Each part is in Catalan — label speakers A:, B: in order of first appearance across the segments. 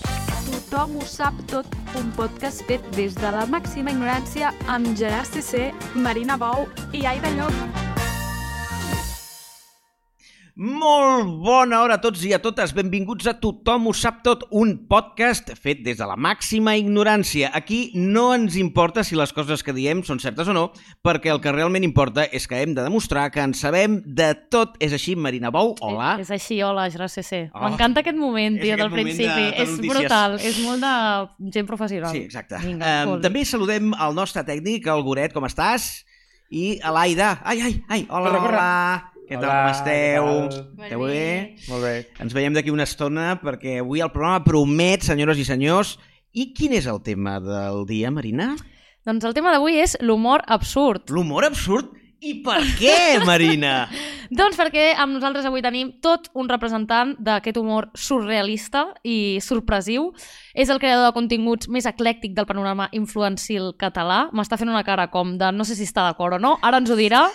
A: Tothom ho sap tot, un podcast fet des de la màxima ignorància amb Gerard CC, Marina Bou i Aida Llop.
B: Molt bona hora a tots i a totes. Benvinguts a Tothom ho sap tot, un podcast fet des de la màxima ignorància. Aquí no ens importa si les coses que diem són certes o no, perquè el que realment importa és que hem de demostrar que en sabem de tot. És així, Marina Bou, hola.
C: Eh, És, és així, hola, Gerard CC.
B: Oh.
C: Oh. M'encanta aquest moment,
B: És
C: tio, del
B: aquest moment
C: principi.
B: de- de
C: és
B: notícies.
C: brutal, és molt de gent professional.
B: Sí, exacte.
C: Vinga,
B: Em,
C: um,
B: també saludem al nostre tècnic, el Goret, com estàs? I a l'Aida. Ai, ai, ai, hola,
D: Corre, corre.
B: hola. Què tal,
D: Hola,
B: com esteu?
D: què tal?
B: Esteu bé?
D: Molt bé.
B: Ens veiem d'aquí una estona perquè avui el programa promet, senyores i senyors. I quin és el tema del dia, Marina?
C: Doncs el tema d'avui és l'humor absurd.
B: L'humor absurd? I per què, Marina?
C: Doncs perquè amb nosaltres avui tenim tot un representant d'aquest humor surrealista i sorpresiu. És el creador de continguts més eclèctic del panorama influencil català. M'està fent una cara com de no sé si està d'acord o no, ara ens ho dirà.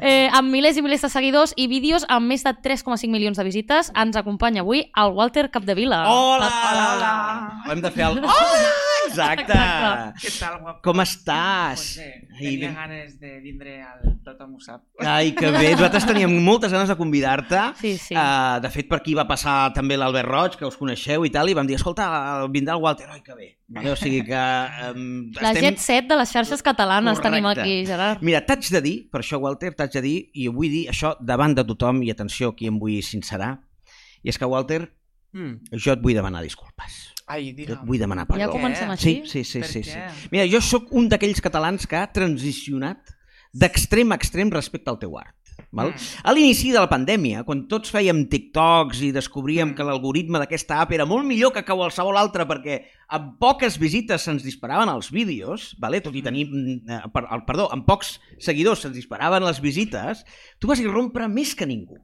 C: Eh, amb milers i milers de seguidors i vídeos amb més de 3,5 milions de visites, ens acompanya avui el Walter Capdevila.
B: Hola!
D: Hola, hola.
B: Ho hem de fer el... Hola! Exacte!
C: Exacte.
D: Què tal, guapo?
B: Com estàs?
D: Doncs bé,
B: Ai,
D: tenia
B: ben-
D: ganes de vindre al Tothom ho sap.
B: Ai, que bé. Nosaltres teníem moltes ganes de convidar-te.
C: Sí, sí.
B: Eh, de fet, per aquí va passar també l'Albert Roig, que us coneixeu i tal, i vam dir, escolta, vindrà el Walter, ai, que bé. Vale? O sigui que... Um,
C: La estem... jet set de les xarxes catalanes
B: Correcte.
C: tenim aquí, Gerard.
B: Mira, t'haig de dir, per això, Walter, t'haig de dir, i ho vull dir això davant de tothom, i atenció, aquí em vull sincerar, i és que, Walter,
D: Mm.
B: jo et vull demanar disculpes. Jo
D: Ai,
B: et
D: digue'm.
B: vull demanar
C: Ja
B: perdó.
D: com-
C: comencem
D: Per
C: així?
B: Sí, sí, sí,
D: Ah, Per
B: sí, sí.
D: què?
B: Mira, jo sóc un d'aquells catalans que ha transicionat d'extrem a extrem respecte al teu art. Val?
D: Mm.
B: A l'inici de la pandèmia, quan tots fèiem TikToks i descobríem
D: Mm.
B: que l'algoritme d'aquesta app era molt millor que qualsevol altra perquè amb poques visites se'ns disparaven els vídeos, vale? tot i tenir, mm, eh, per, el- perdó, amb pocs seguidors se'ns disparaven les visites, tu vas irrompre més que ningú.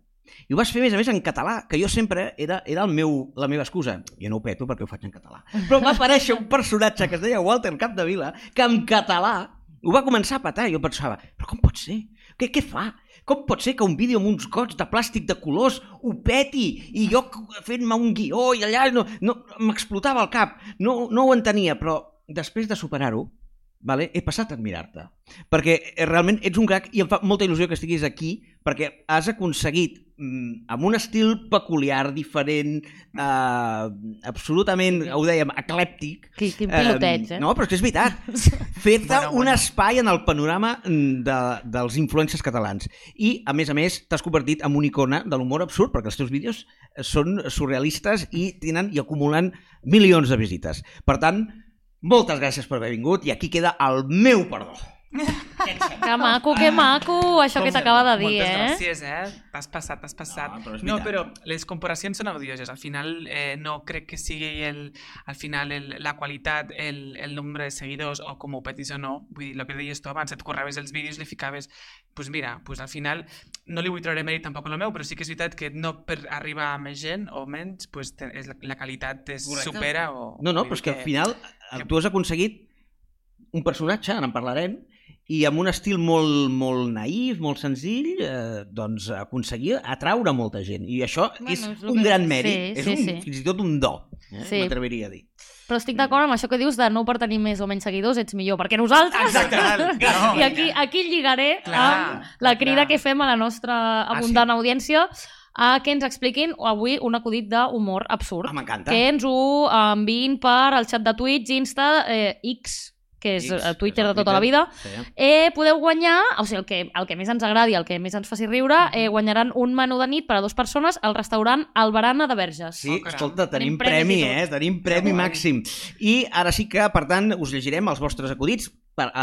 B: I ho vas fer, a més a més, en català, que jo sempre era, era el meu, la meva excusa. Jo no ho peto perquè ho faig en català. Però va aparèixer un personatge que es deia Walter Capdevila, que en català ho va començar a petar. Jo pensava, però com pot ser? Què, què fa? Com pot ser que un vídeo amb uns gots de plàstic de colors ho peti i jo c- fent-me un guió i allà no, no, m'explotava el cap. No, no ho entenia, però després de superar-ho, vale, he passat a admirar-te. Perquè eh, realment ets un crac i em fa molta il·lusió que estiguis aquí perquè has aconseguit mm, amb un estil peculiar, diferent, eh, absolutament, ho dèiem, eclèptic,
C: Quin, quin piloteig, eh?
B: No, però és que és veritat. Fer-te
D: Bueno,
B: un
D: bueno.
B: espai en el panorama mm, de, dels influencers catalans. I, a més a més, t'has convertit en una icona de l'humor absurd, perquè els teus vídeos són surrealistes i tenen i acumulen milions de visites. Per tant, moltes gràcies per haver vingut i aquí queda el meu perdó.
C: Que maco, que maco, això que t'acaba de dir,
D: Moltes
C: eh?
D: gràcies, eh? T'has passat, t'has passat.
B: No, Ah, però és
D: no,
B: veritat.
D: però les comparacions són odioses. Al final eh, no crec que sigui el, al final el, la qualitat, el, el nombre de seguidors o com ho petis o no. Vull dir, el que deies tu abans, et corraves els vídeos, li ficaves... Doncs pues mira, pues al final no li vull treure mèrit tampoc al meu, però sí que és veritat que no per arribar a més gent o menys, pues, te, és, la- la qualitat es
B: Correcte.
D: supera o...
B: No, no,
D: vull
B: però és
D: dir
B: que al final eh, tu has aconseguit un personatge, ara en parlarem, i amb un estil molt, molt naïf, molt senzill, eh, doncs aconseguir atraure molta gent. I això
C: Bueno,
B: és,
C: és lo
B: un
C: que-
B: gran
C: sí,
B: mèrit, és
C: sí,
B: un,
C: sí.
B: fins i tot un do, eh?
C: Sí.
B: m'atreviria a dir.
C: Però estic d'acord amb això que dius de no per tenir més o menys seguidors ets millor, perquè nosaltres...
B: Exacte.
D: No,
C: I aquí, aquí lligaré
D: Clar,
C: amb la crida
D: clar.
C: que fem a la nostra abundant audiència a que ens expliquin avui un acudit d'humor absurd.
B: Ah, M'encanta.
C: que ens ho enviïn per al xat de Twitch, Insta, eh, X, que és
B: X,
C: eh, Twitter
B: és el
C: de tota la vida,
B: Sí.
C: Eh, podeu guanyar, o sigui, el que, el que més ens agradi, el que més ens faci riure, eh, guanyaran un menú de nit per a dues persones al restaurant Albarana de Verges.
B: Sí,
D: Oh, caram.
B: escolta, tenim
C: Tenim premis
B: premi,
C: i tot.
B: eh? Tenim premi
D: guai.
B: màxim. I ara sí que, per tant, us llegirem els vostres acudits. Per, a,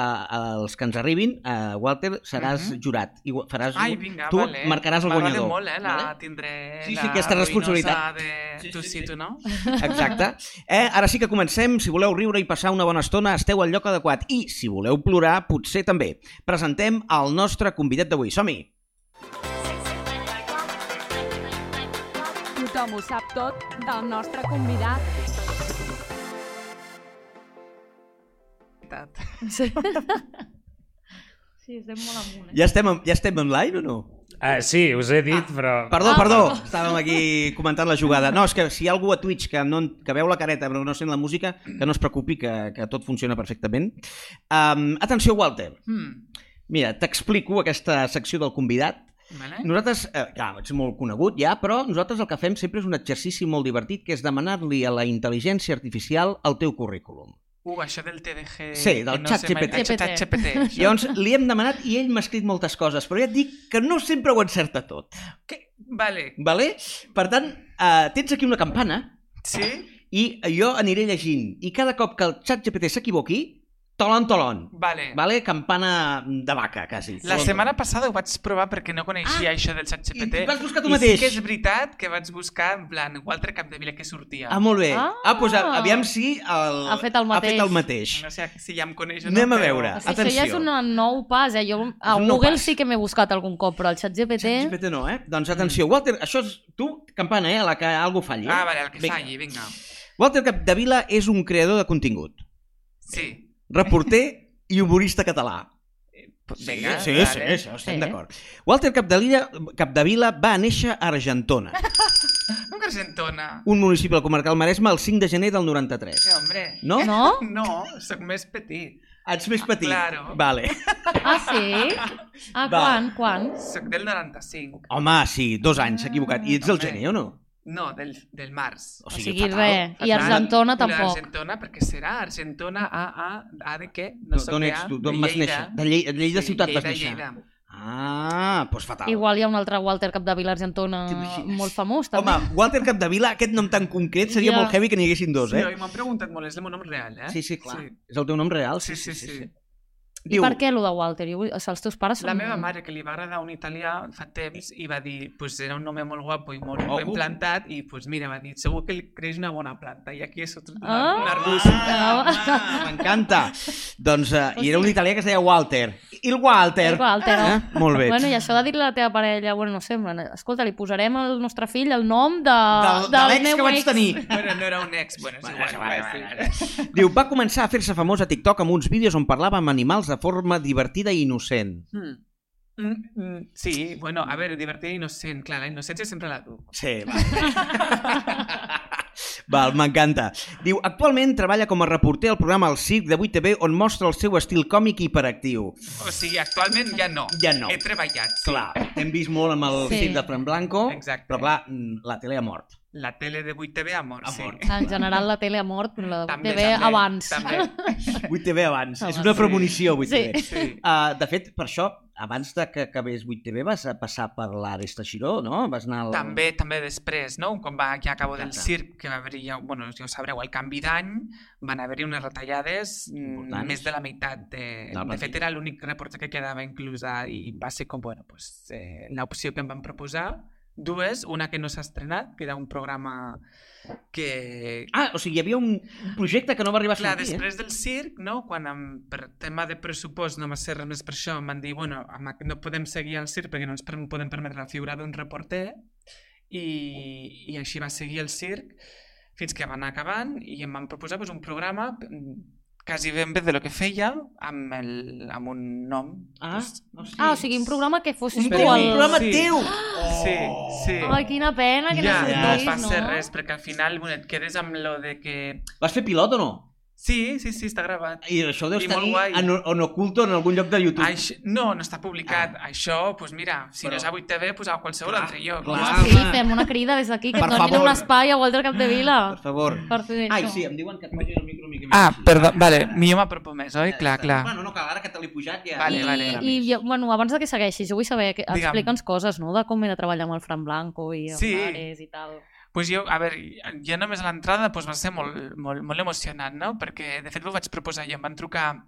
B: als que ens arribin, a Walter, seràs
D: Mhm.
B: jurat. I gu- faràs,
D: Ai, vinga,
B: tu
D: vale.
B: marcaràs el guanyador.
D: M'agrada molt, eh, la,
B: vale?
D: tindré
B: Sí, sí,
D: la
B: aquesta responsabilitat.
D: ruïnosa De...
B: Sí,
D: Sí, tu
B: sí,
D: sí,
B: sí.
D: tu no?
B: Exacte. Eh, ara sí que comencem. Si voleu riure i passar una bona estona, esteu al lloc adequat. I, si voleu plorar, potser també. Presentem el nostre convidat d'avui. Som-hi!
A: Tothom ho sap tot del nostre convidat.
D: Veritat.
C: Sí, estem molt amunt,
B: Ja estem, en- ja estem online o no?
E: Ah, sí, us he dit, però...
B: Perdó,
C: Ah,
B: perdó,
C: perdó.
B: estàvem aquí comentant la jugada. No, és que si hi ha algú a Twitch que, no, en- que veu la careta però no sent la música, que no es preocupi, que, que tot funciona perfectament. Um, atenció, Walter.
D: Hmm.
B: Mira, t'explico aquesta secció del convidat.
D: Vale?
B: Nosaltres, eh, clar, ets molt conegut ja, però nosaltres el que fem sempre és un exercici molt divertit, que és demanar-li a la intel·ligència artificial el teu currículum.
D: Uh, això del TDG...
B: Sí, del
D: que no
B: chat
D: sé mai-
B: GPT.
D: del Chat GPT. això.
B: Llavors, li hem demanat i ell m'ha escrit moltes coses, però ja et dic que no sempre ho encerta tot,
D: Que- Vale,
B: vale? Per tant, eh, tens aquí una campana
D: sí?
B: i jo aniré llegint. I cada cop que el xat GPT s'equivoqui, tolon, tolon.
D: Vale.
B: Vale? Campana de vaca, quasi.
D: La
B: Tolon,
D: setmana
B: tolon.
D: passada ho vaig provar perquè no coneixia ah, això del xat GPT.
B: I vas buscar tu
D: I
B: mateix.
D: sí que és veritat que vaig buscar en plan Walter Capdevila que sortia.
B: Ah, molt bé. Ah,
C: Ah.
B: ah doncs, a- aviam si el...
C: Ha fet el mateix.
B: Ha fet el mateix.
D: No sé si ja em coneix o no.
B: Anem a
D: però-
B: veure.
C: O sigui, això ja és
B: Atenció.
C: un nou pas, eh? Jo a
B: un nou
C: Google
B: pas.
C: sí que m'he buscat algun cop, però el xat GPT...
B: ChatGPT no, eh? Doncs
C: Mm.
B: atenció, Walter, això és tu, campana, eh? A la que algú falli. eh?
D: Ah, vale, el que
B: Vinga.
D: falli, vinga.
B: Walter Capdevila és un creador de contingut,
D: Sí.
B: reporter i humorista català.
D: Vinga,
B: sí, sí,
D: vale.
B: sí, estem
C: Sí.
B: d'acord. Walter Capdevila, Capdevila va néixer a Argentona,
D: No que argentona.
B: un municipi del comarcal Maresme, el 5 de gener del 93.
D: Sí, hombre.
B: No?
C: No?
D: No, sóc més petit.
B: Ets més petit.
D: Claro.
B: Vale.
C: Ah, sí? Ah,
B: Va.
C: quan? Quan?
D: Sóc del 95.
B: Home, sí, dos anys, s'ha equivocat. I ets del
D: Ah, Home.
B: gener o no?
D: No, del, del març.
C: O sigui, res. I
D: Fatal.
C: Argentona
D: Però
C: tampoc.
D: Argentona, perquè serà Argentona, A, A, A de què?
B: No,
D: No sóc
B: D'on
D: de
B: ets
D: A,
B: tu?
D: de
B: D'on vas
D: Lleida.
B: néixer? De Lleida, de Lleida
D: Sí,
B: ciutat vas
D: Lleida,
B: néixer.
D: Lleida.
B: Ah, doncs fatal.
C: Igual hi ha un altre Walter Capdevila Argentona
B: T'imagines?
C: molt famós,
B: Home,
C: també.
B: Walter Capdevila, aquest nom tan concret, seria
C: Ja.
B: molt heavy que n'hi haguessin dos,
D: Sí,
B: eh?
D: no, i m'han preguntat molt, és el meu nom real, eh?
B: Sí, sí, clar. És el teu nom real?
D: Sí, sí, sí. sí.
C: I per què, allò de Walter? Jo, vull- o sigui, els teus pares són...
D: La meva mare, que li va agradar un italià fa temps, i va dir, pues era un home molt guapo i molt
B: Oh.
D: ben plantat, i pues mira, va dir, segur que li creix una bona planta, i aquí és otro, un,
C: Ah.
D: un arbust.
B: Ah, ah, M'encanta. doncs, eh, i era un italià que es deia Walter. Il Walter.
C: El Walter, no?
B: Eh? Molt bé.
C: Bueno, i això de dir-li a la teva parella, bueno, no sé, en plan, escolta, li posarem al nostre fill el nom de,
B: Del, de l'ex que vaig tenir.
D: Bueno, no era un ex, bueno, és
B: Bueno,
D: igual.
B: bueno,
D: va,
B: bueno,
D: sí.
B: Diu, va començar a fer-se famós a TikTok amb uns vídeos on parlava amb animals de forma divertida i innocent.
D: Mm. Mm, mm, sí, bueno, a veure, divertida i innocent, clar, la innocència sempre la duc.
B: Sí, va. Val, m'encanta. Diu, actualment treballa com a reporter al programa El Circ de 8TV on mostra el seu estil còmic hiperactiu.
D: O sigui, actualment ja no.
B: Ja no.
D: He treballat, sí.
B: Clar, t'hem vist molt amb el
C: Sí.
B: sí. Circ de Fran Blanco,
D: Exacte.
B: però clar, mm, la tele ha mort.
D: La tele de 8TV ha mort,
B: Ha
D: sí.
B: mort.
C: En general, la tele ha mort, però la
D: També,
C: TV
D: també,
C: abans.
D: També.
B: 8TV abans. És
C: Abans.
B: una premonició, 8TV. Sí.
D: Sí.
B: Uh, de fet, per això, abans de que acabés 8TV vas a passar per l'Ares Teixidó, no? Vas anar al...
D: També, també després, no? quan va, ja acabo del
B: eh. Exacte.
D: circ, que va haver-hi, ja, bueno, ja ho sabreu, al canvi d'any van haver-hi unes retallades
B: Importants.
D: Importants. més de la meitat. De,
B: Del
D: de fet,
B: partit.
D: era l'únic reporter que quedava inclusa i va ser com, bueno, pues, eh, l'opció que em van proposar. Dues, una que no s'ha estrenat, que era un programa que...
B: Ah, o sigui, hi havia un un projecte que no va arribar a
D: Clar,
B: sortir, eh?
D: després del circ, no? quan em, per tema de pressupost no va ser res més per això, em van dir, bueno, amb aquest no podem seguir al circ perquè no ens per- podem permetre la figura d'un reporter, i, i així va seguir el circ fins que van acabant i em van proposar pues, un programa mm, quasi ben bé de lo que feia amb, el, amb un nom
B: Ah,
D: pues,
B: o sigui,
C: Ah, o sigui, un programa que fossis
B: un
C: tu
D: programa-
C: el...
D: el-
B: programa
D: Sí.
B: teu!
D: sí, sí
C: Ai, quina pena que
D: ja,
C: no
D: no
C: sortís,
D: va
C: no?
D: ser res perquè al final bueno, et quedes amb lo de que
B: Vas fer pilot o no?
D: sí, sí, sí, està gravat
B: I això deu
D: I
B: estar
D: molt guai.
B: en, en oculto en algun lloc de YouTube.
D: Això, no, no està publicat.
C: Ah.
D: Això, doncs mira, si
B: Però-
D: no és a 8TV, doncs a qualsevol
B: Clar,
D: altre lloc.
B: clar.
D: Ja
C: Sí,
D: està.
B: Home.
C: fem una crida des d'aquí, que
B: Per
C: et donin
B: favor.
C: un espai a Walter Capdevila.
B: Per favor.
C: Per fer
B: Ai,
C: això.
B: sí, em diuen que et posi el micro una mica més
D: Ah,
B: així.
D: perdó, vale, millor m'apropo més, oi?
B: Ja
D: Clar,
B: està.
D: clar.
B: Bueno, no cal, ara que te l'he pujat ja...
D: Vale,
C: I,
D: vale.
C: i jo, bueno, abans de que segueixis, jo vull saber, que,
D: Digue'm.
C: explica'ns coses, no?, de com era treballar amb el Fran Blanco i els
D: Sí.
C: pares i tal.
D: Pues jo, a veure, ja només a l'entrada doncs va ser molt, molt, molt emocionant, no? Perquè, de fet, m'ho vaig proposar i em van trucar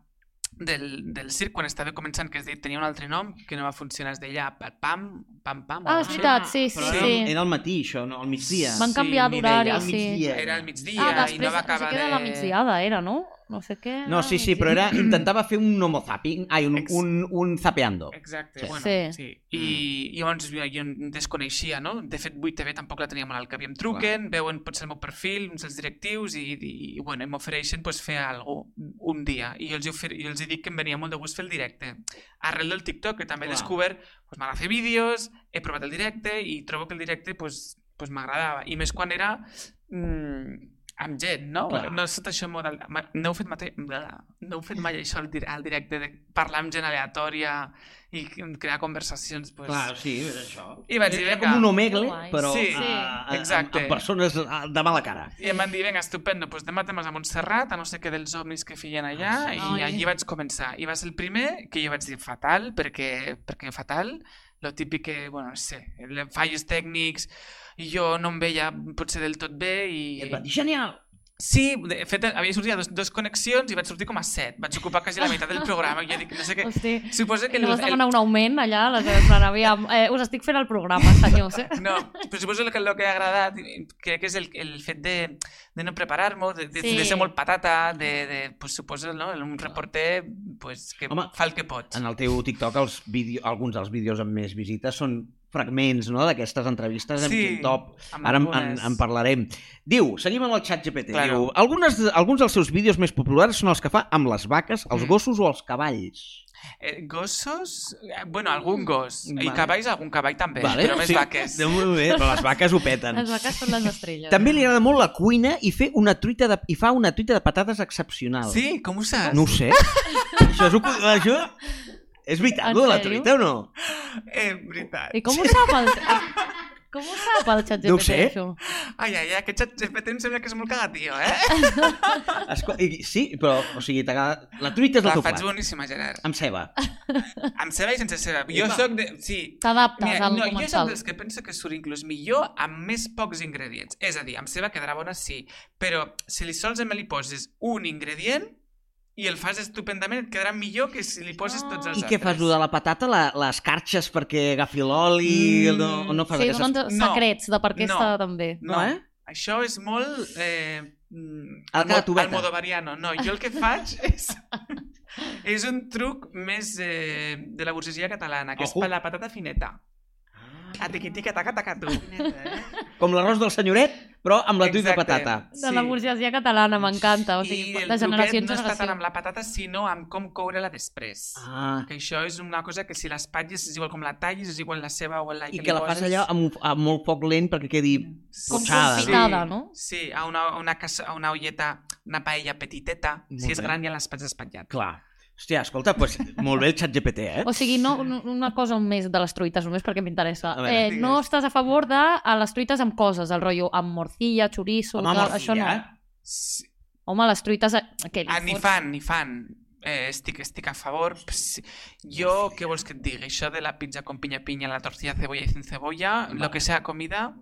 D: del, del circ quan estava començant, que es deia, tenia un altre nom, que no va funcionar, es deia Pat Pam, Pam Pam. o
C: Ah,
D: algo
C: és
D: així.
C: veritat, sí, sí,
B: Però era,
C: sí.
B: era al matí, això, no? al migdia.
C: Van
D: sí,
C: canviar
B: Mireia,
C: d'horari,
B: al
C: sí.
B: migdia.
D: Era al migdia
C: Ah,
D: i no
C: després, no
D: va
C: sé
D: acabar
C: què de la migdiada era, no? No sé què...
B: No, sí, sí, però era, intentava fer un homo zapping, ai, un,
D: Ex-
B: un, un zapeando.
D: Exacte,
B: Sí. Mm.
D: sí.
C: Sí.
D: bueno, sí. sí. I i llavors jo, jo en desconeixia, no? De fet, 8TV tampoc la tenia mal al cap i em truquen, veuen potser el meu perfil, uns dels directius i, i, i bueno, i m'ofereixen pues, fer algo, un dia i jo els, hi ofer- jo els hi dic que em venia molt de gust fer el directe. Arrel del TikTok, que també he
B: Clar.
D: descobert, pues, m'agrada fer vídeos, he provat el directe i trobo que el directe pues, pues, m'agradava. I més quan era mm, amb gent, no?
B: Clar.
D: No és tot això model... ma- No heu fet, mate... bla, no heu fet mai això al dir- al directe de parlar amb gent aleatòria i crear conversacions pues,
B: Clar, sí, és això.
D: I vaig dir,
B: Era
D: vinga.
B: com un omegle,
C: Guai.
B: però
D: Sí,
B: a- a- a-
D: exacte.
B: amb persones ah, de mala cara.
D: I em van dir, vinga, estupendo, doncs demà temes a Montserrat, a no sé què dels ovnis que feien allà,
B: Ah, sí.
C: Ai.
D: i allí vaig començar. I va ser el primer que jo vaig dir fatal, perquè, perquè fatal, lo típic que, bueno, no sé, le- fallos tècnics, i jo no em veia potser del tot bé i...
B: I et va dir, genial!
D: Sí, de fet, havia sortit a dos, dos connexions i vaig sortir com a set. Vaig ocupar quasi la meitat del programa. I jo dic, no sé què...
C: Hosti.
D: Suposa que...
C: I no vas demanar un augment allà? Les veus, plan, aviam, eh, us estic fent el programa, senyors. Eh?
D: No, però suposo que el que ha agradat i- crec que és el, el fet de, de no preparar-me, de, de,
C: Sí.
D: de ser molt patata, de, de pues, suposo no? un reporter pues, que
B: Home,
D: Home, fa el que pot.
B: En el teu TikTok els vídeo, alguns dels vídeos amb més visites són fragments no? d'aquestes entrevistes amb
D: Sí.
B: gent top. Ara en, en, en parlarem. Diu, seguim amb el xat GPT.
D: Claro.
B: Diu, algunes, de- alguns dels seus vídeos més populars són els que fa amb les vaques, els
D: Mm.
B: gossos o els cavalls.
D: Eh, gossos? Eh, Bueno, algun gos. I
B: Vale.
D: cavalls, algun cavall també, però més
B: Sí.
D: vaques.
B: De moment bé, però les vaques ho peten.
C: Les vaques són les estrelles.
B: Doncs També li agrada molt la cuina i, fer una truita de, i fa una truita de patates excepcional.
D: Sí, com ho saps?
B: No ho sé. això és, un, això és veritat,
C: En
B: allò de la
C: sèrio?
B: truita o no?
D: Eh, veritat.
C: I com ho sap el... Com ho sap el xat
B: No ho sé.
C: això?
D: Ai, ai, ai, aquest xat GPT em sembla que és molt cagatio, eh?
B: Esco i, sí, però, o sigui, t'agrada... La truita és el
D: La
B: teu
D: faig
B: plat.
D: boníssima, Gerard.
B: Amb ceba.
D: Amb ceba i sense ceba. Jo
B: Epa.
D: sóc de... Sí,
C: T'adaptes
D: Mira,
C: al
D: no, jo soc
C: comensal.
D: dels que penso que surt inclús millor amb més pocs ingredients. És a dir, amb ceba quedarà bona, sí, però si li sols em li poses un ingredient i el fas estupendament, et quedarà millor que si li poses tots els
B: I
D: altres.
B: què fas, lo de la patata? La, les carxes perquè agafi l'oli?
D: Mm,
B: Mm, no, no fas
C: Sí,
B: aquestes...
C: donen
D: No.
C: secrets de per què
D: No.
C: està també.
B: No, eh?
D: Això és molt... Eh, mm,
B: Al
D: almo-
B: gatubeta.
D: Almodovariano. No, jo el que faig és... és un truc més eh, de la burgesia catalana, que és
B: Ojo.
D: per la patata fineta.
B: eh?
D: A tiqui-tiqui, taca, taca, tu.
B: Com l'arròs del senyoret, però amb la truita de
D: Exacte.
B: patata.
C: De la burgesia catalana, m'encanta. O
D: I
C: sigui,
D: el
C: de generació en
D: truquet no està tant
C: generació.
D: amb la patata, sinó amb com coure-la després. Ah.
B: Ah,
D: Que això és una cosa que si l'espatlles és igual com la tallis, és igual la ceba o la
B: I que la
D: li
B: fas
D: poses.
B: allò amb, un- amb molt poc lent perquè quedi...
C: Com
B: Potxada, no?
C: confitada, no?
D: Sí, sí a, una, a una, casa, a una olleta, una paella petiteta.
B: Molt
D: si és
B: bé.
D: gran ja l'espatz espatllat.
B: Clar. Hòstia, escolta, pues, molt bé el xat GPT, eh?
C: O sigui, no, no- una cosa més de les truites, només perquè m'interessa.
B: A veure,
C: Eh,
D: digues.
C: no estàs a favor de a les truites amb coses, el rotllo amb morcilla, xoriço...
B: Home,
C: tal,
B: morcilla, eh?
C: Això no.
D: Sí.
C: Home, les truites... eh, Què, li
D: Ah, ni
C: fots?
D: fan, ni fan. Eh, estic, estic a favor. Ps, jo, què vols que et digui? Això de la pizza con piña piña, la tortilla cebolla y sin cebolla, lo que sea comida,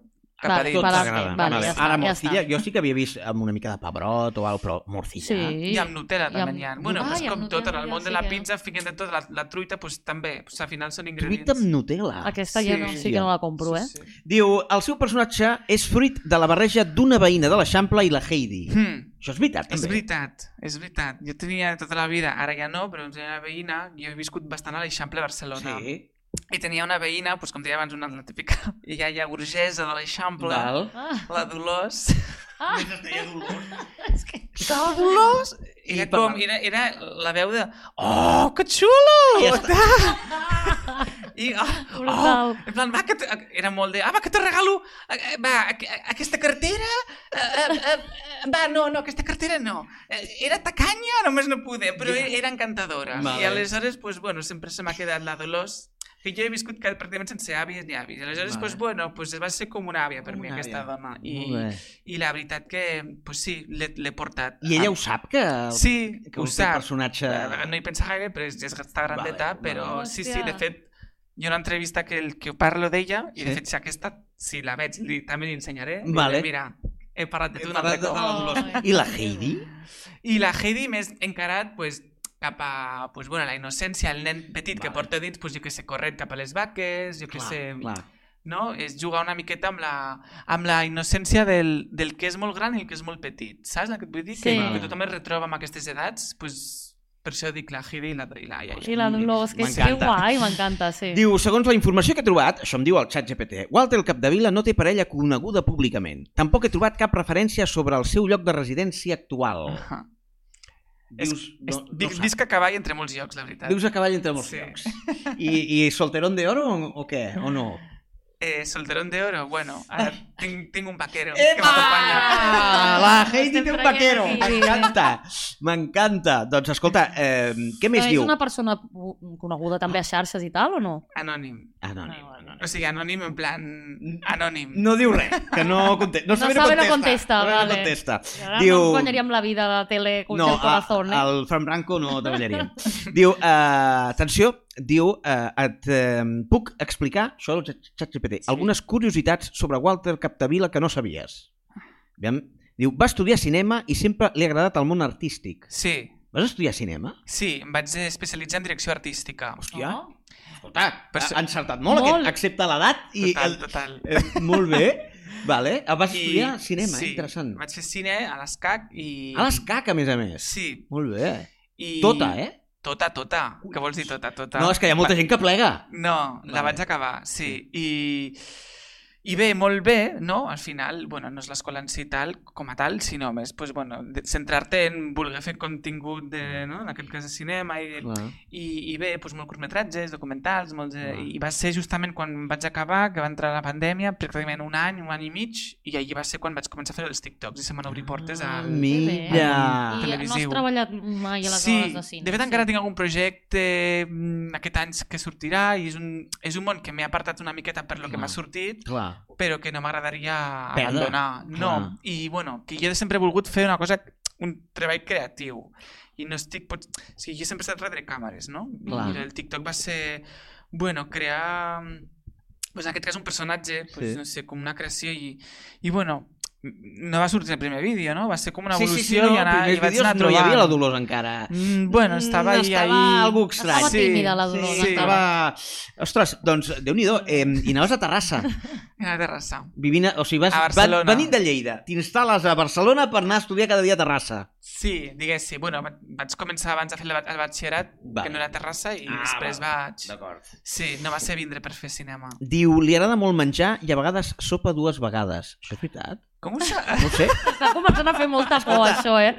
D: cap a
C: Vale,
D: dins.
B: Tot
C: Vale,
B: t'agrada.
C: ok, vale,
B: Vale,
C: ja està,
B: Ara,
C: ja
B: morcilla,
C: està.
B: jo sí que havia vist amb una mica de pebrot o alt, però morcilla.
C: Sí.
D: I amb Nutella
C: I
D: també
C: amb-
D: n'hi ha. Bueno,
C: Ah,
D: pues,
C: i amb
D: com tot, en
C: Nutella
D: el
C: ja
D: món de
C: sí
D: la
C: que-
D: pizza, fiquen de tot, la, la truita, pues, també, pues, al final són ingredients.
B: Truita amb Nutella.
C: Aquesta ja no,
D: Sí.
C: sí que no la compro, eh?
D: Sí, sí.
B: Diu, el seu personatge és fruit de la barreja d'una veïna de l'Eixample i la Heidi.
D: Hmm.
B: Això és veritat,
D: És
B: també.
D: veritat, és veritat. Jo tenia tota la vida, ara ja no, però tenia una veïna, jo he viscut bastant a l'Eixample de Barcelona.
B: Sí.
D: I tenia una veïna, doncs, com deia abans, una la típica iaia burgesa de l'Eixample,
B: Val.
C: Ah,
D: la Dolors.
C: ah,
D: La Dolors! Era,
B: I per-
D: com, era, era la veu de... Oh, que xulo!
B: Ja
D: I, oh,
C: brutal.
D: En plan, va, que te... era molt de... Ah, va, que te regalo eh, eh, va, aqu- eh, aquesta cartera. Eh, eh, eh, va, no, no, aquesta cartera no. Eh, Era tacanya, només no pude, però
B: Ja.
D: e- era encantadora.
B: Vale.
D: I aleshores, pues, bueno, sempre se m'ha quedat la Dolors, que jo he viscut que- pràcticament sense àvies ni àvies. Aleshores,
B: Vale.
D: pues, bueno, pues, va ser com una àvia per
B: Com
D: mi,
B: una
D: aquesta
B: àvia.
D: dona.
B: Molt bé.
D: I, I la veritat que, pues sí, l'he l'he portat.
B: I ella ho sap, que,
D: Sí,
B: que
D: ho
B: el teu
D: sap.
B: personatge...
D: Eh, No hi pensa gaire, però és, és està grandeta,
B: Vale,
D: vale, però
C: vale.
D: sí, sí,
C: Hòstia.
D: de fet, hi ha una entrevista que, el, que parlo d'ella, i de
B: Sí.
D: fet, si aquesta, si la veig, li, també li ensenyaré. li
B: Vale.
D: diré, Mira, he parlat de tu
B: He
D: un altre
B: parlat de-
D: cop.
C: Ai.
B: I la Heidi?
D: I la Heidi més encarat, pues, cap a pues, bueno, la innocència, el nen petit que
B: Vale.
D: porta dins, pues, jo que sé, corrent cap a les vaques, jo que
B: Clar,
D: sé,
B: clar.
D: no? És jugar una miqueta amb la, amb la innocència del, del que és molt gran i el que és molt petit. Saps el que et vull dir?
C: Sí.
D: Que,
B: Vale.
D: que tothom es retroba amb aquestes edats, pues, per això dic la Heidi i la, i la iaia.
C: I la Dolors, que és que
B: M'encanta.
C: guai, m'encanta, sí.
B: Diu, segons la informació que he trobat, això em diu el xat GPT, Walter Capdevila no té parella coneguda públicament. Tampoc he trobat cap referència sobre el seu lloc de residència actual.
D: Ahà.
B: Dius,
D: Ah. és,
B: no, no
D: dic,
B: sap.
D: disc a cavall entre molts llocs, la veritat.
B: Vius a cavall entre molts
D: Sí.
B: llocs. I, I solterón de oro o, o què? O no?
D: Eh, Solterón de oro, bueno, ara tinc, tinc un vaquero que
B: Epa!
D: m'acompanya.
B: La Heidi
C: Ah, Estem
B: té un
C: traient
B: vaquero.
C: aquí.
B: M'encanta. M'encanta. Doncs escolta, eh, què més
C: és
B: diu?
C: una persona coneguda també a xarxes i tal, o no?
D: Anònim.
B: Anònim.
C: Ah, vale.
D: O sigui, anònim en plan... Anònim.
B: No diu res, que no contesta. No,
C: No
B: sabe,
C: sabe,
B: no
C: no
B: contesta.
C: contesta, vale.
B: contesta.
C: Ara
B: Diu-
C: no ens guanyaríem la vida a la tele con el
B: a-
C: corazón, eh?
B: al Fran Branco no treballaríem. diu, eh, atenció, diu, eh, et eh, puc explicar, això del ChatGPT, algunes curiositats sobre Walter Capdevila que no sabies. Aviam. Diu, va estudiar cinema i sempre li ha agradat el món artístic.
D: Sí,
B: Vas estudiar cinema?
D: sí, em vaig especialitzar en direcció artística. Oh.
B: Hòstia, escolta,
D: Per
B: ha
D: ser-
B: ha encertat molt,
C: Molt.
B: molt. Aquest, excepte l'edat i...
D: Total,
B: el,
D: total.
B: eh, molt bé, vale. Ah, Vas
D: I-
B: estudiar cinema, sí. interessant.
D: Vaig fer cine a l'escac i...
B: A l'escac, a més a més.
D: Sí.
B: Molt bé.
D: I...
B: Tota, eh?
D: Tota, tota. Què vols dir tota, tota?
B: No, és que hi ha molta gent que plega.
D: No, la
B: Vale.
D: vaig acabar, sí. I, I bé, molt bé, no? Al final, bueno, no és l'escola en si tal, com a tal, sinó més pues, bueno, de- centrar-te en voler fer contingut, de, no? en aquest cas de cinema, i,
B: Clar.
D: i, i bé, pues, molts curtmetratges, documentals, molts, eh,
B: Ah.
D: i va ser justament quan vaig acabar, que va entrar la pandèmia, pràcticament un any, un any i mig, i allí va ser quan vaig començar a fer els TikToks i se m'han obrir portes
B: Ah,
D: al...
B: Mira.
C: I no has
D: televisiu.
C: treballat mai a les
D: sí,
C: hores de cine.
D: de fet encara tinc algun projecte mm, aquest any que sortirà i és un, és un món que m'he apartat una miqueta per lo que
B: Clar.
D: m'ha sortit,
B: Clar.
D: però que no m'agradaria
B: Perdre.
D: abandonar. No,
B: Clar.
D: i bueno, que jo sempre he volgut fer una cosa, un treball creatiu. I no estic... Pot... O sigui, jo sempre he estat retre càmeres, no?
B: Clar.
D: I el TikTok va ser, bueno, crear... Pues en aquest cas un personatge, pues,
B: Sí.
D: no sé, com una creació i, i bueno, no va sortir el primer vídeo, no? Va ser com una
B: Sí,
D: evolució
B: sí, sí, no,
D: i, anar,
B: primers
D: i vaig
B: vídeos
D: anar
B: no hi havia la
D: trobant.
B: Dolors encara.
D: Mm, bueno, estava ahí,
B: estava
D: ahí...
B: algo estrany.
C: Estava tímida, la Dolors,
B: Sí, sí.
C: encara.
B: Estava... Ostres, doncs, Déu-n'hi-do, eh, i anaves a Terrassa,
D: A la terrassa.
B: vivint a... O sigui, vas,
D: A
B: va,
D: Barcelona.
B: venint de Lleida, t'instal·les a Barcelona per anar a estudiar cada dia a Terrassa.
D: Sí, diguéssim. Bueno, va- vaig començar abans a fer el ba- el batxillerat,
B: Vale.
D: que no era a terrassa, i
B: Ah,
D: després vaig...
B: D'acord.
D: Sí, no va ser vindre per fer cinema.
B: Diu, li agrada molt menjar i a vegades sopa dues vegades. Això és veritat?
D: Com ho saps?
B: No ho sé.
C: Està començant a fer molta por, això, eh?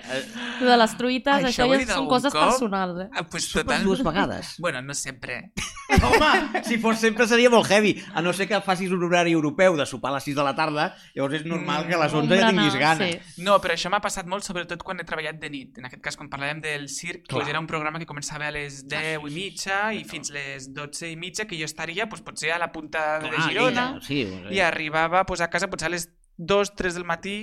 C: Lo de les truites,
D: Ai,
C: això,
D: això ho he
C: ja
D: dit
C: són
D: algun
C: coses
D: cop?
C: personals, eh?
D: Ah, pues
B: Sopes
D: total...
B: dues vegades.
D: Bueno, no sempre.
B: Home, si fos sempre seria molt heavy, a no ser que facis un horari europeu de sopar a les 6 de la tarda, llavors és normal que a les 11 ja
C: Berenar,
B: tinguis gana.
C: sí.
D: No, però això m'ha passat molt, sobretot quan he treballat de nit. En aquest cas, quan parlàvem del circ,
B: Clar. Ah,
D: doncs era un programa que començava a les 10 i mitja i fins les 12 i mitja, que jo estaria doncs, potser a la punta de Girona.
B: Ah, Lleida, sí, o sigui.
D: i arribava pues, a casa potser a les 2, 3 del matí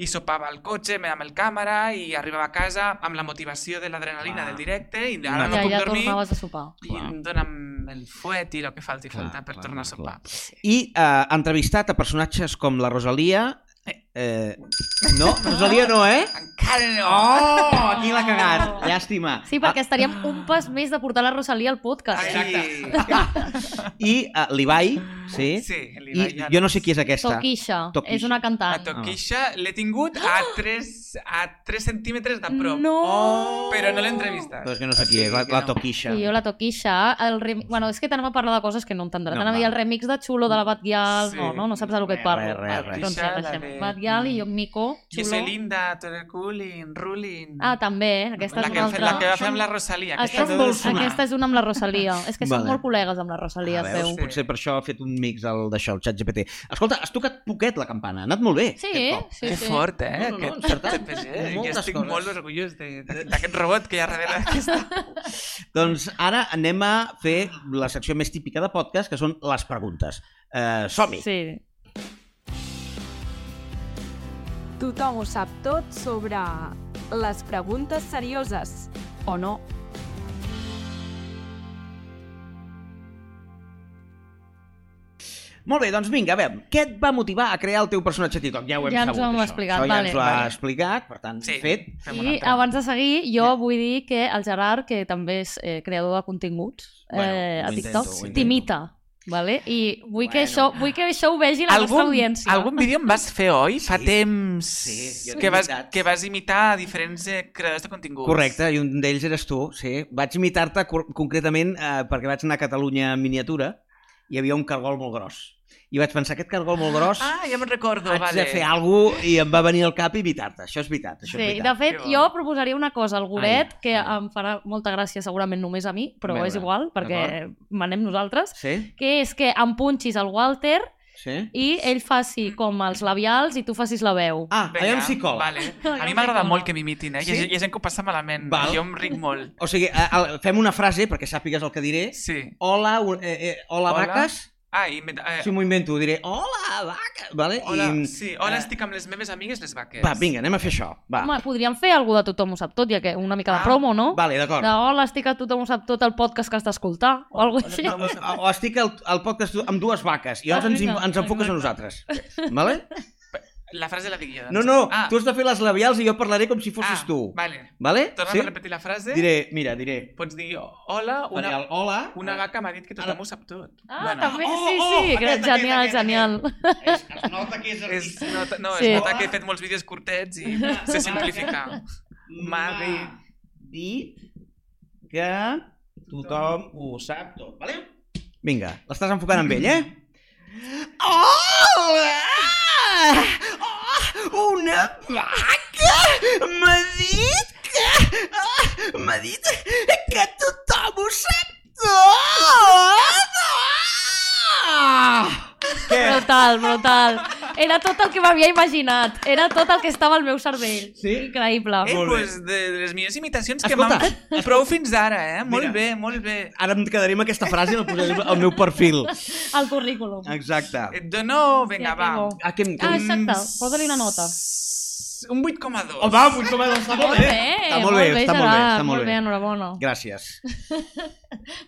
D: i sopava al cotxe me- amb el càmera i arribava a casa amb la motivació de l'adrenalina
B: Clar.
D: del directe i ara no
C: ja,
D: puc
C: ja
D: dormir
C: tornaves a sopar.
D: i
B: Clar.
D: em dona'm el fuet i el que falti
B: Clar,
D: falta per
B: clar,
D: tornar a sopar. Pues,
B: clar. I eh, ha entrevistat a personatges com la Rosalia... Eh, no, Rosalia no, eh?
D: Encara no!
B: Oh, aquí l'ha cagat. Llàstima.
C: Sí, perquè estaríem un pas més de portar la Rosalia al podcast.
D: Ah. Ai,
C: eh?
B: Ah, I eh, l'Ibai, sí?
D: Sí,
B: I
D: l'Ibai
B: jo no sé qui és aquesta.
C: Toquisha.
B: Toquisha.
C: És una
D: La
C: cantant.
D: toquixa l'he tingut
C: Ah!
D: a 3, a 3 centímetres de prop.
C: No!
D: Però no l'he entrevistat.
B: Doncs que no sé qui és, la, la Toquisha.
C: I jo la Toquisha, el rem... bueno, és que t'anem a parlar de coses que no entendrà.
B: No,
C: No, T'anem a dir
B: va.
C: el remix de Xulo de la Batguial,
D: Sí.
C: no, no, no saps de lo que et
B: Res,
C: parlo.
B: res, res, res.
C: Doncs ja,
D: Toquisha, la
C: deixem.
D: de- Mm.
C: Batguial i jo, Mico,
D: Que se
C: Xulo.
D: linda, todo el culin, rulin...
C: Ah, també, eh? aquesta
D: la,
C: és
D: que,
C: una altra.
D: la que va fer amb la Rosalia.
C: Aquesta,
D: de
C: és,
D: Dulce.
C: aquesta és una amb la Rosalia. És que
B: Vale.
C: són molt col·legues amb la Rosalia,
B: Ah,
C: es
B: veus?
C: veu.
D: sí.
B: Potser per això ha fet un mix el- d'això, el xat GPT. Escolta, has tocat poquet la campana, ha anat molt bé.
C: Sí,
B: aquest cop.
C: sí,
D: que
C: sí.
D: fort, eh?
B: No, no, no,
D: aquest
B: encertat.
D: CPG. Jo
B: Moltes
D: estic
B: coses.
D: molt orgullós de- de- d'aquest robot que hi ha darrere d'aquesta.
B: Doncs ara anem a fer la secció més típica de podcast, que són les preguntes. Eh, Som-hi!
C: Sí.
A: Tothom ho sap tot sobre les preguntes serioses, o no?
B: Molt bé, doncs vinga, a veure, què et va motivar a crear el teu personatge a TikTok? Ja ho hem
C: Ja ens
B: sabut,
C: ho hem
B: això.
C: explicat,
B: això ja
C: vale.
B: ens ho ha
D: Vale.
B: explicat, per tant,
D: Sí.
B: fet.
D: Fem una
C: I
D: altra.
C: abans de seguir, jo vull dir que el Gerard, que també és eh, creador de continguts
B: Bueno,
C: eh,
B: ho
C: a
B: intento,
C: TikTok,
B: ho intento.
C: t'imita. Vale? I vull, que
B: Bueno.
C: això, vull que això ho vegi la nostra audiència.
D: algun vídeo em vas fer, oi? Fa
B: Sí.
D: temps
B: Sí, jo
D: que,
B: he
D: vas,
B: imitat.
D: que vas imitar a diferents eh, creadors de continguts.
B: Correcte, i un d'ells eres tu, sí. Vaig imitar-te cor- concretament eh, perquè vaig anar a Catalunya en miniatura hi havia un cargol molt gros. I vaig pensar, aquest cargol molt gros,
D: Ah, ja me'n recordo,
B: haig
D: vale.
B: de fer alguna cosa i em va venir al cap imitar-te. Això és veritat, això
C: Sí,
B: és
C: de
B: veritat.
C: fet,
D: Que va.
C: jo proposaria una cosa al Goret,
B: Ai,
C: que
B: ai.
C: em farà molta gràcia segurament només a mi, però
B: A veure,
C: és igual, perquè manem nosaltres,
B: Sí?
C: que és que empunxis el Walter
B: Sí?
C: i ell faci com els labials i tu facis la veu.
B: Ah,
D: Vinga,
B: allà em s'hi cola.
D: Vale. A mi
C: Aviam si
D: m'agrada
C: cola.
D: molt que m'imitin, eh? Hi
B: Sí?
D: ha, gent- hi ha gent que ho passa malament.
B: Val.
D: Jo em ric molt.
B: O sigui, a, a, fem una frase perquè sàpigues el que diré.
D: Sí.
B: Hola, un- eh, eh, hola,
D: Hola.
B: vaques.
D: Ah, i... me- Eh,
B: Si m'ho invento, diré hola, vaques. Vale?
D: hola,
B: I,
D: sí, hola,
B: eh,
D: estic amb les meves amigues, les vaques.
B: Va, vinga, anem a fer això. Va,
C: Home, podríem fer algú de tothom ho sap tot, ja que una mica de
D: Ah,
C: promo, no?
B: vale, d'acord.
C: De hola, estic a tothom ho sap tot el podcast que has d'escoltar,
B: Oh,
C: o alguna cosa així.
B: O, o estic al, al podcast amb dues vaques i llavors
D: Ah,
B: ens,
C: Vinga.
B: ens enfoques a nosaltres. Vale?
D: La frase la dic jo. doncs.
B: No, no,
D: Ah,
B: tu has de fer les labials i jo parlaré com si fossis
D: ah,
B: tu.
D: Vale.
B: Vale?
D: Torna'm
B: Sí?
D: a repetir la frase.
B: Diré, mira, diré.
D: Pots dir, hola,
B: Faré
D: una,
B: el hola.
D: una vaca m'ha dit que
B: Ara-
D: tothom ho sap tot.
C: Ah,
D: Bueno,
C: també,
B: Oh,
C: sí,
B: oh,
C: sí,
B: aquest, aquest,
C: genial,
B: aquest,
C: genial.
B: És, es nota que és
D: És,
B: artista.
D: no, no,
C: Sí.
D: es nota que he fet molts vídeos curtets i se simplifica. M'ha dit-
B: dit que tothom ho sap tot, vale? Vinga, l'estàs enfocant amb ell, eh? Hola! Oh, una vaca m'ha dit que... ah, M'ha dit que tothom ho sap tot! Ah! Què?
C: Brutal, brutal. Era tot el que m'havia imaginat. Era tot el que estava al meu cervell.
B: Sí?
C: Increïble.
D: Eh,
B: Molt bé.
D: pues, de, de les millors imitacions que
B: Escolta,
D: m'han fet prou fins ara, eh? Molt
B: Mira.
D: bé, molt bé.
B: Ara em quedaré amb aquesta frase i la posaré al meu perfil.
C: El currículum.
B: Exacte.
D: Et dono, Eh, vinga,
C: Ja
D: va.
C: tengo.
B: Ah, que, que...
C: Ah, exacte. Posa-li una nota.
D: Un 8,2.
B: Oh, va, vull com està molt bé. Està molt bé, està molt bé,
C: eh? Gerard,
B: està molt bé.
C: enhorabona.
B: Gràcies.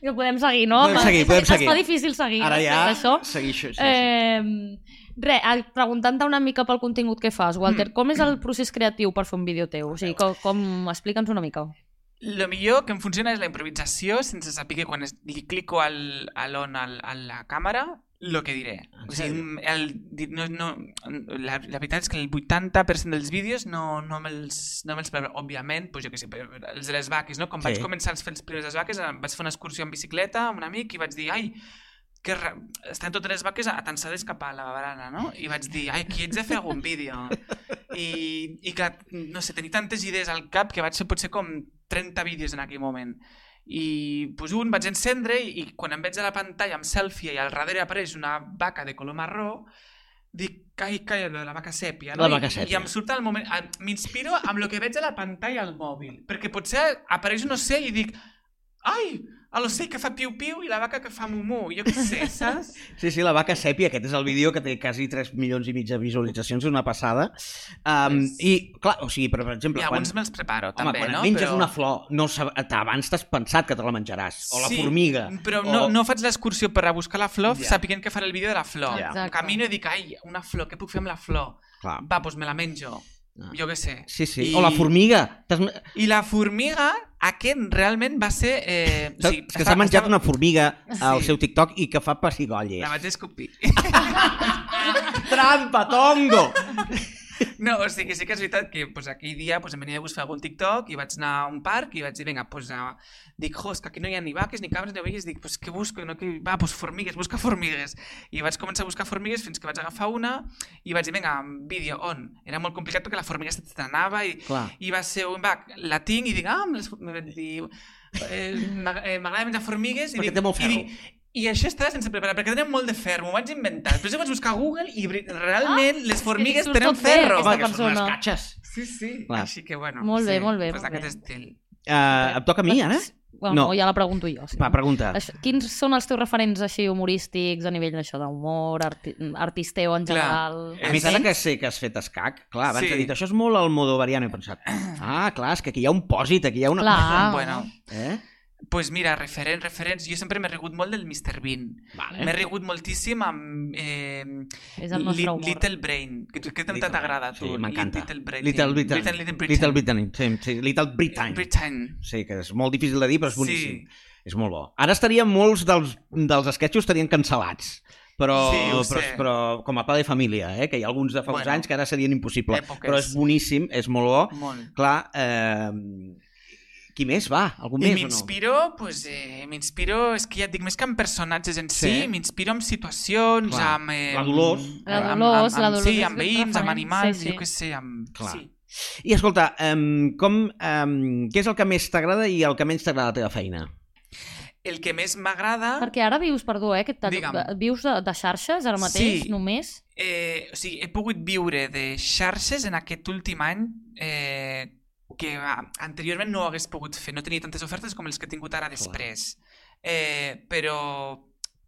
C: Ja podem seguir, no?
B: Podem seguir, podem seguir.
C: Es fa difícil seguir.
B: Ara ja,
C: després d'això.
B: seguir això. Sí, sí.
C: Eh, re, eh, preguntant-te una mica pel contingut que fas, Walter,
B: Mm.
C: com és el procés creatiu per fer un vídeo teu? O sigui, com, com explica'ns una mica.
D: Lo millor que em funciona és la improvisació sense saber quan es, li clico al, al on, al, a la càmera, lo que diré.
B: En
D: O sigui,
B: sèrio?
D: m- el, di- no, no, la, la veritat és que el 80% dels vídeos no, no me'ls no me preparo. Òbviament, doncs jo què sé, per- els de les vaques, no? Quan
B: Sí.
D: vaig començar els, fer els primers de les vaques, eh, vaig fer una excursió en bicicleta amb un amic i vaig dir, ai, que ra- estan totes les vaques atansades cap a la barana, no? I vaig dir, ai, aquí haig de fer algun vídeo. I, i que, no sé, tenia tantes idees al cap que vaig fer potser com 30 vídeos en aquell moment. I pues, un vaig encendre i, i quan em veig a la pantalla amb selfie i al darrere apareix una vaca de color marró, dic, ai, calla, lo de la vaca sèpia. No?
B: La vaca
D: I-
B: sèpia.
D: I, em surt el moment... em- M'inspiro amb el que veig a la pantalla al mòbil. Perquè potser apareix un ocell i dic, ai, l'ocell que fa piu-piu i la vaca que fa mumú, jo què sé, saps?
B: sí, sí, la vaca sèpia, aquest és el vídeo que té quasi 3 milions i mig de visualitzacions, és una passada. Um,
D: Pues-
B: I, clar, o sigui, però, per exemple,
D: I
B: quan,
D: alguns me'ls preparo,
B: home,
D: també,
B: quan
D: no?
B: et menges una flor, no sab... t- abans t'has pensat que te la menjaràs, o la
D: Sí,
B: formiga.
D: Però
B: o...
D: no, no faig l'excursió per a buscar la flor
B: Ja.
D: yeah. sapient que faré el vídeo de la flor.
B: Ja.
D: Yeah.
C: Exacte.
D: Camino i dic, ai, una flor, què puc fer amb la flor?
B: Clar.
D: Va, doncs me la menjo.
B: Ah.
D: Jo què sé.
B: Sí, sí.
D: I-
B: I... O la formiga. T'has...
D: I la formiga, aquest realment va ser... Eh, o
B: Sí,
D: sigui,
B: que s'ha menjat una formiga al
D: Sí.
B: seu TikTok i que fa pessigolles.
D: La vaig escopir.
B: Trampa, tongo!
D: No, o sigui, sí que és veritat que pues, aquell dia pues, em venia de buscar algun TikTok i vaig anar a un parc i vaig dir, vinga, pues, uh, dic, jo, és que aquí no hi ha ni vaques, ni cabres, ni ovelles, dic, pues, què busco? No, que... Va, pues, formigues, busca formigues. I vaig començar a buscar formigues fins que vaig agafar una i vaig dir, vinga, vídeo, on? Era molt complicat perquè la formiga se t'anava i,
B: Clar.
D: i va ser un va, la tinc i dic, ah, amb les, me vaig dir, eh, m'ag- eh, m'agrada menjar formigues i
B: Perquè
D: dic,
B: té molt
D: i,
B: ferro.
D: dic, i això estava sense preparar, perquè tenen molt de ferro, m'ho vaig inventar. Després ho vaig buscar a Google i veri- realment ah, les
C: li
D: formigues
C: surt
D: tenen
C: tot bé,
D: ferro.
C: aquesta
B: Home, que són unes
C: persona.
B: catxes.
D: Sí, sí.
B: Clar.
D: Així que, bueno.
C: Molt bé,
D: sí,
C: molt bé,
D: Pues
C: molt
D: d'aquest
C: bé.
D: estil.
B: Uh, em toca a mi, ara?
C: Bueno,
B: No.
C: no. ja la pregunto jo. Sí.
B: Va, pregunta.
C: Això- Quins són els teus referents així humorístics a nivell d'això d'humor, arti artisteu en
D: Clar.
C: general?
D: Eh,
B: A més, ara que sé que has fet escac, clar, abans
D: Sí.
B: sí. he dit, això és molt el modovariano, he pensat, ah, clar, és que aquí hi ha un pòsit, aquí hi ha una...
C: Clar.
D: Ah. Bueno,
B: Eh?
D: pues mira, referents, referents. Jo sempre m'he rigut molt del Mr. Bean.
B: Vale.
D: M'he rigut moltíssim amb... Eh,
C: És el nostre
D: Lit-
C: humor.
D: Little Brain, que, que tant
B: Little-
D: t'agrada a tu.
B: Sí, m'encanta.
D: Little Brain.
B: Little Britain.
D: Little, Little Britain.
B: Little Britain. Sí, sí, Little Britain.
D: Britain.
B: Sí, que és molt difícil de dir, però és boníssim.
D: Sí.
B: Sí. És molt bo. Ara estarien molts dels, dels esquetxos estarien cancel·lats. Però,
D: Sí, ho
B: però,
D: sé.
B: però com a pa de família, eh? que hi ha alguns de fa uns
D: Bueno.
B: anys que ara serien impossibles.
D: Èpoques.
C: Oh,
B: Però és boníssim, és molt bo.
D: Molt.
B: Clar, eh, Qui més va? Algú més
D: I
B: o no?
D: m'inspiro, pues, eh, m'inspiro, és que ja et dic, més que en personatges en si,
B: Sí.
D: sí. m'inspiro en situacions,
B: Clar.
D: amb... Eh,
B: La Dolors.
C: La
D: amb-
C: Dolors,
D: amb, amb,
C: la Dolors
D: Sí,
C: és
D: amb veïns,
C: referent,
D: amb animals,
C: sí, sí.
D: jo què sé, amb...
B: Clar.
D: Sí.
B: I escolta, um, com, um, què és el que més t'agrada i el que menys t'agrada de la teva feina?
D: El que més m'agrada...
C: Perquè ara vius, perdó, eh, que tal,
D: Digue'm.
C: de- vius de, de xarxes ara mateix,
D: Sí.
C: només?
D: Eh, o sigui, he pogut viure de xarxes en aquest últim any eh, que ah, anteriorment no ho hagués pogut fer. No tenia tantes ofertes com les que he tingut ara després. Eh, però,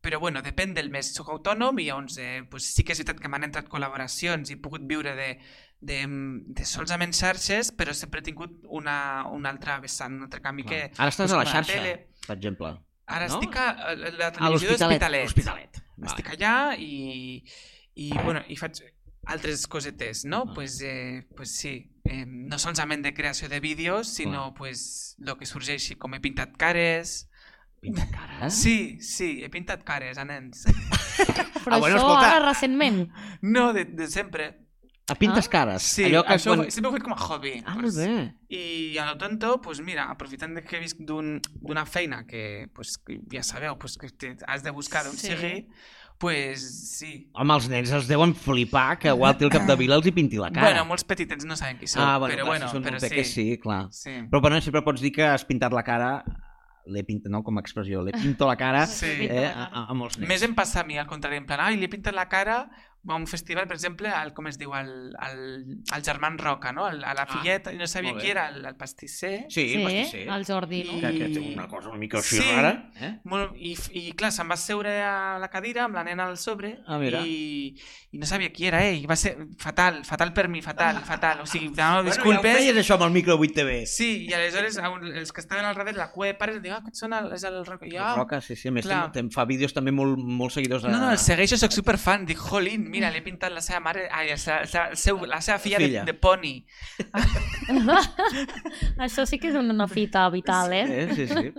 D: però bueno, depèn del mes. Soc autònom i llavors eh, pues sí que és veritat que m'han entrat col·laboracions i he pogut viure de, de, de solament xarxes, però sempre he tingut una, una altra vessant, un altre camí
B: Clar.
D: que...
B: Ara estàs a la
D: pues, com
B: xarxa,
D: tele.
B: per exemple.
D: Ara
B: No?
D: estic a, a, a la
B: A
D: televisió
B: l'Hospitalet.
D: d'Hospitalet
B: L'Hospitalet.
D: estic
B: Vale.
D: allà i, i, bueno, i faig altres cosetes, no?
B: Ah.
D: Pues, eh, pues sí, eh, no solament de creació de vídeos, sinó pues, lo que sorgeix com he pintat cares...
B: Pinta cara.
D: Sí, sí, he pintat cares a nens.
C: Però
B: Ah, bueno,
C: això
B: escolta.
C: ara recentment.
D: No, de, de sempre.
B: A Ah, pintes cares.
D: Ah. Sí,
B: Allò que
D: això
B: quan...
D: quan... sempre ho he fet com a hobby.
B: Ah, molt
D: pues.
B: bé.
D: I a lo tonto, pues mira, aprofitant de que visc d'un- d'una feina que, pues, que ja sabeu, pues, que te- has de buscar d'on
C: Sí.
D: sí. sigui, pues sí,
B: Home, els nens els deuen flipar que Walti al capdavila els hi pinti la cara.
D: Bueno, molts petitets no saben qui sóc,
B: ah, bueno,
D: però
B: clar,
D: bueno,
B: si són
D: però
B: molt peques, sí. clar.
D: Sí.
B: Però bueno, sempre pots dir que has pintat la cara, l'he pintat, no com a expressió, l'he pintat la cara
D: Sí.
B: eh, a, a, a molts nens.
D: Més em passa a mi, al contrari, en plan, ai, li he pintat la cara a un festival, per exemple, al, com es diu, al, al, al Germán Roca, no? Al, a
B: Ah,
D: la filleta, i no sabia
B: molt bé.
D: qui era, el, el pastisser.
B: Sí, sí, pastisser.
C: el Jordi, no?
B: Que, que té una cosa una mica així
D: Sí.
B: rara. Eh?
D: Molt, i, f- I clar, se'n va seure a la cadira amb la nena al sobre
B: Ah, mira.
D: i, i no sabia qui era ell. Va ser fatal, fatal per mi, fatal, fatal. O sigui, demano
B: Bueno, ja ho
D: disculpes.
B: feies això amb el micro 8TV.
D: Sí, i aleshores a un, els que estaven al darrere, la cua de pares, diuen, ah, aquest són el, és el Roca. I jo,
B: El Roca, sí, sí, a més
D: clar.
B: tem, tem, fa vídeos també molt, molt seguidors de...
D: No, no, el segueixo, sóc superfan. Dic, jolín, mira, l'he pintat la seva mare... Ai, la seva, la seva, el seu, la seva filla,
B: Filla.
D: De, de poni.
C: Això sí que és una fita vital, eh?
B: Eh, sí, sí.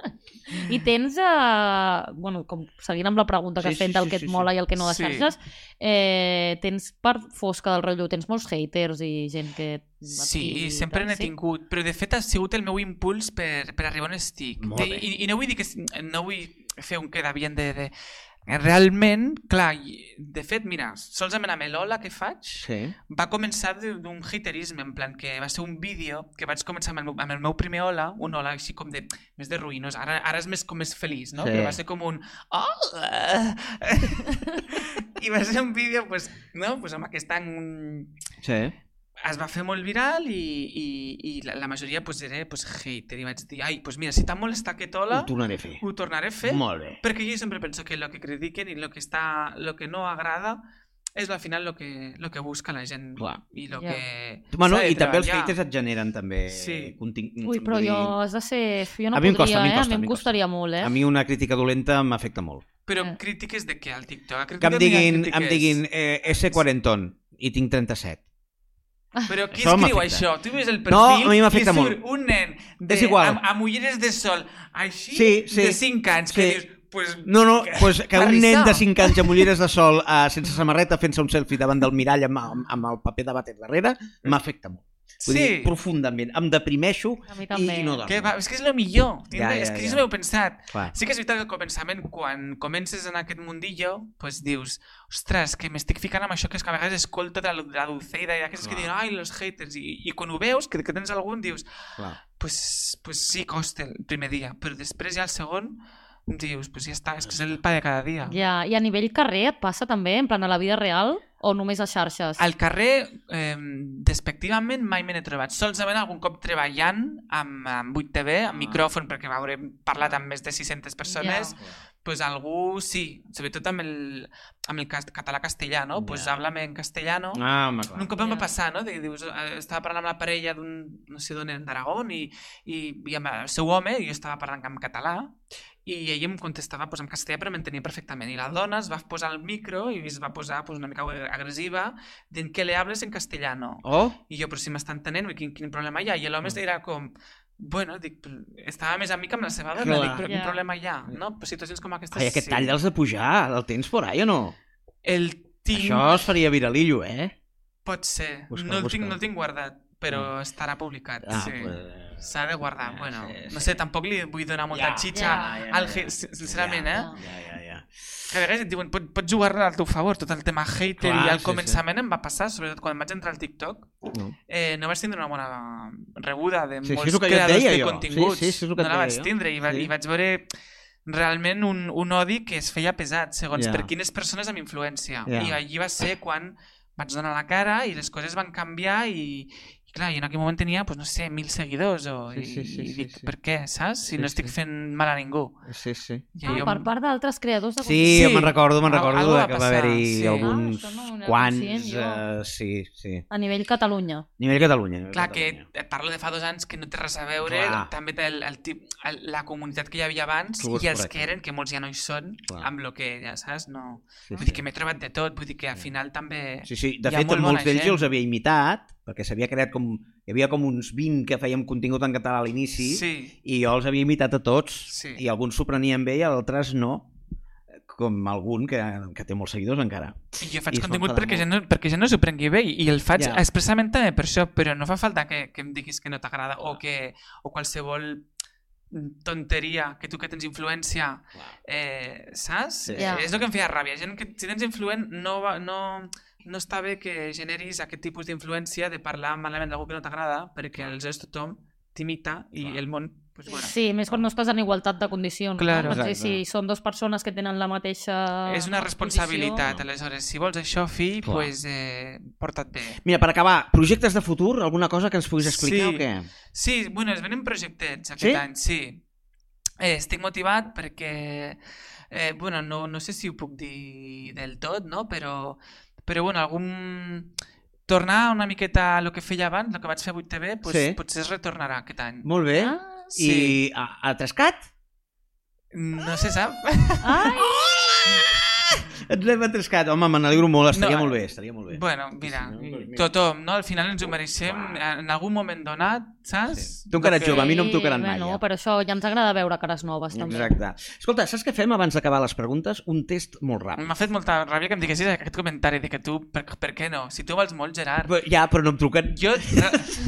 C: I tens, eh, bueno, com seguint amb la pregunta que
B: Sí,
C: has fet
B: sí,
C: del
B: sí,
C: que et
B: sí, sí.
C: mola i el que no de
D: Sí.
C: xarxes, eh, tens part fosca del rotllo, tens molts haters i gent que... et
D: Sí,
C: tira,
D: sempre n'he
C: sí?
D: tingut. Però, de fet, ha sigut el meu impuls per, per arribar on estic.
B: Molt
D: De,
B: bé.
D: i, I no vull dir que... No vull fer un queda bien de... de... Realment, clar, i- de fet, mira, solament amb l'Ola que faig,
B: sí.
D: va començar de- d'un haterisme, en plan que va ser un vídeo que vaig començar amb el, meu- amb el meu primer hola, un hola així com de, més de ruïnós, ara, ara és més com més feliç, no?
B: Sí.
D: Sí. Però va ser com un hola! I va ser un vídeo, pues, no? Pues amb aquest any
B: sí.
D: es va fer molt viral i, i, i la, la majoria pues, era pues, hater i vaig dir, ai, pues mira, si t'ha molestat aquest hola,
B: Ho tornaré a fer.
D: ho tornaré a fer
B: Molt bé.
D: perquè jo sempre penso que lo que critiquen i lo que, està, lo que no agrada és al final lo que, lo que busca la gent
B: Clar.
D: i lo
C: Ja.
D: que
B: Bueno,
D: s'ha de
B: i també els
D: treballar.
B: haters et generen també
D: Sí.
B: contin-
C: Ui, però
B: vull dir,
C: jo has de ser... Jo no
B: A mi em
C: podria,
B: costa, a mi em
C: eh?
B: costa, a
C: a mi
B: mi
C: em
B: em costa.
C: costaria molt, eh?
B: A mi una crítica dolenta m'afecta molt.
D: Però
C: Eh.
D: crítiques de què al TikTok?
B: Que em
D: Crítiques,
B: diguin,
D: mira,
B: em
D: crítiques.
B: diguin eh, S quarenton i tinc 37.
D: Però qui
B: Això
D: escriu
B: m'afecta.
D: això? Tu ves el perfil
B: No, a mi m'afecta
D: i surt
B: molt.
D: un nen de,
B: És igual.
D: amb, amb ulleres de sol així
B: Sí, sí.
D: de 5 anys
B: Sí.
D: que dius pues,
B: No, no, pues que un
D: Barrissà.
B: nen de 5 anys amb ulleres de sol eh, sense samarreta fent-se un selfie davant del mirall amb, amb, amb el paper de vàter darrere m'afecta molt. Vull
D: sí.
B: dir, profundament. Em deprimeixo
C: A mi
B: i,
C: també.
B: i no dormo.
D: que va, és que és el millor.
B: Ja, ja,
D: és que
B: ja.
D: ja. no m'heu pensat.
B: Clar.
D: Sí que és veritat que al començament, quan comences en aquest mundillo, pues dius, ostres, que m'estic ficant amb això que és que a vegades escolto de la, de la Dulceida i aquests que
B: Clar.
D: diuen, ai, los haters, i, i quan ho veus, que, que tens algun, dius,
B: Clar.
D: pues, pues sí, costa el primer dia, però després ja el segon, dius, pues ja està, és que és el pa de cada dia.
C: Ja, I a nivell carrer et passa també, en plan a la vida real o només a xarxes?
D: Al carrer, eh, despectivament, mai me n'he trobat. Solament algun cop treballant amb, amb 8TV, amb micròfon, perquè haurem parlat amb més de 600 persones,
C: Ja.
D: pues algú, sí, sobretot amb el, amb el cas- català-castellà, no? Pues
B: Ja.
D: háblame en castellano.
B: Ah, home, clar.
D: Un cop em va
C: Ja.
D: passar, no? De, dius, eh, estava parlant amb la parella d'un, no sé d'on eren, d'Aragón, i, i, i amb el seu home, i jo estava parlant en català, i ell em contestava pues, en castellà, però m'entenia perfectament. I la dona es va posar al micro i es va posar pues, una mica agressiva, dient que le hables en castellano.
B: Oh,
D: I jo, però si m'està entenent, quin, quin problema hi ha? I
B: Mm.
D: l'home era com, bueno, dic, però estava més amic amb la seva dona,
B: Clar. Mm.
D: dic, però quin
C: Ja.
D: problema hi ha? No? Però situacions com aquestes...
B: ai, aquest tall els de pujar, el tens por ahí o no?
D: El tinc,
B: Això es faria viralillo, eh?
D: pot ser,
B: Busca,
D: no, el
B: busca. Mm.
D: tinc, no el tinc guardat, però estarà publicat,
B: Ah,
D: sí.
B: pues, eh,
D: S'ha de guardar,
B: Ja,
D: bueno,
B: sí,
D: no
B: sí.
D: sé, tampoc li vull donar molta
B: Ja,
D: xitxa
C: ja,
B: ja,
D: al
B: eh, ja.
D: hate, sincerament,
B: Ja,
D: eh?
B: Ja, ja, ja.
D: Que a vegades et diuen, pots, pots jugar-la al teu favor, tot el tema hater
B: Clar,
D: i al
B: sí,
D: començament em va passar, sobretot quan vaig entrar al TikTok,
B: No.
D: eh, no vaig tindre una bona rebuda de
B: Sí, això
D: molts
B: és el que jo et
D: creadors
B: deia,
D: de
B: jo.
D: continguts.
B: Sí, sí, això és el que
D: no
B: et
D: la vaig
B: deia, jo.
D: tindre i, va,
B: Sí.
D: i vaig veure realment un, un odi que es feia pesat segons
B: Ja.
D: per quines persones amb influència.
B: Ja.
D: I allí va ser quan vaig donar la cara i les coses van canviar i, i clar, jo en aquell moment tenia, pues, no sé, mil seguidors o,
B: Sí, sí, sí,
D: i, i
B: sí,
D: dic,
B: sí.
D: per què, saps?
B: Sí,
D: Si no estic
B: sí.
D: fent mal a ningú.
B: Sí, sí.
D: I
C: Ah,
D: jo-
C: per part d'altres creadors de
B: Sí,
D: Sí,
B: sí. me'n recordo, me'n
D: al- algo
B: recordo
D: va
B: de que va
D: passar,
B: haver-hi
D: sí.
B: sí.
D: Ah,
B: alguns
C: això no ho era
B: quants...
C: conscient, jo.
B: Uh, sí, sí.
C: a nivell Catalunya.
B: A nivell Catalunya. a nivell
D: Clar, que
B: Catalunya.
D: et parlo de fa dos anys que no té res a veure,
B: Clar.
D: també té el, el, tip- el, la comunitat que hi havia abans
B: Tu és
D: i els
B: correcte.
D: que eren, que molts ja no hi són,
B: Clar.
D: amb el que ja saps, no...
B: Sí,
D: Vull dir
B: sí.
D: que m'he trobat de tot, vull dir que al final també...
B: Sí, sí. De
D: Hi ha
B: fet,
D: molt
B: molts
D: bona
B: d'ells
D: gent.
B: jo els havia imitat, perquè s'havia creat com... Hi havia com uns 20 que fèiem contingut en català a l'inici,
D: sí.
B: i jo els havia imitat a tots,
D: Sí.
B: i alguns s'ho prenien bé i altres no, com algun que, que té molts seguidors encara.
D: I jo faig
B: I es
D: contingut
B: porta de
D: perquè
B: molt.
D: ja, no, perquè ja no s'ho prengui bé i, i el faig
B: Ja.
D: expressament també per això, però no fa falta que, que em diguis que no t'agrada o que o qualsevol tonteria que tu que tens influència eh, saps?
B: Sí.
C: Ja.
D: És el que em feia ràbia. Gent que, si tens influent, no, va, no, no està bé que generis aquest tipus d'influència de parlar malament d'algú que no t'agrada, perquè aleshores tothom t'imita i
B: Clar.
D: el món... Pues, bueno,
C: Sí, més quan no estàs en igualtat de condicions.
D: Claro.
C: No? No sé
B: Exacte.
C: si són dues persones que tenen la mateixa
D: és una responsabilitat,
B: posició.
D: aleshores. Si vols això, fill,
B: Clar.
D: pues, eh, porta't bé.
B: Mira, per acabar, projectes de futur, alguna cosa que ens puguis explicar
D: Sí.
B: o què?
D: Sí, bueno, es venen projectets aquest
B: Sí?
D: any, sí. Eh, estic motivat perquè, eh, bueno, no, no sé si ho puc dir del tot, no? Però, però bueno, algun... Tornar una miqueta a lo que feia abans, el que vaig fer a 8TV, pues,
B: Sí.
D: potser es retornarà aquest any.
B: Molt bé. Ah,
C: Ah,
B: sí. I a, a Trescat?
D: Mm, No se sap.
C: ai,
B: Et l'hem atrescat. Home, me n'alegro molt, estaria
D: No, eh,
B: molt bé, estaria molt bé.
D: Bueno, mira,
B: Sí, no? Doncs mira.
D: tothom, no? Al final ens ho mereixem en algun moment donat, saps?
B: Sí. Tu encara ets jove, a mi no em tocaran mai,
C: bueno,
B: ja.
C: Per això ja ens agrada veure cares noves, doncs. també.
B: Exacte. Escolta, saps què fem abans d'acabar les preguntes? Un test molt ràpid.
D: M'ha fet molta ràbia que em diguessis aquest comentari de que tu, per, per què no? Si tu vols molt, Gerard.
B: Però, ja, però no em truquen.
D: Jo,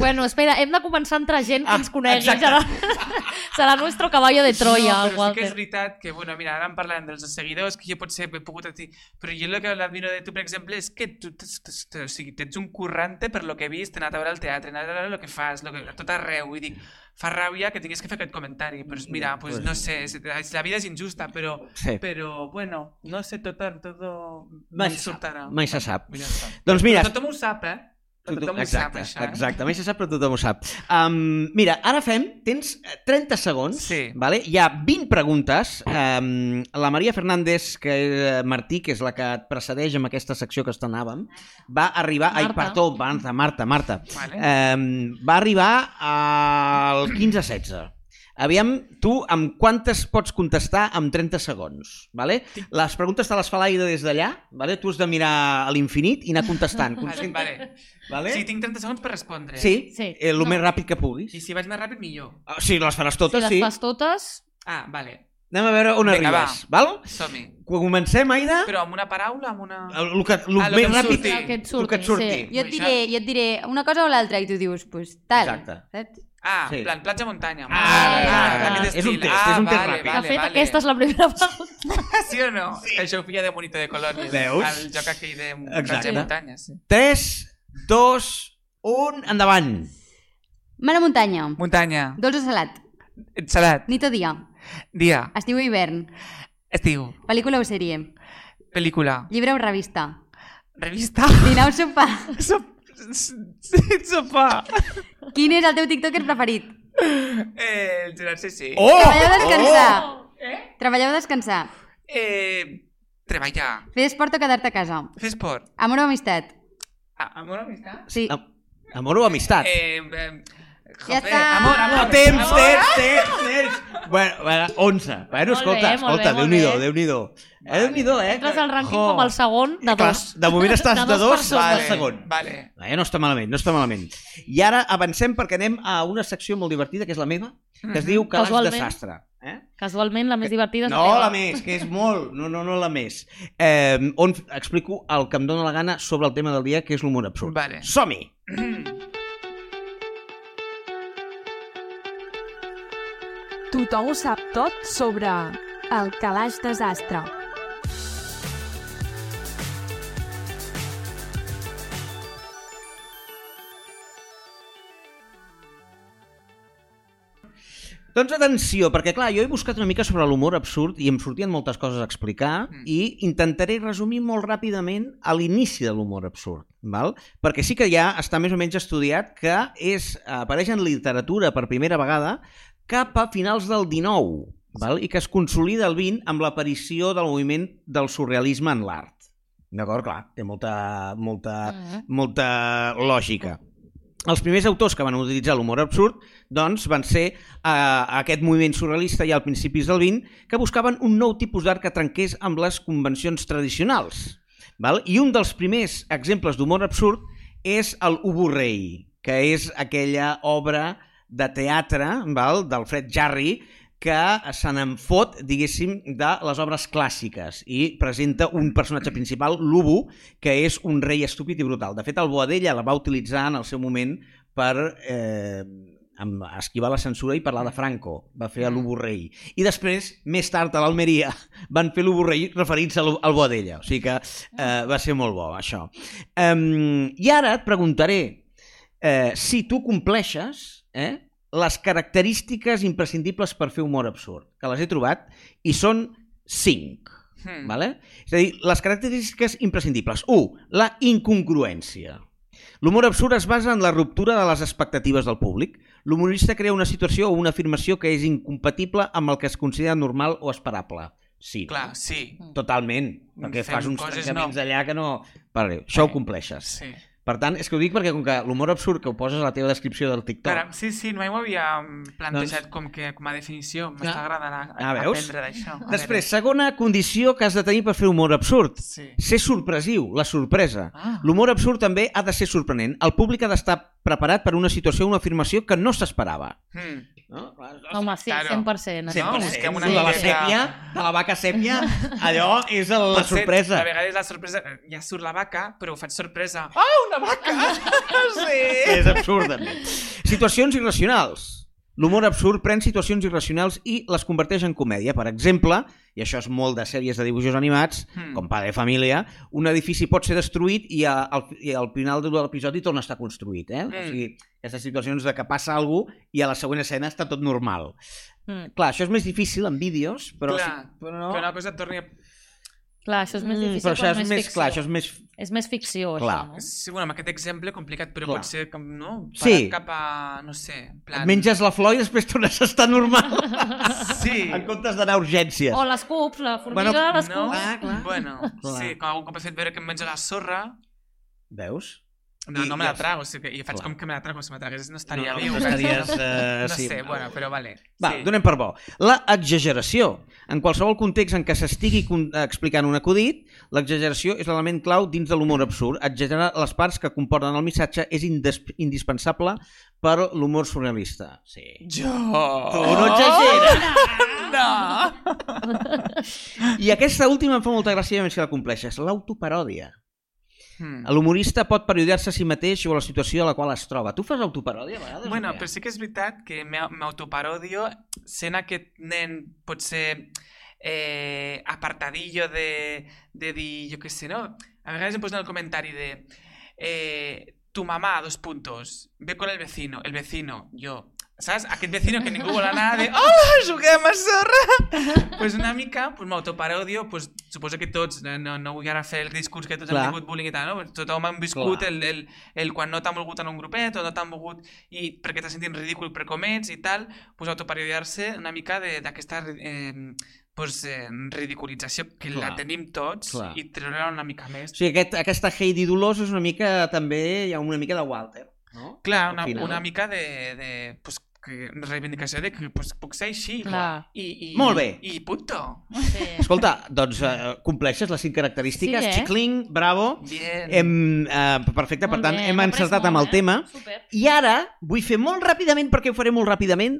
C: Bueno, espera, hem de començar a entrar gent que
D: Ah,
C: ens conegui.
D: exacte.
C: Serà, serà nuestro caballo de Troia,
D: no,
C: el
D: però sí que
C: Walter.
D: és veritat que, bueno, mira, ara en parlem dels seguidors, que jo potser he pogut a ti, però jo el que l'admiro de tu, per exemple, és que tu t'es- t'es- t'es- o sigui, t'ets un currante per lo que he vist, he anat a veure el teatre, he anat a veure el que fas, lo que, a tot arreu, i dic, fa ràbia que tinguis que fer aquest comentari, però mira, pues, no sé, és- la vida és injusta, però,
B: Sí.
D: però bueno, no sé, tot, tot
B: Mai
D: em
B: se sap.
D: sortarà.
B: Mai se sap.
D: Ja està.
B: Doncs mira,
D: Però tothom ho sap, eh? Però Tothom ho sap,
B: exacte,
D: això. eh?
B: Exacte, mai se sap, però tothom ho sap. Um, mira, ara fem, tens eh, 30 segons,
D: Sí.
B: vale? hi ha 20 preguntes. Um, la Maria Fernández que eh, Martí, que és la que et precedeix amb aquesta secció que estrenàvem, va arribar... Ai,
C: Marta.
B: perdó, Marta, Marta, Marta.
D: Vale.
B: Um, va arribar al 15-16. Aviam, tu amb quantes pots contestar amb 30 segons, vale? Les preguntes te les fa l'Aida des d'allà, vale? Tu has de mirar a l'infinit i anar contestant.
D: Vale,
B: concentra't,
D: vale.
B: Vale?
D: Sí, tinc 30 segons per respondre.
B: Eh, Sí,
C: Sí.
B: Eh, el
C: No.
B: més ràpid que puguis.
D: I si vaig més ràpid, millor.
B: Ah, Sí, les faràs
C: Si
B: totes,
C: les
B: sí.
C: fas totes...
D: Ah, vale.
B: Anem a veure on
D: Vinga,
B: arribes,
D: va.
B: val?
D: Som-hi.
B: Comencem, Aida?
D: Però amb una paraula, amb una...
B: El, el que, el
D: Ah,
B: més
D: lo que em
B: ràpid
D: surti.
F: El que et
B: el
F: surti.
B: que et surti.
F: Sí. Jo et,
D: Això-
F: diré, jo et diré una cosa o l'altra i tu dius, pues, tal.
B: Exacte.
F: Saps?
D: Ah,
B: Sí.
D: en plan platja-muntanya.
B: Ah,
C: ah,
D: aquest
B: és un
D: estil.
B: test, és un test ràpid.
C: De fet, aquesta és la primera pregunta.
D: Sí o no? Sí. Que això ho feia de bonito de colònies.
B: Veus?
D: El joc aquell de
B: Exacte.
D: platja-muntanya, sí.
B: 3, 2, 1, endavant.
F: Mar a muntanya.
D: Muntanya,
F: Dolç o salat.
D: salat,
F: Nit o dia.
D: dia,
F: Estiu o hivern.
D: estiu,
F: Pel·lícula o sèrie.
D: pel·lícula,
F: Llibre o revista.
D: revista,
F: Dinar o sopar.
D: sop- s- s- sopar.
F: Quin és el teu tiktoker preferit?
D: Eh, el Gerard, sí, sí.
B: Oh!
F: Treballar o descansar.
B: Oh!
F: Treballar o descansar.
D: Eh, treballar,
F: Fer esport o quedar-te a casa.
D: fer esport.
F: Amor o amistat.
D: Ah, amor, amistat?
F: Sí.
B: Am- Amor o amistat?
D: Eh, eh,
F: Ja
D: joder,
F: està.
D: Amor, amor.
B: No, temps, temps, temps, temps. Bueno, bueno 11. Bueno,
C: Molt
B: escolta,
C: bé, molt
B: escolta,
C: bé, molt
B: Déu-n'hi-do,
C: bé.
B: Déu-n'hi-do. Eh, Déu-n'hi-do, eh?
C: Entres al rànquing
B: Jo.
C: com el segon de
B: Clar,
C: dos.
B: de moment estàs de dos,
C: persones.
B: va, el segon.
D: Vale.
B: Eh, no està malament, no està malament. I ara avancem perquè anem a una secció molt divertida, que és la meva, que es diu Calaix de
C: Mhm. Casualment.
B: Sastre. Eh?
C: Casualment, la més divertida és
B: No,
C: teva.
B: la més, que és molt. No, no, no la més. Eh, on explico el que em dóna la gana sobre el tema del dia, que és l'humor absurd.
D: Vale.
B: Som-hi!
A: Tothom ho sap tot sobre el calaix desastre.
B: Doncs atenció, perquè clar, jo he buscat una mica sobre l'humor absurd i em sortien moltes coses a explicar
D: Mm.
B: i intentaré resumir molt ràpidament a l'inici de l'humor absurd, val? perquè sí que ja està més o menys estudiat que és, apareix en literatura per primera vegada cap a finals del 19 val? i que es consolida el 20 amb l'aparició del moviment del surrealisme en l'art. D'acord? Clar, té molta, molta
C: Ah.
B: molta lògica. Els primers autors que van utilitzar l'humor absurd doncs, van ser eh, aquest moviment surrealista ja al principis del 20 que buscaven un nou tipus d'art que trenqués amb les convencions tradicionals. Val? I un dels primers exemples d'humor absurd és el Uburrei, que és aquella obra de teatre val? d'Alfred Jarry que se n'en fot, diguéssim, de les obres clàssiques i presenta un personatge principal, l'Ubu, que és un rei estúpid i brutal. De fet, el Boadella la va utilitzar en el seu moment per eh, amb- esquivar la censura i parlar de Franco. Va fer l'Ubu rei. I després, més tard, a l'Almeria, van fer l'Ubu rei referint-se al al Boadella. O sigui que eh, va ser molt bo, això. Um, I ara et preguntaré eh, si tu compleixes eh, les característiques imprescindibles per fer humor absurd, que les he trobat, i són cinc.
D: Hmm.
B: Vale? És a dir, les característiques imprescindibles. 1. La incongruència. L'humor absurd es basa en la ruptura de les expectatives del públic. L'humorista crea una situació o una afirmació que és incompatible amb el que es considera normal o esperable. Sí, no?
D: Clar, sí.
B: totalment, perquè
D: Fem
B: fas uns
D: coses
B: trencaments
D: no. Eh.
B: allà que no... Vale, això ho compleixes.
D: Sí.
B: Per tant, és que ho dic perquè com que l'humor absurd que ho poses a la teva descripció del TikTok...
D: Caram, sí, sí, mai ho havia mm, plantejat com, que, com a definició. M'està
B: Ah.
D: agradant a, a,
B: Doncs Ah, veus?
D: aprendre d'això. A
B: Després, segona condició que has de tenir per fer humor absurd.
D: veure. Sí.
B: Ser sorpresiu, la sorpresa.
D: Ah,
B: L'humor absurd també ha de ser sorprenent. El públic ha d'estar preparat per una situació o una afirmació que no s'esperava.
D: mm.
B: No?
C: Home, sí,
D: Claro.
C: 100%.
D: Sí,
C: això.
D: no, és que una
B: sí, de la
D: miqueta-
B: sèpia, de la vaca sèpia, allò és el, la
D: Pot ser,
B: sorpresa.
D: A vegades la sorpresa... Ja surt la vaca, però ho faig sorpresa. Ah, una vaca! sí!
B: És absurd, també. Situacions irracionals. L'humor absurd pren situacions irracionals i les converteix en comèdia. Per exemple, i això és molt de sèries de dibuixos animats,
D: Mm.
B: com Padre Família, un edifici pot ser destruït i, a, al, i al final de l'episodi torna a estar construït. Eh?
D: Mm.
B: O sigui, aquestes situacions de que passa alguna cosa i a la següent escena està tot normal.
C: Mm.
B: Clar, això és més difícil en vídeos, però...
D: Clar,
B: sí, però
D: No.
B: no...
D: Però una cosa et torni... a-
C: Clar, això és més
B: Mm,
C: difícil,
B: però això
C: és,
B: és més,
C: ficció.
B: clar, això és més
C: És més ficció,
B: Clar.
C: això, no?
D: Sí, bueno, amb aquest exemple complicat, però
B: Clar.
D: Clar. pot ser com, no?
B: Sí.
D: Parat cap a, no sé, en plan...
B: Et menges la flor i després tornes a estar normal
D: Sí.
B: en comptes d'anar a urgències.
C: O les cups, la formiga,
B: Bueno,
C: bueno, les
D: no?
C: cups...
B: Ah, clar.
D: Bueno,
B: Clar.
D: sí, com algun cop he fet veure que em menjo la sorra,
B: Veus?
D: no,
B: I-
D: no me
B: i
D: la
B: els-
D: trago, o sigui, i faig
B: Clar.
D: com que me la trago, si me la tragués no estaria
B: no,
D: viu.
B: No, estaries, eh,
D: no
B: sí.
D: sé, bueno, però vale.
B: Va,
D: sí.
B: donem per bo. La exageració. En qualsevol context en què s'estigui con- eh, explicant un acudit, l'exageració és l'element clau dins de l'humor absurd. Exagerar les parts que comporten el missatge és indes- indispensable per l'humor surrealista. Sí.
D: Jo!
B: Tu
D: Oh!
B: no exageres!
D: No!
B: I aquesta última em fa molta gràcia més que la compleixes, l'autoparòdia.
D: Hmm.
B: L'humorista pot parodiar-se a si mateix o a la situació a la qual es troba. Tu fas autoparòdia a vegades? o
D: Bueno,
B: què?
D: però sí que és veritat que m'au- m'autoparodio sent aquest nen potser eh, apartadillo de, de dir, jo què sé, no? A vegades em posen el comentari de eh, tu mamá, dos puntos, ve con el vecino, el vecino, jo. Saps? Aquest vecino que ningú vol anar de hola, juguem a sorra! pues una mica, pues m'autoparodio, pues suposo que tots, no, no, no vull ara fer el discurs que tots
B: Clar.
D: hem tingut bullying i tal, no? Pues tothom hem viscut
B: Clar.
D: el, el, el quan no t'han volgut en un grupet o no t'han volgut i perquè t'has sentit ridícul per com ets i tal, pues autoparodiar-se una mica de- d'aquesta eh, pues, eh, ridiculització que
B: Clar.
D: la tenim tots
B: Clar.
D: i treure una mica més.
B: O sigui, aquest, aquesta Heidi Dolors és una mica, també, hi ha una mica de Walter, no?
D: Clar,
B: Al
D: una,
B: final.
D: una mica de, de pues, que, reivindicació de que pues, puc ser així.
C: Clar.
D: I, i,
B: Molt bé.
D: I punto.
C: Sí.
B: Escolta, doncs eh, compleixes les cinc característiques.
C: Sí,
B: Sí,
C: eh?
B: eh? Xicling, bravo.
D: Bien.
B: Hem, eh, perfecte, per
C: Molt
B: tant,
C: bé,
B: hem
C: m'ha après
B: encertat
C: molt,
B: amb el
C: eh?
B: tema.
C: Super.
B: I ara vull fer molt ràpidament, perquè ho faré molt ràpidament,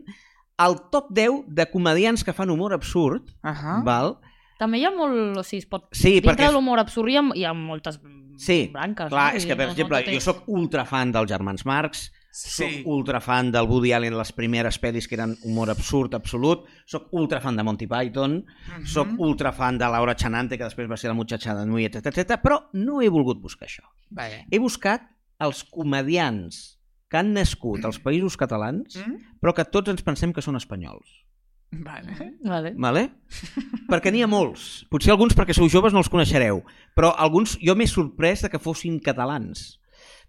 B: el top 10 de comedians que fan humor absurd,
D: Ahà.
B: val?
C: També hi ha molt... O sigui, es pot...
B: Sí,
C: Dintre
B: perquè...
C: de l'humor absurd hi ha, hi ha moltes
B: Sí,
C: branques.
B: clar,
C: no?
B: és
C: Vull
B: que,
C: dir,
B: per
C: no- no
B: exemple,
C: tot
B: jo sóc ultra fan dels germans Marx,
D: Sí.
B: Soc ultrafan del Woody Allen, les primeres pel·lis que eren humor absurd, absolut. Soc ultrafan de Monty Python.
D: Mhm.
B: Soc ultrafan de Laura Chanante, que després va ser la muchacha de Nui, etc etc. Però no he volgut buscar això.
D: Vale.
B: He buscat els comedians que han nascut als països catalans,
D: Mm?
B: però que tots ens pensem que són espanyols.
D: Vale.
C: Vale.
B: Vale? Perquè n'hi ha molts. Potser alguns perquè sou joves no els coneixereu, però alguns jo m'he sorprès de que fossin catalans.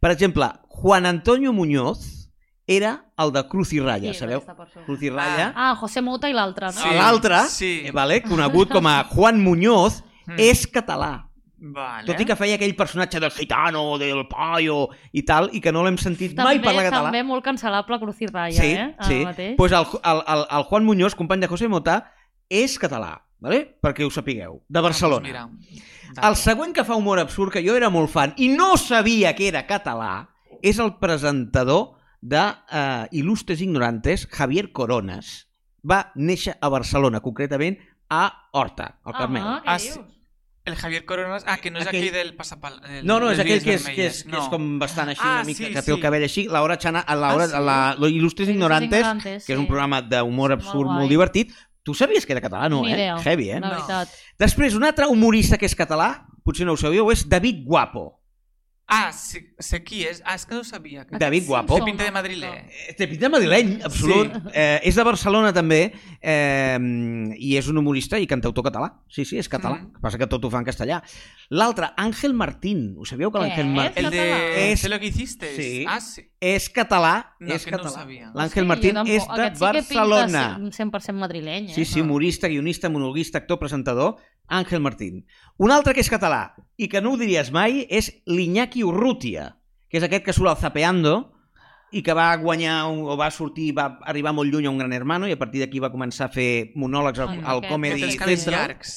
B: Per exemple, Juan Antonio Muñoz era el de Cruz i Raya,
C: Sí,
B: sabeu?
C: aquesta persona.
B: Cruz i Raya.
C: Ah, José Mota i l'altre, no?
D: Ah, Sí.
B: L'altre,
D: sí.
B: eh, vale, conegut com a Juan Muñoz,
D: Mm.
B: és català.
D: Vale.
B: Tot i que feia aquell personatge del gitano, del paio i tal, i que no l'hem sentit
C: També,
B: mai parlar català.
C: També molt cancel·lable Cruz i Raya,
B: Sí,
C: eh? Ara
B: sí.
C: mateix.
B: Pues el, el, el, el Juan Muñoz, company de José Mota, és català, vale? perquè ho sapigueu, de Barcelona.
D: Ah, doncs mira.
B: El següent que fa humor absurd, que jo era molt fan i no sabia que era català, és el presentador de eh, Il·lustres Ignorantes, Javier Coronas. Va néixer a Barcelona, concretament a Horta, al Carmel.
C: Ah,
D: Ah,
C: què dius?
D: sí. El Javier Coronas... Ah, que no és
B: Aquell-
D: aquell, del passapal... El,
B: No, no, és
D: dels
B: aquell
D: Vides
B: que és, que és,
D: Vermelles.
B: que és com bastant així
D: Ah,
B: una mica,
D: sí,
B: que té el
D: sí.
B: cabell així. La hora Xana, a la hora,
D: Ah, sí?
B: a la, lo Il·lustres
C: Los
B: Ignorantes,
C: Ignorantes,
B: que és un
C: sí.
B: programa d'humor
C: Molt
B: absurd molt,
C: guai.
B: divertit. Tu sabies que era català, no,
C: Ni
B: eh?
C: idea.
B: Heavy, eh?
C: La
D: No.
C: veritat.
B: Després, un altre humorista que és català, potser no ho sabíeu, és David Guapo.
D: Ah, sé, sé qui és. Ah, és que no ho sabia. Que...
B: David
C: sí,
B: Guapo.
D: Té pinta de madrilè.
B: Eh, Té pinta de madrileny, absolut.
D: Sí.
B: Sí. Eh, és de Barcelona, també, eh, i és un humorista i cantautor català. Sí, sí, és català.
D: Mm.
B: Mm. passa que tot ho fa en castellà. L'altre, Àngel Martín. Ho sabíeu que
C: Què
B: l'Àngel
C: és?
B: Martín...
D: El de...
B: És-
D: Sé lo que hiciste.
B: Sí.
D: Ah, sí.
B: és català,
D: No,
B: és
D: que no ho
B: català.
D: sabia.
B: L'Àngel Martín
C: jo tampoc.
B: és de
C: Aquest sí que pinta
B: Barcelona.
C: cent- 100% madrileny, eh?
B: Sí, sí, humorista, guionista, monologuista, actor, presentador, Àngel Martín. Un altre que és català i que no ho diries mai és l'Iñaki Urrutia, que és aquest que surt al Zapeando i que va guanyar un- o va sortir, va arribar molt lluny a un gran hermano i a partir d'aquí va començar a fer monòlegs al,
C: Mm,
B: al
C: aquest
B: Comedy
D: No tens cabells
B: Central.
D: llargs.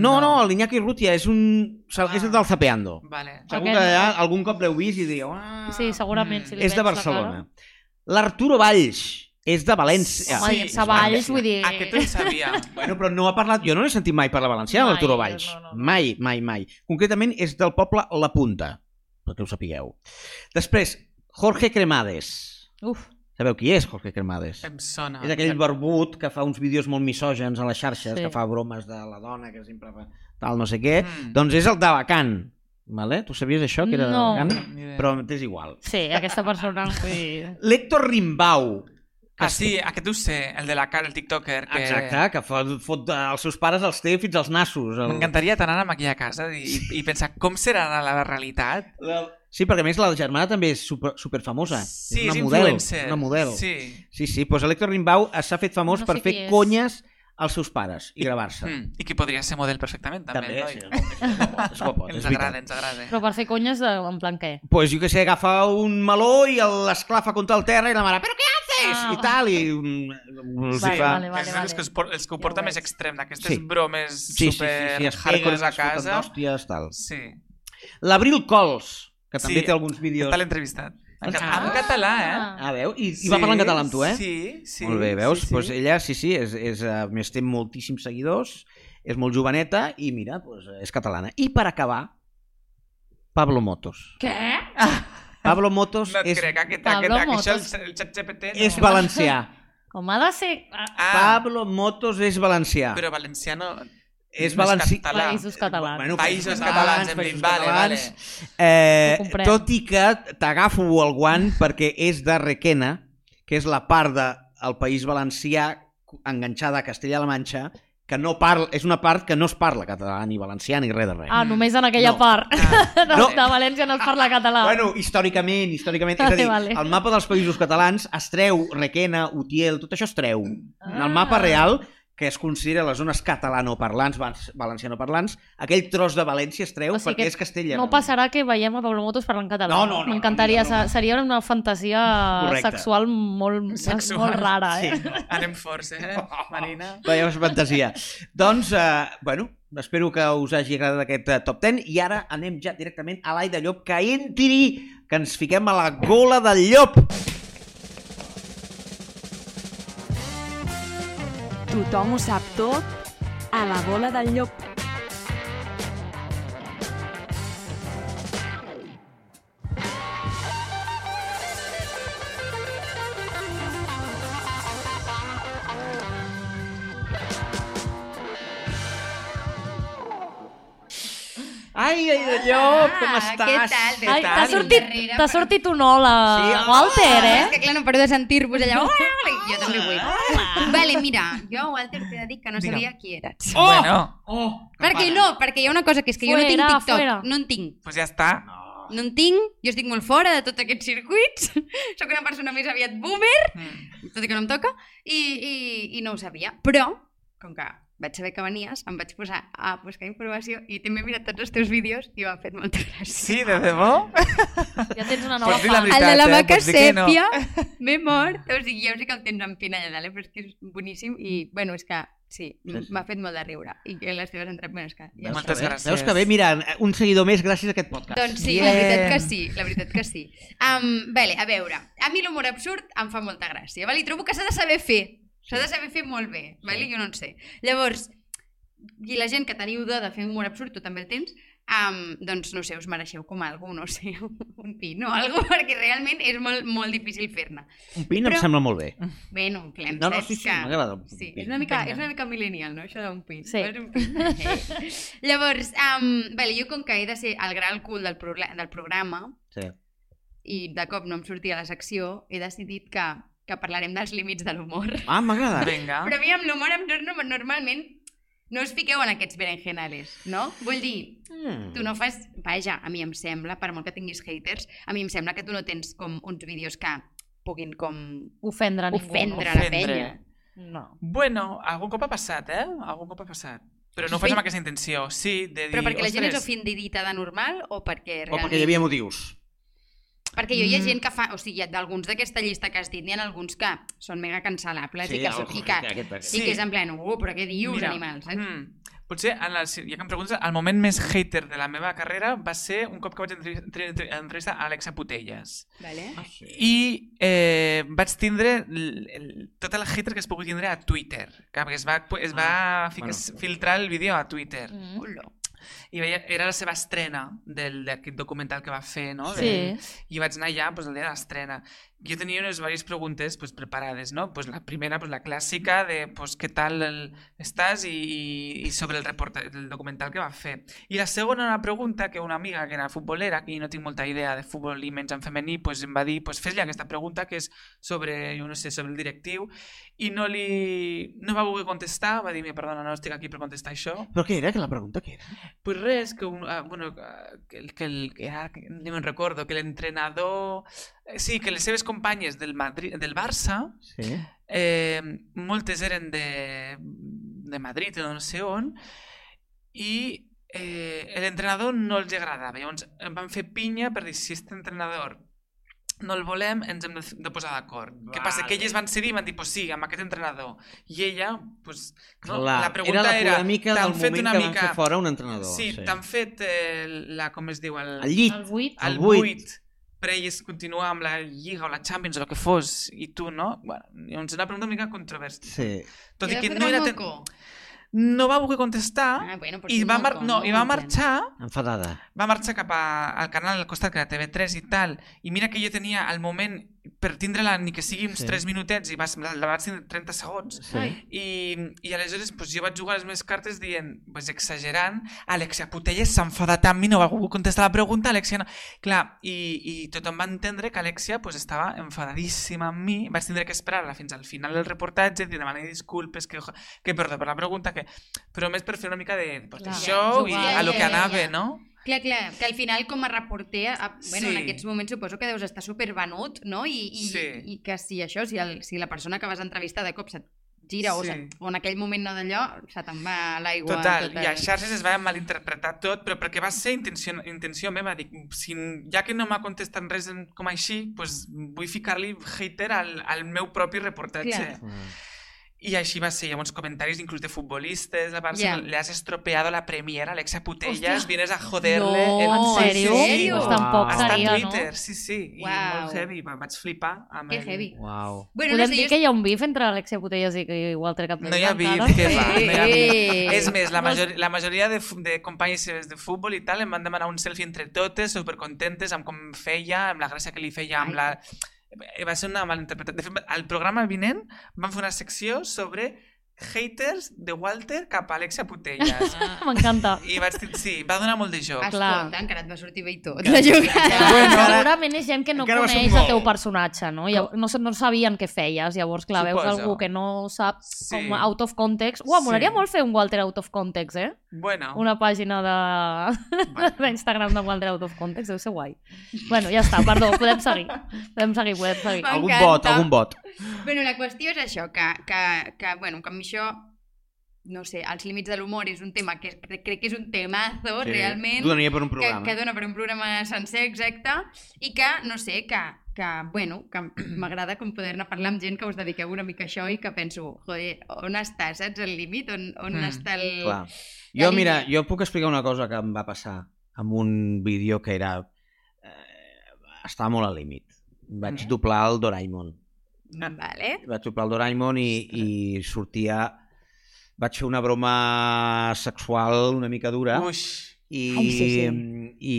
B: No, no, l'Iñaki Urrutia és un... és el del Zapeando.
D: Vale.
B: Segur
C: Aquest
B: que
C: no.
B: ja algun cop l'heu vist i dieu... Ah,
C: Sí, segurament.
D: Mm.
C: Si li
B: és de
C: veig la
B: Barcelona. L'Arturo Valls és de València.
C: Home,
D: Sí,
C: i en
D: és
C: Savalls,
B: València.
C: vull dir...
D: Aquest ho sabia.
B: Bueno, però no ha parlat... Jo no l'he sentit mai parlar valencià,
C: Mai,
B: l'Arturo Valls.
C: no, no, no.
B: Mai, mai, mai. Concretament és del poble La Punta, perquè ho sapigueu. Després, Jorge Cremades.
C: Uf,
B: Sabeu qui és Jorge Cremades?
D: Em sona.
B: És aquell barbut que fa uns vídeos molt misògens a les xarxes,
C: Sí.
B: que fa bromes de la dona, que sempre fa tal no sé què.
D: Mm.
B: Doncs és el d'Alacant. Vale? Tu sabies això, que era
C: No.
B: d'Alacant?
D: Ni idea.
B: Però t'és igual.
C: sí, aquesta persona... Vull dir...
B: L'Héctor Rimbau,
D: Ah, sí, aquest ho sé, el de la cara, el tiktoker. Que...
B: Exacte, que fot, fot els seus pares els té fins als nassos. El...
D: M'encantaria tant anar amb aquí a casa i, i, i pensar com serà la realitat.
B: La- Sí, perquè a més la germana també és super, superfamosa.
D: Sí,
B: és una
D: és
B: model.
D: influencer.
B: Una model. Sí, sí,
D: Sí.
B: sí. Pues Elector Rimbau eh, s'ha fet famós
C: No sé
B: per
C: qui
B: fer
C: és.
B: conyes als seus pares i gravar-se.
D: Mm. I que podria ser model perfectament, també.
B: sí, és guapot, és guapot, és
D: ens agrada,
B: veritat.
D: ens agrada.
C: Però per fer conyes, de, en plan què?
B: Pues jo que sé, agafa un meló i el- l'esclafa contra el terra i la mare, però què haces?
C: Ah.
B: I tal, i... mm, els hi
C: Vale,
B: fa...
C: vale, vale.
D: és dels que es, por, els que ho
C: Ja ho
D: porta
C: veig.
D: més extrem, d'aquestes
B: Sí.
D: bromes
B: Sí, sí, sí,
D: super
B: sí, es
D: hardcores
B: peguen,
D: a
B: es foten
D: casa.
B: d'hòsties, tal.
D: Sí.
B: L'Abril Cols, que també
D: Sí,
B: té alguns vídeos.
D: Està l'entrevistat. En, ca-
B: Ah.
D: en català, eh?
B: Ah, veu? I, I va parlar en català amb tu, eh?
D: Sí, sí.
B: Molt bé, veus?
D: Sí, sí.
B: Pues ella, sí, sí, és, és, eh, a més té moltíssims seguidors, és molt joveneta i mira, pues, eh, és catalana. I per acabar, Pablo Motos.
C: Què?
B: Pablo Motos
D: No et
B: és,
D: crec, aquest,
C: Pablo
D: aquest, aquest, això,
C: Motos.
D: el, el xat GPT... No.
B: és valencià.
C: Com ha de ser... Ah,
D: Ah,
B: Pablo Motos és valencià.
D: però valenciano...
B: és
D: no
B: valenci-
D: català.
C: Països catalans.
B: Bueno,
D: Països catalans, hem dit, vale, vale.
B: Eh,
C: Ho comprem.
B: tot i que t'agafo el guant perquè és de Requena, que és la part del el País Valencià enganxada a Castella-La Manxa, que no parla, és una part que no es parla català ni valencià ni res de res.
C: ah només en aquella
B: No.
C: part.
D: Ah,
C: De,
B: No.
C: de València no es parla català.
B: Bueno, històricament, històricament, és a dir,
C: Vale, vale.
B: el mapa dels països catalans es treu, Requena, Utiel, tot això es treu. En
C: Ah.
B: el mapa real, que es considera les zones catalanoparlants, val- valencianoparlants, aquell tros de València es treu
C: O sigui
B: perquè
C: que
B: és Castella.
C: no passarà que veiem a Pablo Motos parlant català.
B: No, no, no,
C: M'encantaria,
B: no, no, no.
C: se- seria una fantasia
B: Correcte.
C: sexual molt,
D: Sexual.
C: molt rara, eh?
B: Sí, no.
D: anem forts, eh,
B: Oh.
D: Marina?
B: Veiem és fantasia. doncs, eh, bueno, espero que us hagi agradat aquest eh, top 10 i ara anem ja directament a l'Ai de Llop, que entri, que ens fiquem a la gola del llop.
A: Tothom ho sap tot a la bola del llop.
B: Ai, ai, allò, com
F: Ah,
B: estàs?
F: què tal? Déu
C: Ai, T'ha
F: tant.
C: sortit,
F: Darrere,
C: t'ha
F: però-
C: sortit un hola,
B: Sí,
C: sí,
B: hola.
C: Walter,
F: Ah, És
C: eh?
F: que clar, no paro de sentir-vos allà. "Hola, hola", i Jo també vull. Vale, mira, jo, Walter, t'he de dir que no
D: Digue'm.
F: sabia qui eres.
B: Oh!
D: Bueno,
B: Oh, que
F: Perquè
B: pare.
F: no, perquè hi ha una cosa que és que jo no tinc
C: Fuera,
F: TikTok.
C: fuera.
F: No en tinc.
D: pues ja està.
B: No.
F: No en tinc, jo estic molt fora de tots aquests circuits, sóc una persona més aviat boomer,
D: Mm.
F: tot i que no em toca, i, i, i no ho sabia. Però, com que vaig saber que venies, em vaig posar a buscar informació i també he mirat tots els teus vídeos i m'ha fet molta gràcia.
D: Sí, de debò?
C: Ja tens una nova
D: Pots dir la
C: fan.
D: veritat,
F: El de la
D: eh?
F: vaca
D: Pots dir que no.
F: sèpia, m'he mort. O sigui, ja ho sé que el tens en pina allà dalt, eh, però és que és boníssim i, bueno, és que sí,
B: Sí, sí.
F: m'ha fet molt de riure. I que les teves entrades, bueno, és que...
B: Veus
F: Ja.
B: que
D: Moltes
B: bé?
D: gràcies.
B: Veus que bé? Mira, un seguidor més gràcies a aquest podcast.
F: Doncs sí,
D: Bien.
F: la veritat que sí, la veritat que sí. Um, vale, a veure, a mi l'humor absurd em fa molta gràcia, vale? i trobo que s'ha de saber fer, s'ha de saber fer molt bé, vale? jo no en sé. Llavors, i la gent que teniu de, de fer humor absurd, tu també el tens, um, doncs no sé, us mereixeu com algú, no sé, un pin o algo, perquè realment és molt, molt difícil fer-ne.
B: Un pin em
F: Però-
B: sembla molt bé.
F: Bé, no, clar, em
B: No, no,
F: saps
B: sí, sí,
F: que-
B: m'agrada un
F: Sí,
B: pin.
F: és una mica,
D: Vinga.
F: és una mica millennial, no?, això d'un pin.
C: Sí.
F: És un pin. Llavors, um, vale, jo com que he de ser el gran cul del, proble- del programa,
B: Sí.
F: i de cop no em sortia la secció, he decidit que, que parlarem dels límits de l'humor.
B: Ah, m'agrada.
D: Vinga.
F: Però a mi amb l'humor em torno normalment no us fiqueu en aquests berenjenales, no? Vull dir,
B: Mm.
F: tu no fas... Vaja, a mi em sembla, per molt que tinguis haters, a mi em sembla que tu no tens com uns vídeos que puguin com
C: Ofendre ningú.
F: ofendre la
D: Ofendre.
F: penya.
C: No.
D: Bueno, algun cop ha passat, eh? Algun cop ha passat. Però no ho faig amb
F: Sí.
D: aquesta intenció. Sí, de dir...
F: Però perquè la gent és
D: "Ostres,
F: ofendidita de normal o perquè
B: O
F: realment...
B: perquè hi havia motius.
F: Perquè jo hi ha
D: Mm.
F: gent que fa... O sigui, d'alguns d'aquesta llista que has dit, n'hi ha alguns que són mega cancel·lables i que,
B: el-
F: són, i que,
B: aquest va ser.
F: sí. i que és en plan, uh, però què dius,
D: Mira,
F: animals? eh?" Saps?
D: Mm. Potser, en la, si- ja que em preguntes, el moment més hater de la meva carrera va ser un cop que vaig entrevi- entre- entre- entrevistar a Alexa Putelles.
F: Vale.
B: Ah, sí.
D: I eh, vaig tindre l- el- tot el hater que es pugui tindre a Twitter. Clar, perquè es va, es va
B: Ah,
D: ficar,
B: bueno.
D: filtrar el vídeo a Twitter.
C: Mm.
D: I veia, era la seva estrena del- d'aquest documental que va fer, no?
C: Sí.
D: De, i vaig anar allà pues, el dia de l'estrena. Jo tenia unes diverses preguntes pues, preparades, no? Pues, la primera, pues, la clàssica de pues, què tal el... estàs i, i- i sobre el, reporta... el documental que va fer. I la segona una pregunta que una amiga que era futbolera, que no tinc molta idea de futbol i menys en femení, pues, em va dir pues, fes-li aquesta pregunta que és sobre, jo no sé, sobre el directiu i no li... no va voler contestar, va dir, "Mira, perdona, no estic aquí per contestar això.
B: Però què era? Que la pregunta què era?
D: Pues res, que un, ah, bueno, ah, que el, que el, que era, que no me'n recordo, que l'entrenador... eh, Sí, que les seves companyes del, Madrid, del Barça,
B: Sí.
D: eh, moltes eren de, de Madrid o no sé on, i eh, l'entrenador no els agradava. Llavors em van fer pinya per dir, si aquest entrenador no el volem, ens hem de, f- de posar d'acord. Què passa? Que
B: Vale.
D: elles van cedir i van dir, pues sí, amb aquest entrenador. I ella, pues, no,
B: Clar,
D: la pregunta
B: era la
D: era,
B: polèmica
D: "T'han
B: del
D: fet
B: moment
D: una
B: que van
D: mica-
B: fer fora un entrenador.
D: Sí, t'han fet eh, la, com es diu, el,
B: Ah, doncs, El llit.
C: El 8.
D: el
B: el
D: 8,
B: buit.
D: per ells continuar amb la Lliga o la Champions o el que fos, i tu no, bueno, doncs una pregunta una mica controversa.
B: Sí.
D: Tot i
F: Li va
D: que
F: fotre
D: no,
F: un
D: era tan...
F: moco.
D: no va voler contestar
F: Ah, bueno, però
D: i
F: és un
D: va, mar...
F: moco,
D: no, i va
F: Vull dir,
D: marxar
B: Enfadada.
D: va marxar cap a, al canal al costat que era TV3 i tal, i mira que jo tenia al moment per tindre-la ni que sigui uns
B: Sí.
D: 3 minutets i va, la, la vaig tindre 30 segons
B: Sí. Ai.
D: i, i aleshores pues, jo vaig jugar les meves cartes dient, pues, exagerant, Alexia Putelles s'ha enfadat amb mi, no va voler contestar la pregunta, Alexia no... Clar, i, i tothom va entendre que Alexia pues, estava enfadadíssima amb mi, vaig tindre que esperar-la fins al final del reportatge, dir, demanar disculpes, que, que perdó per la pregunta, que... però més per fer una mica de, pues,
C: Clar.
D: de show i
C: Jugar.
D: a lo que
F: Ja, ja, ja.
D: anava, no?
F: Clar, clar, que al final com a reporter, a, bueno,
D: Sí.
F: en aquests moments suposo que deus estar supervenut, no? I, i,
D: Sí.
F: i que si això, si, el, si la persona que vas entrevistar de cop se't gira o,
D: Sí.
F: se't, o en aquell moment no d'allò, se te'n va a l'aigua. tota
D: Total,
F: tot
D: i a
F: el-
D: xarxes es va malinterpretar tot, però perquè va ser intenció, intenció meva, dic, si, ja que no m'ha contestat res en- com així, doncs vull ficar-li hater al, al meu propi reportatge.
F: Clar.
D: I així va ser, llavors comentaris inclús de futbolistes, la Barça,
F: Ja.
D: yeah. le has estropeado la Premier, Alexia Putellas,
C: Ostres.
D: vienes a
C: No,
D: joder-le.
C: en
D: Sí, sí,
C: sèrio?
D: sí,
F: sèrio?
C: Pues tampoc
B: Ah.
D: Està
C: seria,
D: a
C: no?
D: Twitter, sí, sí, i
F: Uau.
D: molt heavy, va- vaig flipar. Amb
F: Que
D: el-
F: heavy.
B: Uau.
F: Bueno,
C: Podem
F: no sé,
C: dir
F: jo-
C: que hi ha un bif entre Alexia Putellas i i Walter Capdevila.
D: No hi ha bif,
C: encara?
D: que va,
F: Eh,
D: no hi ha bif.
F: eh.
D: És més, la, major, la majoria de, fu- de companyes seves de futbol i tal em van demanar un selfie entre totes, supercontentes amb com feia, amb la gràcia que li feia, amb la... Eh, Va ser una mala interpretació. De fet, al programa vinent van fer una secció sobre haters de Walter cap a Alexia Putellas.
F: Ah.
C: M'encanta.
D: I vaig dir, sí, va donar molt de joc.
F: Escolta,
C: clar.
F: encara et va sortir bé i tot. La jugada.
B: Bueno,
C: Bueno,
B: ara-
C: Segurament és gent que no
B: encara va ser un
C: coneix el
B: gol.
C: teu personatge, no? Llavors, no, sa- no sabien què feies, llavors, clar, veus
D: Suposo.
C: algú que no sap
D: Sí.
C: com out of context. Uau,
D: Sí.
C: molaria molt fer un Walter out of context, eh?
D: Bueno,
C: Una pàgina de- d'Instagram de Walter out of context, deu ser guai. Bueno, ja està, perdó, podem seguir. Podem seguir, podem seguir.
F: Ah.
B: Algun
F: M'encanta.
B: bot, algun bot.
F: bueno, la qüestió és això, que, que, que, bueno, que amb això no sé, els límits de l'humor és un tema que crec crec que és un temazo, sí. realment.
B: Donaria per un
F: que,
B: programa.
F: que dona per un programa sencer, exacte, i que, no sé, que, que bueno, que m'agrada com poder-ne parlar amb gent que us dediqueu una mica a això i que penso, joder, on està, saps, el límit? On, on
D: Mm,
F: mm, està el...
B: Clar.
F: la
B: Jo, mira,
F: línia.
B: jo puc explicar una cosa que em va passar amb un vídeo que era... Eh, estava molt al límit. Vaig
D: Mm.
B: doblar el Doraemon.
F: Vale.
B: Vaig doblar el Doraemon i, i sortia... Vaig fer una broma sexual una mica dura.
D: uix,
B: i, mm,
A: Ai, sí, sí.
B: i,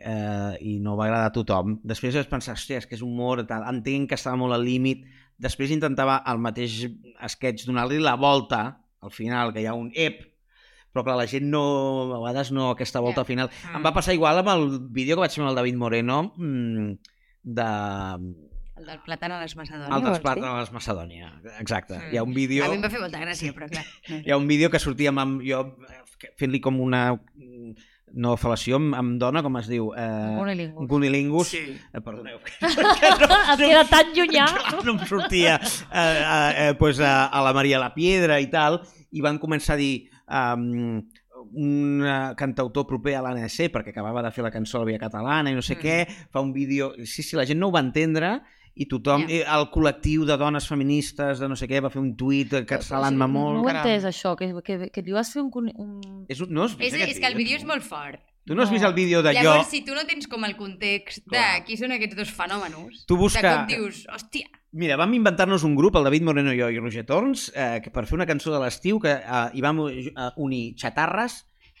B: eh, i no va agradar a tothom. Després vaig pensar, hòstia, és que és humor, tal. entenc que estava molt al límit. Després intentava al mateix esquetx donar-li la volta, al final, que hi ha un ep, però clar, la gent no, a vegades no, aquesta volta al final.
D: Mm.
B: Em va passar igual amb el vídeo que vaig fer amb el David Moreno mm, de...
F: El del plàtan a les Macedònies.
B: El
A: vols
B: despart
A: dir?
B: de les Macedònia. Exacte.
D: Mm.
B: Hi ha un
F: Jo...
B: vídeo
F: A mi em va fer molta gràcia, però clar.
B: hi ha un vídeo que sortia amb, amb jo eh, fent-li com una mm, no fel·lació amb, amb dona, com es diu? Eh, un
C: Unilingus.
B: cunilingus. Sí.
D: sí.
B: Eh, perdoneu. que no,
C: Et queda tan llunyà.
B: clar, no em sortia eh, eh, eh, pues, a, a la Maria la Piedra i tal, i van començar a dir um, un eh, cantautor proper a l'ANC, perquè acabava de fer la cançó a la Via Catalana i no sé
D: Mm.
B: mm. què, fa un vídeo... Sí, sí, la gent no ho va entendre i tothom, yeah. el col·lectiu de dones feministes de no sé què, va fer un tuit cancel·lant-me
C: No
B: molt.
C: ho he
D: caram.
C: entès, això, que, que, que li vas fer un... coni- un...
B: És, un- no has vist
F: és,
B: aquest
F: és que el
B: vídeo,
F: vídeo
B: tu?
F: és molt fort.
B: Tu no has
C: No.
B: vist el vídeo d'allò...
F: Llavors, si tu no tens com el context de
B: Clar.
F: qui són aquests dos fenòmenos,
B: Tu busca-
F: de cop dius, hòstia,
B: Mira, vam inventar-nos un grup, el David Moreno i jo i Roger Torns, eh, que per fer una cançó de l'estiu que eh, hi vam eh, unir xatarres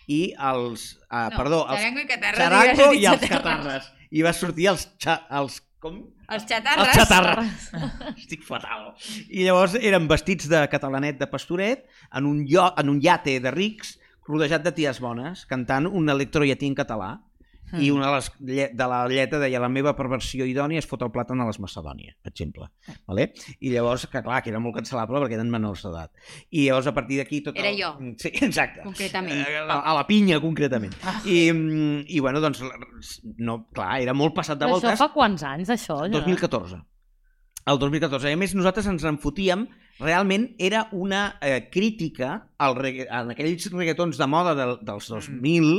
B: i els... Eh,
F: no,
B: perdó, els
F: xarango i catarres.
B: xarango
F: digues,
B: i els
F: xatarres.
B: catarres. I va sortir els... Xa, els com?
F: Els xatarres.
B: Els xatarres. Estic fatal. I llavors eren vestits de catalanet de pastoret en un, lloc, en un llate de rics rodejat de ties bones, cantant un electroiatí en català. I
C: Hmm.
B: una de, les, lle- de la lletra deia la meva perversió idònia es fot el plàtan a les Macedònia, per exemple. Vale? I llavors, que clar, que era molt cancel·lable perquè eren menors d'edat. I llavors a partir d'aquí... Tot
F: Era
B: el... Mm,
F: jo.
B: Sí, exacte.
F: Concretament.
B: Eh, A, a la pinya, concretament.
C: Ah.
B: I, mm, I bueno, doncs, no, clar, era molt passat de
C: Però Això
B: voltes.
C: fa quants anys, això? Gerard?
B: 2014. El 2014. I a més, nosaltres ens en fotíem. Realment era una eh, crítica al regga en aquells reggaetons de moda del, dels 2000,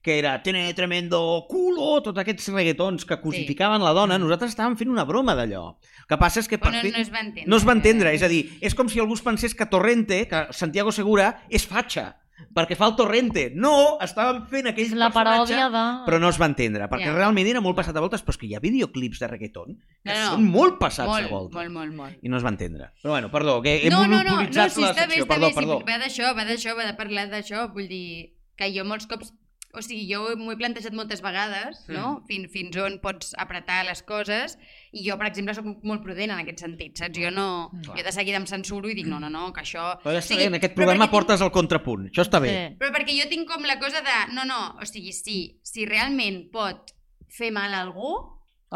B: que era «Tiene tremendo culo», tots aquests reggaetons que cosificaven la dona. Nosaltres estàvem fent una broma d'allò. El que passa és que...
F: Però no, eh,
B: fi-
F: no es va entendre.
B: no es va entendre, és a dir, és com si algú es pensés que Torrente, que Santiago Segura, és fatxa, perquè fa el Torrente. No, estàvem fent aquell
C: És la
B: personatge
C: paròdia de...
B: però no es va entendre, perquè
F: Ah. Ja.
B: yeah. realment era molt passat a voltes, però és que hi ha videoclips de reggaeton que
F: No, no.
B: són molt passats
F: molt,
B: a voltes.
F: molt, molt, molt.
B: I no es va entendre. Però bueno, perdó, que he
F: no, no, no, no,
B: monopolitzat
F: si
B: la
F: està bé,
B: secció.
F: està
B: perdó,
F: bé,
B: perdó.
F: si va d'això, va d'això, va de parlar d'això, vull dir que jo molts cops, o sigui, jo m'ho he plantejat moltes vegades,
B: Mm.
F: no? Fins, fins on pots apretar les coses, i jo, per exemple, sóc molt prudent en aquest sentit, saps? Jo no, jo de seguida em censuro i dic, no, no, no, que això...
B: Mm. Però ja està bé,
F: O sigui,
B: en aquest
F: però
B: programa
F: perquè tinc-
B: portes el contrapunt. Això està bé.
C: Sí.
F: Però perquè jo tinc com la cosa de, no, no, o sigui, sí, si realment pot fer mal a algú,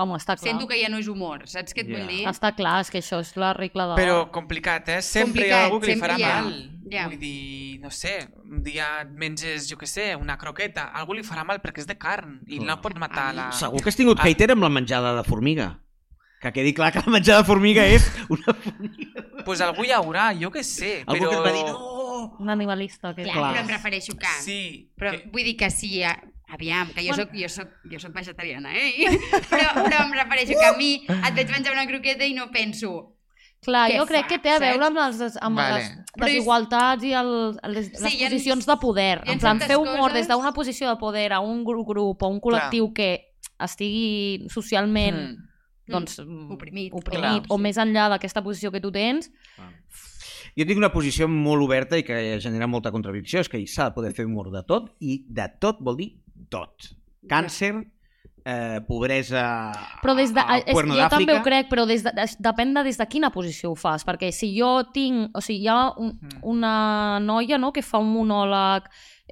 C: Home, està clar.
F: sento que ja no és humor, saps què et vull
B: Ja.
F: dir?
C: Està clar, és que això és la regla de...
D: Però complicat, eh? Sempre hi
F: Complicat,
D: ha algú que li farà
F: sempre hi ha.
D: mal.
F: Ja.
D: Vull dir, no sé, un dia et menges, jo què sé, una croqueta, algú li farà mal perquè és de carn i
B: Clar.
D: no pot matar la...
B: Segur que has tingut
D: Ah.
B: hater amb la menjada de formiga. Que quedi clar que la menjada de formiga és una...
D: Pues algú hi haurà, jo què sé,
B: Algú
D: però...
B: que et va dir, no...
C: Un animalista. Que...
F: Clar,
B: Clar.
F: però em refereixo que...
D: Sí,
F: Però
D: que-
F: vull dir que sí, a- aviam, que jo soc, jo soc, jo soc vegetariana, eh? Però, però em refereixo que a mi et veig menjar una croqueta i no penso...
C: Clar,
F: Què
C: jo crec
F: fa,
C: que té a
F: saps?
C: veure amb les, des- amb
D: Vale.
C: vale. les
F: Però és-
C: desigualtats i el, les, sí, les
F: hi ha-
C: posicions de poder.
F: hi ha
C: En plan,
F: certes
C: fer humor
F: coses-
C: des d'una posició de poder a un gru- grup o un col·lectiu que estigui socialment
D: Mm.
C: doncs,
F: Mm. oprimit.
C: oprimit
D: Clar,
C: o
F: sí.
C: més enllà d'aquesta posició que tu tens,
B: Jo tinc una posició molt oberta i que genera molta contradicció, és que s'ha de poder fer humor de tot i de tot vol dir tot. Càncer, eh, pobresa
C: Però des de,
B: a- al
C: és,
B: Cuerno
C: jo també ho
B: d'Àfrica.
C: crec, però des de, des, depèn de des de quina posició ho fas, perquè si jo tinc, o sigui, hi ha un,
D: Mm.
C: una noia no, que fa un monòleg,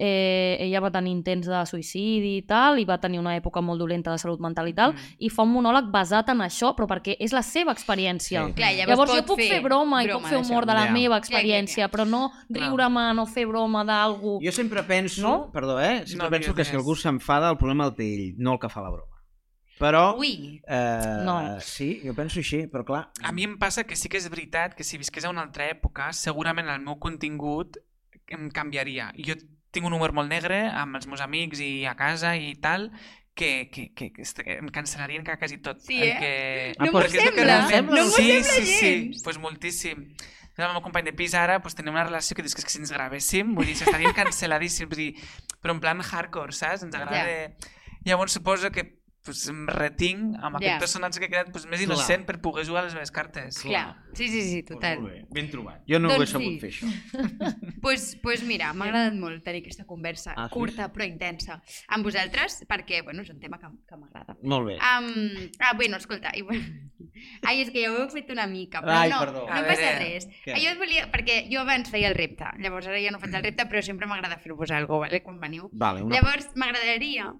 C: eh, ella va tenir intents de suïcidi i tal, i va tenir una època molt dolenta de salut mental i tal,
D: Mm.
C: i fa un monòleg basat en això, però perquè és la seva experiència.
B: Sí.
F: Clar,
C: Llavors, jo puc fer, broma i
F: broma
C: puc fer
F: d'això.
C: humor de la
B: Ja.
C: meva
F: clar,
C: experiència, però no riure-me, no fer broma d'algú.
B: Jo sempre penso,
C: No?
B: no? perdó, eh? Sempre
D: No
B: no penso
D: digues
B: que si
D: res.
B: algú s'enfada, el problema el té ell, no el que fa la broma. Però...
F: Ui,
B: Eh,
C: No.
B: Sí, jo penso així, però clar...
D: A mi em passa que sí que és veritat que si visqués a una altra època, segurament el meu contingut em canviaria. Jo tinc un humor molt negre amb els meus amics i a casa i tal, que, que, que, que est- em cancel·larien que quasi tot.
F: Sí,
D: el
F: eh?
D: Que...
B: Ah,
F: no
B: però
F: m'ho
B: és que
F: sembla,
B: no sembla.
F: no m'ho
D: sí,
F: sembla
D: sí,
F: gens.
D: Sí, pues moltíssim. Jo amb el meu company de pis ara pues, tenim una relació que dius que, és que si ens gravéssim, vull dir, s'estaríem cancel·ladíssims, vull dir, però en plan hardcore, saps? Ens agrada... Llavors suposo que pues, em retinc amb aquest
F: Ja.
D: personatge que he creat pues, més
B: Clar.
D: innocent per poder jugar a les meves cartes.
F: Clar, sí, sí, sí, total.
B: Doncs Molt bé, ben trobat. Jo no ho he
F: Doncs
B: sabut
F: sí.
B: fer, això.
F: pues, pues mira, m'ha agradat molt tenir aquesta conversa
B: Ah, sí?
F: curta però intensa amb vosaltres perquè, bueno, és un tema que, que m'agrada.
B: Molt bé.
F: Um, ah, bueno, escolta, i bueno... Ai, és que ja ho he fet una mica, però
B: Ai,
F: no,
B: perdó.
F: no
D: A
F: passa
D: veure,
F: res.
B: què?
F: Jo et volia, perquè jo abans feia el repte, llavors ara ja no faig el repte, però sempre m'agrada fer-vos alguna cosa, vale? quan veniu.
B: Vale, una...
F: Llavors, m'agradaria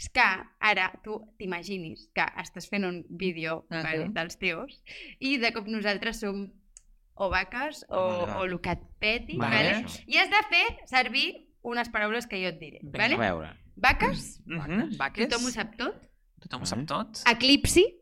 F: és que ara tu t'imaginis que estàs fent un vídeo
C: Ah,
F: vale,
C: sí.
F: dels teus i de cop nosaltres som o vaques o,
B: Vale,
F: o
B: vale.
F: el que et peti,
B: Vale,
F: vale,
B: això.
F: i has de fer servir unes paraules que jo et diré.
D: Vinga,
B: A
F: Vale?
B: veure.
F: Vaques,
D: Mhm, Vaques.
F: tothom ho sap tot.
D: Tothom ho sap tot.
F: Eclipsi,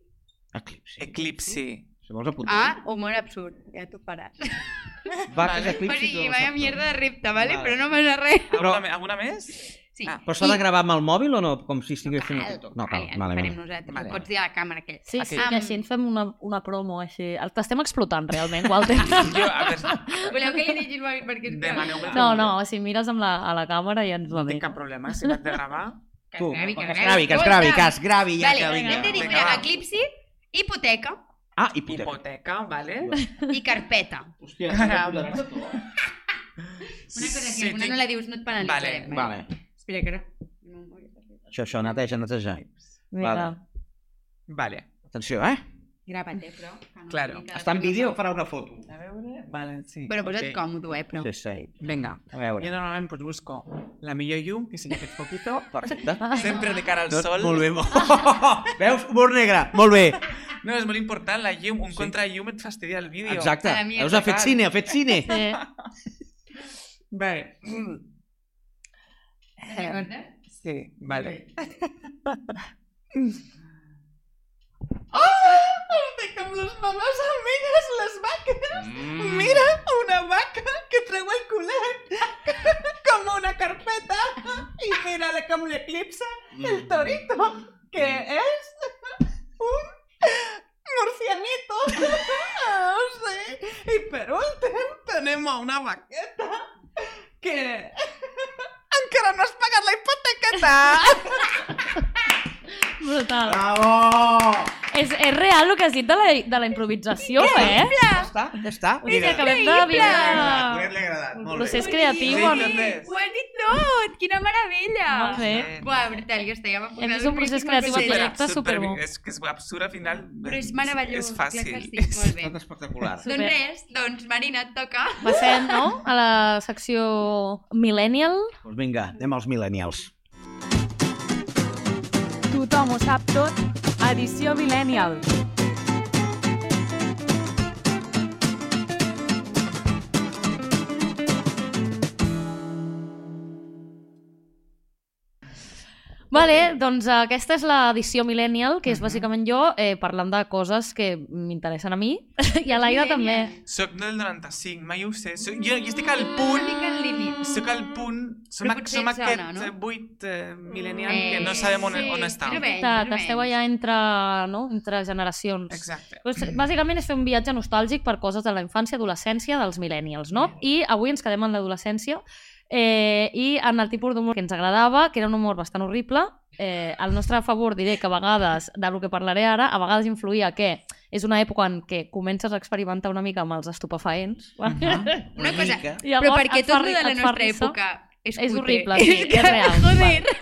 B: Eclipsi.
D: Eclipsi.
B: Si vols apuntar.
F: ah, humor absurd, ja t'ho faràs.
B: Vaques,
D: vale.
F: O
B: eclipsi...
F: sigui,
B: tot
F: vaya
B: el
F: mierda de repte, vale?
B: Vale.
F: però no passa res.
B: Però-
D: Alguna, me- alguna més?
F: Sí.
D: Ah,
B: Però s'ha
F: I-
B: de gravar amb el mòbil o no? Com si estigués fent...
F: Cal,
B: No cal,
F: ja ho
B: vale,
F: farem
B: vale.
F: nosaltres,
D: Vale.
F: ho pots dir a la càmera aquella.
C: Sí, sí,
F: Am-
C: que així ens fem una, una promo, així. El- T'estem explotant, realment, Walter.
D: Jo, a veure,
F: Voleu que li digui el mòbil perquè... és que-
D: demaneu-me...
C: No, no, si mires amb la, a la càmera ja ens va
D: No
C: bé.
D: tinc cap problema, si l'has de gravar.
F: Que
B: Tu,
F: es gravi, que
B: que
F: es
B: es gravi, que es
F: Escolta.
B: gravi, que es gravi, ja
F: vale,
B: que
F: vinga, hem de dir,
B: vinga.
D: Vinga,
F: mira,
D: va.
F: eclipsi, hipoteca
B: Ah, i puta.
D: Hipoteca, vale?
F: i carpeta.
B: Hòstia,
D: Caramba.
F: Una cosa que sí, alguna no la dius, no et penalitzarem.
D: Vale,
B: Vale.
F: Espera, que ara... No,
B: Això, això, neteja, neteja.
C: Vinga.
B: Vale.
D: Vale.
B: Atenció, eh?
F: Grava't, eh, però... que no
D: Claro.
F: sigui que-
B: Està en vídeo, farà una foto.
D: A veure... Vale, sí.
F: Bueno, posa't
D: ok.
F: còmodo, eh, però...
B: Sí, sí.
D: Vinga.
B: A
D: Jo
B: veure.
D: normalment pues, busco la millor llum i si li fes poquito,
B: Perfecte.
D: sempre de cara al
B: Tot
D: sol.
B: molt bé, molt... Ah. Veus? Humor negre. Molt bé.
D: No, és molt important la llum. Un contrallum et fastidia el vídeo.
B: Exacte.
F: A mi
B: Veus? Ha fet
D: total.
B: cine, ha fet cine.
C: Sí.
D: Bé.
F: Recorda?
D: Sí, vale. ¡Ah!
F: Amb les mames amigues, les vaques!
B: Mira.
D: una vaca que treu el culet com una carpeta y mira com l'eclipsa el torito que es un murcianito no sé y per últim tenemos una vaqueta que encara no has pagat la hipotequeta
C: Brutal.
F: Ah.
B: Bravo!
C: És, és real el que has dit de la, de la improvisació, eh?
B: Ja està, ja està.
C: Vull dir, acabem de
F: Increïble!
C: viure
B: agradat,
C: un procés creatiu.
D: Sí,
C: on-
D: sí, sí.
F: Ho has dit tot! Quina meravella!
C: Molt bé.
F: Buah, brutal, jo estava...
C: Hem vist un procés creatiu
D: Super
C: aquí.
D: absurd,
C: superbo.
D: per mi. És que és absurd al final.
F: Però és meravellós,
D: És
F: clar
D: fàcil.
F: que sí, molt bé.
B: Tot espectacular.
F: Doncs res, doncs Marina, et toca.
C: Passem, no?, a la secció Millennial.
B: Doncs vinga, anem als millennials.
A: Tothom ho sap tot, edició Millennial.
C: Vale, doncs eh, aquesta és l'edició Millennial, que és bàsicament jo eh, parlant de coses que m'interessen a mi i a l'Aida també.
D: Soc del 95, mai ho sé. Soc, jo, jo estic al punt...
F: Una mica al
C: Mm,
F: límit.
D: Soc al punt... Som,
F: Però
D: a,
F: potser
D: som
F: et sona,
D: aquests
F: no? Mm,
D: eh, vuit eh, millennials que no sabem on, on estan.
F: Però bé,
C: Ta- T'esteu allà entre, no? entre generacions.
D: Exacte.
C: Doncs, bàsicament és fer un viatge nostàlgic per coses de la infància, adolescència, dels millennials, no? I avui ens quedem en l'adolescència eh, i en el tipus d'humor que ens agradava, que era un humor bastant horrible. Eh, al nostre favor diré que a vegades, del que parlaré ara, a vegades influïa que és una època en què comences a experimentar una mica amb els estupefaents.
B: Una,
D: Mhm.
F: Una cosa,
B: mica.
C: Llavors,
F: Però perquè
C: et fa
F: tot
C: ri-
F: el de la
C: et fa
F: nostra
C: risa.
F: època és,
C: És
F: cutre.
C: horrible, sí, és real.
F: Joder.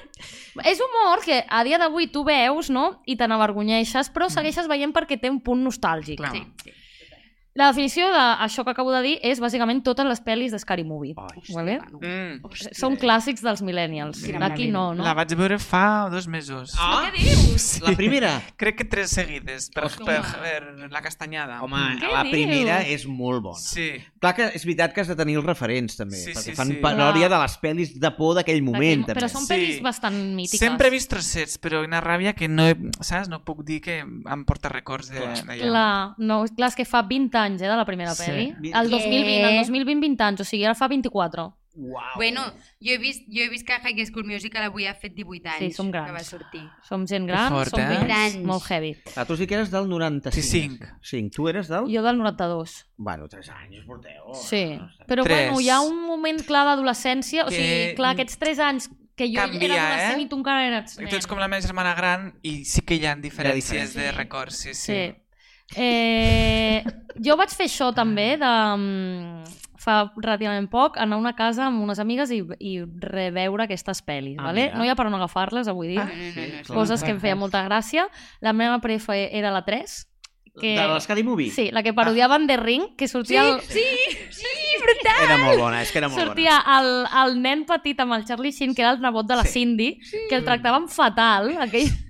C: És humor que a dia d'avui tu veus, no?, i te n'avergonyeixes, però segueixes veient perquè té un punt nostàlgic.
D: Clar.
F: Sí, sí.
C: La definició d'això que acabo de dir és bàsicament totes les pel·lis de Scary Movie.
B: Ai,
C: vale?
F: Bueno,
D: Mm.
F: hòstia.
C: Són clàssics dels millennials.
F: Quina
C: D'aquí no, no?
D: La vaig veure fa dos mesos.
B: Ah,
F: Què dius?
B: la primera.
D: Crec que tres seguides, per,
B: Hòstia.
D: per, per la castanyada.
B: Home,
C: Què
B: la
C: dius?
B: primera és molt bona.
D: Sí.
B: Clar que és veritat que has de tenir els referents, també,
D: Sí,
B: sí, perquè
D: sí,
B: sí, fan
D: sí.
B: sí. paròdia de les pel·lis de por d'aquell moment,
C: D'aquí-
B: també.
C: Però són
D: Sí.
C: pel·lis bastant mítiques.
D: Sempre he vist trossets, però una ràbia que no, he, saps? no puc dir que em porta records de-
B: Clar.
D: d'allà.
C: La, no, clar, és que fa 20 anys eh, de la primera
D: Sí.
C: pel·li.
B: Vint-
C: El 2020,
F: Què?
C: el 2020, 20 anys, o sigui, ara fa 24.
B: Uau.
F: Bueno, jo he vist, jo he vist que High School Musical avui ha fet 18 anys.
C: Sí, som grans.
F: Que va sortir.
C: Som gent gran,
D: fort,
C: som
D: eh?
C: vells,
F: Grans.
C: molt heavy.
B: Ah, tu sí que eres del 95.
D: Sí, cinc.
B: 5. Tu eres del... Jo...
C: Jo del 92.
B: Bueno, 3 anys porteu.
C: Sí,
B: No sé.
C: però
D: Tres.
C: bueno, hi ha un moment clar d'adolescència, o
D: Que-
C: sigui, clar, aquests 3 anys que jo
D: Canvia,
C: era adolescent
D: eh?
C: i tu encara eres nen.
D: Tu ets com la meva germana gran i sí que hi ha diferències
B: diferència.
D: de records, sí, sí.
C: Sí. Eh, jo vaig fer això també de, mm, fa relativament poc, anar a una casa amb unes amigues i, i reveure aquestes pel·lis.
B: Ah,
C: Ah, vale?
B: mira.
C: No hi ha per on agafar-les, avui dir.
F: No, no, no, no,
B: sí.
F: no.
C: Coses que em feia molta gràcia. La meva prefa era la 3. Que...
B: De l'Escadi Movie?
C: Sí, la que
B: Ah.
C: parodiaven The Ring, que sortia el,
F: Sí, sí, sí, brutal.
B: Era molt bona, és que era molt
C: sortia el, el nen petit amb el Charlie Sheen, que era el nebot de la
B: Sí.
C: Cindy, que el tractaven fatal. Aquell...
B: bona.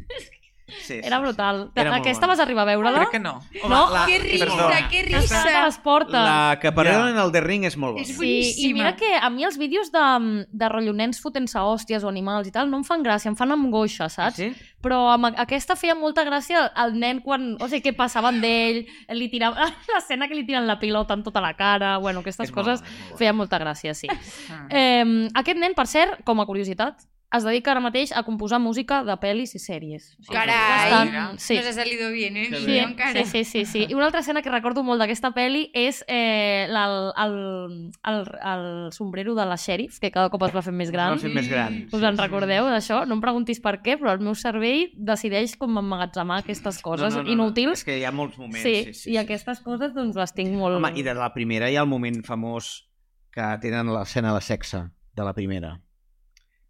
B: Sí, sí,
C: Era
B: sí.
C: brutal.
B: Era molt
C: Aquesta
B: bona.
C: vas arribar a veure-la?
D: Crec que no.
C: No?
B: la-
F: Que risa,
B: Ah, Perdona.
F: que
C: Està a
F: risa.
C: les portes.
B: La que parlen
D: Ja.
B: en el The Ring és molt bona.
F: És
B: És...
C: Sí, i
F: boníssima.
C: mira que a mi els vídeos de, de rotllo nens fotent-se hòsties o animals i tal no em fan gràcia, em fan angoixa, saps?
B: Sí?
C: Però amb a- aquesta feia molta gràcia al nen quan, o sigui, que passaven d'ell, li tiraven, l'escena que li tiren la pilota en tota la cara, bueno, aquestes
B: És molt Mm.
C: coses
B: bona, és molt bona.
C: feien molta gràcia, sí.
D: Ah.
C: Eh, aquest nen, per cert, com a curiositat, es dedica ara mateix a composar música de pel·lis i sèries. O sigui,
F: Carai.
C: bastant- sí.
F: Sí. Nos ha salido bien, eh?
B: Que
F: Sí,
B: bé.
F: encara.
C: Sí, sí, sí, sí. I una altra escena que recordo molt d'aquesta peli és eh, la- el, el, el sombrero de la xèrif, que cada cop es va fent més gran.
B: Va ser més gran.
C: Us en recordeu d'això? No em preguntis per què, però el meu cervell decideix com emmagatzemar aquestes coses
B: És
C: inútils.
B: que hi ha molts moments.
C: sí,
B: Sí, sí, sí,
C: i aquestes coses doncs les tinc molt...
B: Home, i de la primera hi ha el moment famós que tenen l'escena de sexe de la primera.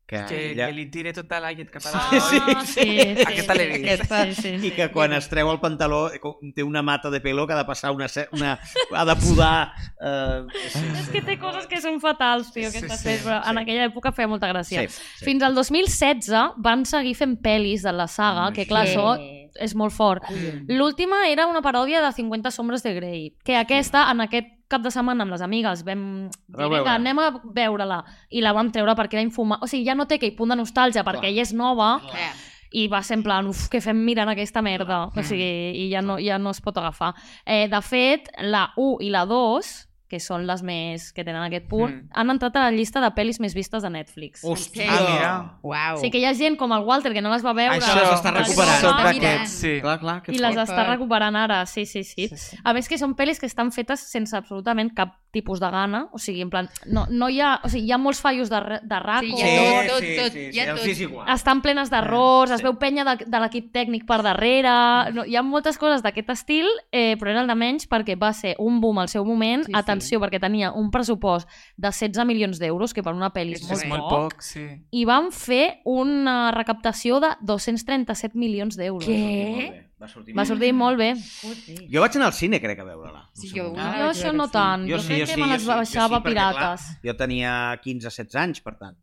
B: Que,
D: Que,
B: ella...
D: que li tire tota la llet cap a
C: Ah,
D: dalt. Ah,
B: sí,
C: sí,
B: sí.
D: Aquesta l'he vist.
B: Aquesta-
C: Sí, sí, sí.
B: I que quan es treu el pantaló eh, com- té una mata de pelo que ha de passar una... se- una ha de podar... Eh, sí,
C: És que té coses que són fatals, tio, aquestes
D: sí,
C: pel·lis, però en
B: sí.
C: aquella època feia molta gràcia.
B: sí, sí.
C: Fins al 2016 van seguir fent pel·lis de la saga, que clar,
F: Sí.
C: això és molt fort. L'última era una paròdia de 50 sombres de Grey, que aquesta, en aquest cap de setmana amb les amigues vam dir,
B: Vau veure.
C: vinga, anem a veure-la. I la vam treure perquè era infumable. O sigui, ja no té aquell punt de nostàlgia perquè
B: Clar.
C: ella és nova
F: Clar.
C: i va ser en plan, uf, què fem mirant aquesta merda? O sigui, i ja no, ja no es pot agafar. Eh, de fet, la 1 i la 2, que són les més que tenen aquest punt,
D: Mm.
C: han entrat a la llista de pel·lis més vistes de Netflix.
B: Hòstia!
D: Ah, mira.
C: O
F: Uau.
C: sigui que hi ha gent com el Walter que no les va veure
B: Això s'està
C: que no
B: recuperant.
C: les va
D: Sóc
F: Mirant.
D: d'aquests, sí.
B: Clar, clar, que
C: i les
B: fort.
C: està recuperant ara, sí, sí, sí.
D: Sí, sí.
C: A més que són pel·lis que estan fetes sense absolutament cap tipus de gana, o sigui, en plan, no, no hi ha, o sigui, hi ha molts fallos de, ra- de raco,
F: Sí,
C: sí,
F: hi ha
C: ja
F: tot, tot, tot, hi ha
B: els
F: tot.
B: és igual.
C: estan plenes d'errors,
B: Sí.
C: es veu penya de, de l'equip tècnic per darrere, no, hi ha moltes coses d'aquest estil, eh, però era el de menys perquè va ser un boom al seu moment, sí,
F: Sí, sí.
C: atenció, perquè tenia un pressupost de 16 milions d'euros, que per una pel·li és,
F: És
D: És
C: molt,
D: molt
C: poc,
D: poc, sí.
C: i van fer una recaptació de 237 milions d'euros.
F: Què?
B: Va sortir
C: Va
B: molt bé.
C: sortir molt bé.
F: Joder.
B: Jo vaig anar al cine, crec, a veure-la. No
F: Sí,
B: sé
F: jo
B: com.
F: una
C: jo això no tant. Jo,
B: Jo Ah, sí,
C: crec
B: jo
C: que
B: sí,
C: me
B: jo
C: les
B: sí, jo sí,
C: baixava
B: perquè, clar,
C: pirates.
B: Jo tenia 15-16 anys, per tant.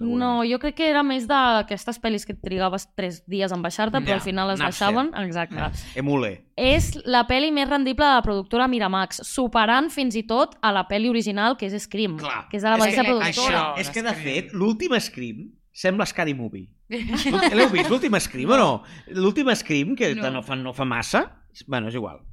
C: no, jo crec que era més d'aquestes pel·lis que et trigaves 3 dies en baixar-te,
B: Ja,
C: però al final les
B: anar-se'n. Mm.
C: baixaven. Exacte.
B: Emule.
C: És la pel·li més rendible de la productora Miramax, superant fins i tot a la pel·li original, que és Scream,
B: Clar.
C: que és de la
D: És
C: mateixa
F: que
C: productora.
D: Això,
B: és que, de
D: l'escrim.
B: fet, l'últim Scream sembla Scary Movie. L'heu vist, l'últim Scream o no? L'últim Scream, que
F: No.
B: no. fa, no fa massa... Bueno, és igual.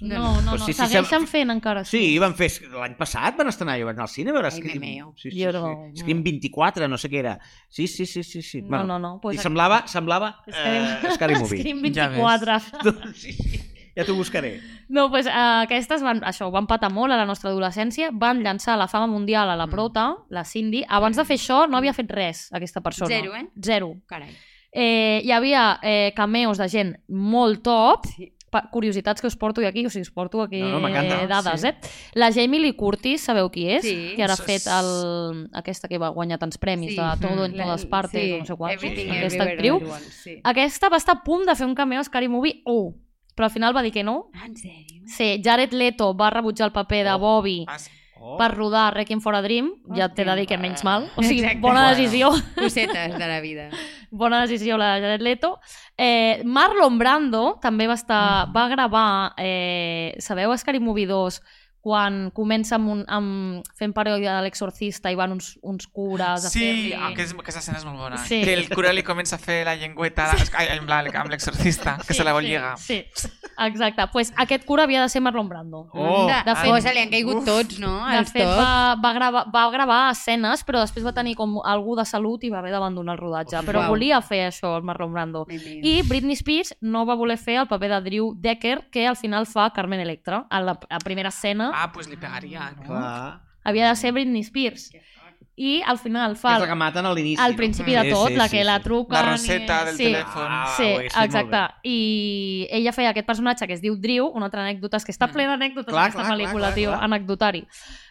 C: No,
F: No,
C: no, no,
B: Però sí, sí,
C: segueixen
B: sembla-
C: fent encara.
B: Sí, van fer... L'any passat van estrenar, jo vaig anar al cine a veure
F: Ai,
B: Scream.
F: me meo.
B: Sí, sí,
C: Jo
B: sí.
C: no.
B: Scream 24, no sé què era. Sí, sí, sí, sí. sí.
C: No, no, no, pues-
B: I semblava, semblava
C: Scream-
B: eh, Scary Movie.
C: Scream
D: Ja ves.
C: 24.
B: sí, sí. Ja t'ho buscaré.
C: No, pues, eh, aquestes van, això, ho van patar molt a la nostra adolescència, van llançar la fama mundial a la prota, la Cindy. Abans de fer això no havia fet res, aquesta persona.
F: Zero, eh?
C: Zero.
F: Carai.
C: Eh, hi havia eh, cameos de gent molt top,
F: Sí.
C: pa- curiositats que us porto jo aquí, o sigui, us porto aquí
B: No, no, m'encanta,
C: eh, dades,
D: sí.
C: eh? La Jamie Lee Curtis, sabeu qui és?
F: Sí.
C: Que ara ha
D: S-
C: fet el, aquesta que va guanyar tants premis
F: Sí.
C: de Todo en
F: Mm, La-
C: todas partes, o no sé quants,
F: Everything,
C: aquesta
F: Everywhere,
C: actriu.
F: All at Once, Sí.
C: Aquesta va estar a punt de fer un cameo a Scary Movie 1, però al final va dir que no.
F: Ah, en sèrio?
C: Sí, Jared Leto va rebutjar el paper de
D: Oh.
C: Bobby
D: Has...
B: Oh.
C: per rodar Requiem for a Dream, ja t'he de dir que menys mal. O sigui,
F: Exacte.
C: bona
D: Bueno.
C: decisió.
F: Cosetes de la vida.
C: Bona decisió la de Jared Leto. Eh, Marlon Brando també va, estar, va gravar, eh, sabeu, Scary Movie 2, quan comença amb un, amb, fent paròdia de l'exorcista i van uns, uns cures a
D: Sí,
C: fer-li...
D: aquest, aquesta escena és molt bona.
C: Sí.
D: Que el cura li comença a fer la llengüeta la... Ai, en plan, amb l'exorcista, que se la vol lligar.
C: Sí, sí, exacte. Pues aquest cura havia de ser Marlon Brando.
B: Oh.
F: de,
C: De
F: de
C: fet-
F: fet, cosa, li han caigut
D: Uf.
F: tots, no?
C: De
F: Els
C: fet,
F: tops.
C: va, va, gravar, va gravar escenes, però després va tenir com algú de salut i va haver d'abandonar el rodatge. Però
F: Uau.
C: volia fer això, el Marlon Brando.
F: I...
C: I Britney Spears no va voler fer el paper de Drew Decker, que al final fa Carmen Electra. A la, a primera escena
D: Ah, doncs pues li pegaria, no?
B: Clar.
C: havia de ser Britney Spears.
D: ah.
C: I al final
B: Que
C: fa
B: és la que maten a l'inici. no?
C: al
B: Mm.
C: principi
B: Sí,
C: de tot,
B: sí,
C: la
B: sí,
C: que la
B: sí.
C: truca...
D: La roseta del
C: sí.
D: telèfon.
B: Ah,
C: Sí,
B: ho he fet molt
C: exacte.
B: bé.
C: I ella feia aquest personatge que es diu Drew, una altra anècdota, és que està
D: Mm.
C: plena d'anècdotes
B: Clar,
C: aquesta
B: clar, clar,
C: pel·lícula,
B: clar,
C: tio,
B: clar.
C: anecdotari.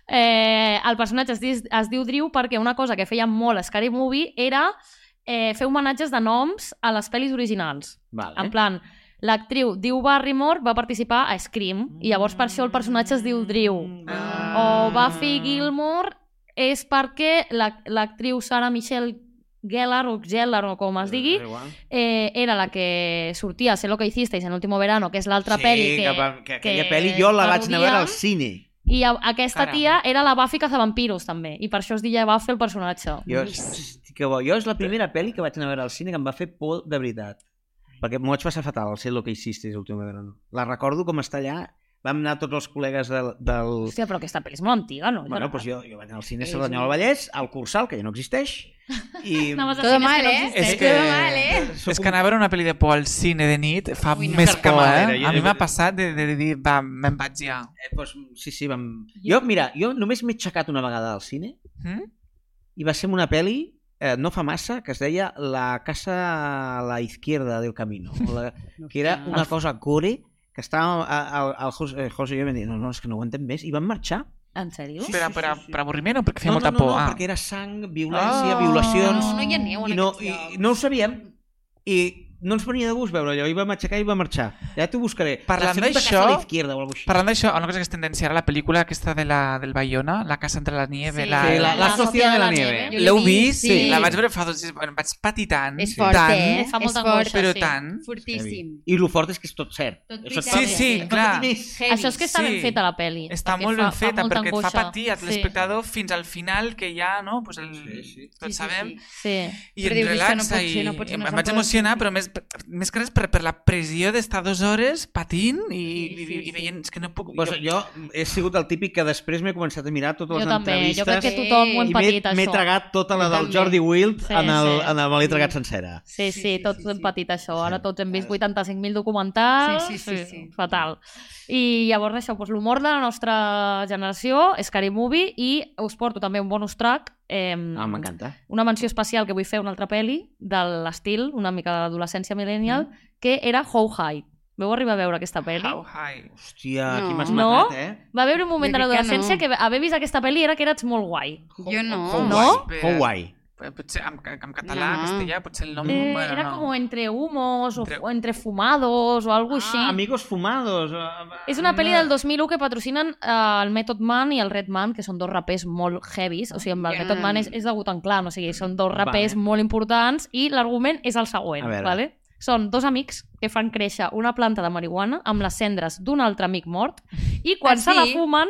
C: Eh, el personatge es, dis- es diu Drew perquè una cosa que feia molt a Scary Movie era eh, fer homenatges de noms a les pel·lis originals.
B: Vale.
C: En plan, l'actriu Drew Barrymore va participar a Scream i llavors per això el personatge es diu Drew.
B: Ah.
C: O Buffy Gilmore és perquè la- l'actriu la, Sarah Michelle Gellar o Gellar o com es digui,
B: Eh, igual.
C: eh, era la que sortia a Sé lo que hicisteis en l'último verano, que és l'altra
B: sí,
C: pel·li que...
B: Que, vam- que, aquella
C: que
B: pel·li jo la vaig anar a veure
C: parodia.
B: al cine.
C: I a, aquesta
D: Caram.
C: tia era la Buffy Cazavampiros també, i per això es deia Buffy el personatge.
B: Jo, hosti, que bo. jo és la primera pel·li que vaig anar a veure al cine que em va fer por de veritat. Perquè m'ho vaig passar fatal, el ser lo que hiciste última verano. La recordo com està allà. Vam anar tots els col·legues del... del...
C: Hòstia, però aquesta pel·li és molt antiga, no?
B: Bueno,
C: Gerard?
B: doncs jo, jo vaig anar al cine Cerdanyola Vallès, al Cursal, que ja no existeix, i...
C: Anaves a
F: Todo
C: cines
F: mal,
C: que no
F: eh?
C: existeix.
D: És que-
F: Todo mal, eh?
B: Sóc
D: És
B: un-
D: que anar a veure una pel·li de por al cine de nit fa Ui,
F: Ui, no.
D: no. més
B: Cerca
D: por,
B: manera,
D: eh?
B: jo-
D: A mi m'ha passat de, de dir, va, me'n vaig ja.
B: Eh, doncs, sí, sí, vam... Jo, mira, jo només m'he aixecat una vegada al cine
D: Hm?
B: i va ser amb una pel·li eh, no fa massa que es deia La casa a la izquierda del camino o la, que era una cosa gore que estava al, al José, el José i jo vam dir, no, no, és que no ho entenc més i van marxar
C: En sèrio?
D: Per, per, per avorriment o perquè feia
B: no,
D: molta
B: no, no,
D: por?
B: no,
D: ah.
B: perquè era sang, violència,
D: Ah.
B: violacions
F: No, no hi aneu en
B: i, no,
F: aquests
B: i,
F: llocs.
B: i no ho sabíem i no ens venia de gust veure allò i vam aixecar i va marxar ja t'ho buscaré La
D: Parlant
B: segona
D: d'això-
B: casa a la izquierda o alguna cosa així
D: Parlant d'això, una cosa que es tendencia ara, la pel·lícula aquesta de la, del Bayona, La casa entre la nieve,
F: Sí.
D: la...
B: sí, la, la,
D: la...
B: la societat de la nieve
F: Jo l'he
D: L'heu
F: vist,
D: vist?
F: sí.
D: La vaig veure fa dos dies, em vaig patir tant.
F: És fort,
D: tant,
F: eh?
C: Fa molta
F: és fort,
C: angoixa,
D: Però
C: sí.
D: tant.
F: Fortíssim.
B: I el fort és que és tot cert.
F: Tot
B: Això
F: veritat.
B: està
D: Sí,
B: bé.
D: sí,
F: No
D: clar.
F: Heavy.
C: Això és que està
D: Sí.
C: ben feta la pel·li.
D: Està
C: perquè
D: molt
C: fa-
D: ben
C: fa
D: feta,
C: molta
D: perquè et fa
C: angoixa.
D: patir a l'espectador fins al final, que ja, no? Pues el...
B: Sí, sí.
D: Tots sabem.
F: Sí,
C: Sí, sí.
D: I
F: Però
D: em
F: dius, "Això no
D: relaxa
F: pot
D: i
F: ser, no pot ser,
D: em,
F: no
D: em
F: se'n
D: vaig
F: pot
D: emocionar,
F: ser".
D: però més, més que res per, per la pressió d'estar dues hores patint i,
F: Sí,
D: i,
F: sí,
D: i,
F: sí.
D: i veient "És que no puc... eh,
B: Pues jo he sigut el típic que després m'he començat a mirar totes
C: Jo
B: les
C: també, jo crec que
B: entrevistes
C: tothom ho hem
B: i
C: patit,
B: m'he-
C: això.
B: m'he tragat tota la
F: Jo
B: del
F: també.
B: Jordi Wild
C: Sí,
B: en el,
C: sí. Mm.
B: en el me l'he tragat sencera.
C: Sí, sí, tots hem patit això. Ara
B: Sí.
C: tots hem vist 85.000 documentals.
F: Sí, sí, sí, sí.
C: Fatal. I llavors això, doncs, l'humor de la nostra generació, Scary Movie, i us porto també un bonus track. Eh,
B: Ah, m'encanta.
C: una menció especial que vull fer una altra pel·li de l'estil, una mica de l'adolescència millennial, que era How High. Veu arribar a veure aquesta pel·li?
D: How high.
B: Hòstia,
F: No.
B: aquí m'has
C: No?
B: matat, eh?
C: Va haver un moment
F: Jo
C: de
F: crec que
C: l'adolescència
F: no.
C: que, haver vist aquesta pel·li era que eres molt guai.
F: Jo no.
B: How
D: No?
B: guai, how guai.
D: Eh, Potser en, en català,
F: No.
D: no. castellà, potser el nom...
C: Eh,
D: bueno,
C: era
D: no.
C: com entre humos o,
D: Entre-
C: o entre fumados o algo així.
B: Ah, Amigos fumados. ah,
C: És una pel·li
D: No.
C: del 2001 que patrocinen eh, el Method Man i el Red Man, que són dos rapers molt heavies. O sigui, amb el
F: Ja.
C: Method Man és, és de Wu Tang Clan, o sigui, són dos rapers
B: Vale.
C: molt importants i l'argument és el següent.
B: A veure.
C: Vale? Són dos amics que fan créixer una planta de marihuana amb les cendres d'un altre amic mort i quan
F: Ah,
C: se la
F: sí?
C: fumen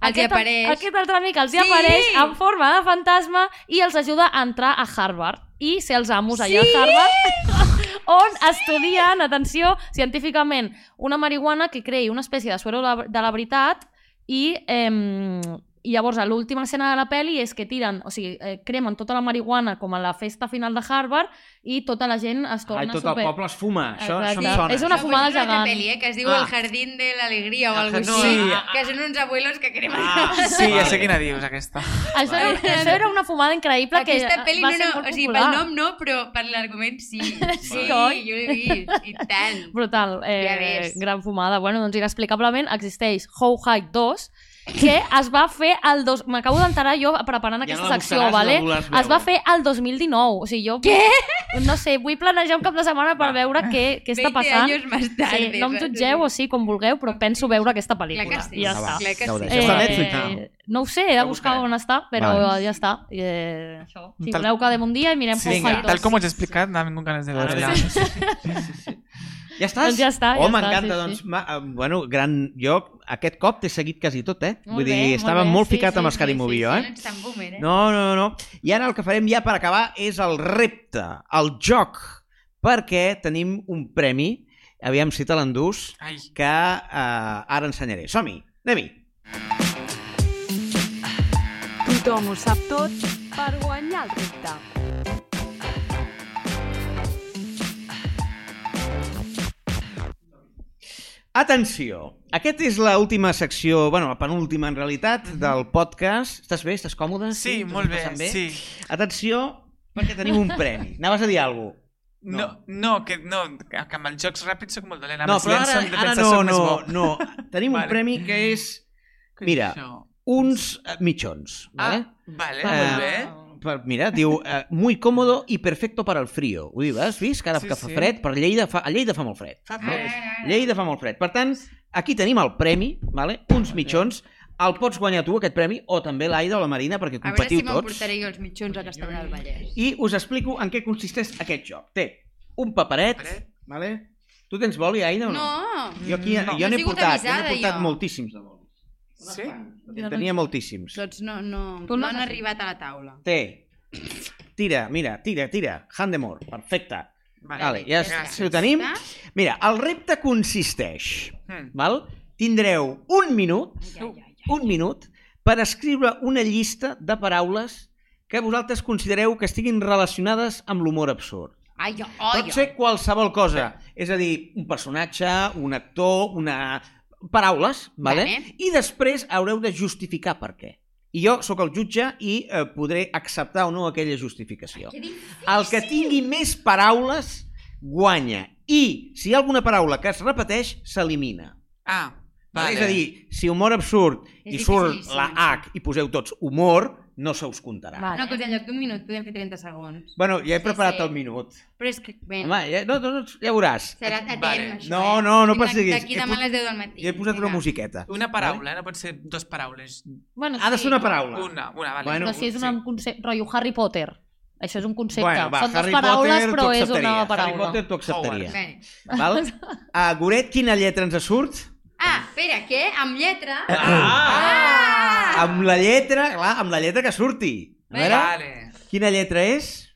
F: Els hi
C: aquest,
F: apareix.
C: aquest altre amic els hi
F: Sí!
C: apareix en forma de fantasma i els ajuda a entrar a Harvard i ser els amos allà a Harvard on estudien, atenció, científicament, una marihuana que creï una espècie de suero de la- de la veritat i, eh, I llavors, a l'última escena de la pel·li és que tiren, o sigui, eh, cremen tota la marihuana com a la festa final de Harvard i tota la gent es torna
B: Ai, tot
C: super...
B: el poble es fuma. Això, això em
C: Exacte.
B: sona.
C: És una
B: això.
C: fumada
F: Això és una altra
C: gegant.
F: Pel·li, eh, que es diu
D: Ah.
F: El jardín de l'alegria o
D: El
F: alguna
D: jardín-
F: cosa així,
D: Sí,
F: ah, que són uns abuelos que cremen.
D: Sí, ja sé quina dius, aquesta.
C: Això, era, això era una fumada increïble
F: Aquesta
C: que
F: pel·li,
C: va
F: no,
C: ser
F: no,
C: molt
F: o sigui,
C: popular.
F: pel nom no, però per l'argument sí. Sí,
C: oi?
F: jo l'he vist, i tant.
C: Brutal,
F: Ja
C: eh,
F: ves.
C: gran fumada. Bueno, doncs inexplicablement existeix How High 2, que es va fer el... Dos... M'acabo d'enterar jo
B: Ja no
C: preparant aquesta
B: la
C: secció,
B: buscaràs,
C: vale?
B: no volaràs
C: Es va
B: veure.
C: fer el 2019. O sigui, jo... Què? No sé, vull planejar un cap de setmana per veure què, què està
F: 20
C: passant.
F: anys més tard.
C: Sí,
F: eh, doncs,
C: no em jutgeu, o sí, com vulgueu, però penso veure aquesta pel·lícula.
F: Clar que sí.
C: I ja
F: Ah,
C: està.
F: va. Clar que
G: Ja ho
F: sí.
G: deixo.
B: Està a
C: Eh,
B: Netflix, ah.
C: No ho sé, he de
B: Ho
C: buscar
B: buscaré.
C: on està, però
G: Vale.
C: ja està. I, eh, això. Si
D: Tal-
C: voleu, quedem un dia i mirem
D: Sí,
C: How
D: vinga,
C: High 2.
D: tal com ho has explicat, no tinc ganes de
F: Ah,
D: veure-la.
B: Ja estàs?
C: Doncs ja està, ja
B: oh,
C: està,
B: m'encanta,
C: sí,
B: doncs,
C: sí.
B: ma, eh, bueno, gran lloc. Aquest cop t'he seguit quasi tot, eh?
C: Molt
B: Vull
C: bé,
B: dir,
C: molt
B: estava
C: bé,
B: molt
C: sí,
B: ficat
C: sí,
B: amb
C: sí,
B: Scary
C: sí,
B: Movie,
F: Jo
B: jo,
F: no
B: eh?
F: ets tan boomer, eh?
B: No, no, no. I ara el que farem ja per acabar és el repte, el joc, perquè tenim un premi, aviam si te l'endús,
D: Ai,
B: que eh, ara ensenyaré. Som-hi, anem-hi.
A: Tothom ho sap tot per guanyar el repte.
B: Atenció, aquesta és l'última secció, bueno, la penúltima en realitat, del podcast. Estàs bé? Estàs
F: Ah,
B: còmode?
D: sí,
F: Doncs
B: T'ho
D: molt bé,
B: estàs passant
D: sí.
B: Atenció, perquè tenim un premi. Anaves a dir alguna cosa?
D: No, no, que, no, que amb els jocs ràpids sóc molt dolent. Amb
B: No,
D: els
B: però
D: lents
B: ara,
D: soc de
B: ara
D: pensar
B: no,
D: soc més
B: no,
D: bo.
B: no. Tenim un
D: Vale.
B: premi que és
D: Que
B: Mira.
D: això.
B: uns eh, mitjons.
D: Ah,
B: Vale?
D: vale,
B: Ah.
D: molt bé.
B: Per, mira, diu, eh, muy cómodo y perfecto para el frío. Ho diu, has vist? Que ara
D: Sí,
B: sí, que fa
D: sí.
B: fred, per Lleida fa, a Lleida fa molt fred.
D: Fa
F: Ah,
D: fred.
F: ah, ah.
B: Lleida fa molt fred. Per tant, aquí tenim el premi, vale? uns mitjons, el pots guanyar tu, aquest premi, o també l'Aida o la Marina, perquè
F: A veure
B: competiu
F: si me'n
B: tots.
F: portaré jo els mitjons a Castellà del Vallès.
B: I us explico en què consisteix aquest joc. Té un paperet,
D: Paperet.
B: vale? tu tens boli, Aida, o no?
F: No,
B: Jo, aquí,
D: No.
B: jo
F: No he
B: n'he
F: sigut
B: portat, jo n'he
F: avisada,
B: portat
F: jo.
B: moltíssims de bolis.
D: Sí?
B: En tenia moltíssims.
F: doncs no, no,
C: Tu
F: no,
C: no
F: han
C: has-
F: arribat a la taula.
B: Té. Tira, mira, tira, tira. Handemore, perfecte.
D: Vale,
B: Vale, ja
F: ja
B: si ho tenim. Mira, el repte consisteix,
D: Mm.
B: val? tindreu un minut,
F: Ai, ai, ai, ai.
B: un minut, per escriure una llista de paraules que vosaltres considereu que estiguin relacionades amb l'humor absurd.
F: Ai, ai, ai,
B: Pot ser qualsevol cosa, és a dir, un personatge, un actor, una... paraules, vale?
F: Vale.
B: i després haureu de justificar per què. I jo sóc el jutge i eh, podré acceptar o no aquella justificació.
F: Que dic-
B: El que tingui més paraules guanya. I si hi ha alguna paraula que es repeteix, s'elimina.
D: Ah,
B: Vale.
D: vale.
B: És a dir, si humor absurd
F: És
B: i surt
F: difícil,
B: la
F: sí.
B: H i poseu tots humor, no se us comptarà.
C: Vale.
F: No, que en lloc d'un minut podem fer 30 segons.
B: Bueno, ja he preparat
F: sí.
B: el minut.
F: Però és que, bé,
B: Home, ja, no, no, no, ja veuràs.
F: serà etern
D: Vale.
F: això,
B: No,
F: eh?
B: no, no
F: Tinc
B: perseguis.
F: D'aquí
B: He
F: demà
B: pos-
F: a les 10 del matí.
B: Jo he posat una
F: Vinga.
B: musiqueta.
D: Una paraula, eh? no pot ser dos paraules.
C: Bueno,
B: Ha de
C: sí.
B: ser una paraula.
D: Una, una, vale.
B: Bueno,
C: Però si és un sí. concepte, rotllo Harry Potter. Això és un concepte.
B: Bueno, va,
C: Són
B: Harry
C: dues paraules,
B: Potter,
C: però
B: t'ho
C: és
B: acceptaria.
C: una
B: Harry
C: paraula.
B: Potter t'ho acceptaria.
F: Bé.
B: Val? A Goret, quina lletra ens surt?
F: Ah, espera, què? Amb lletra?
B: Ah! Amb la lletra, clar, amb la lletra que surti. A veure,
D: Vale.
B: quina lletra és?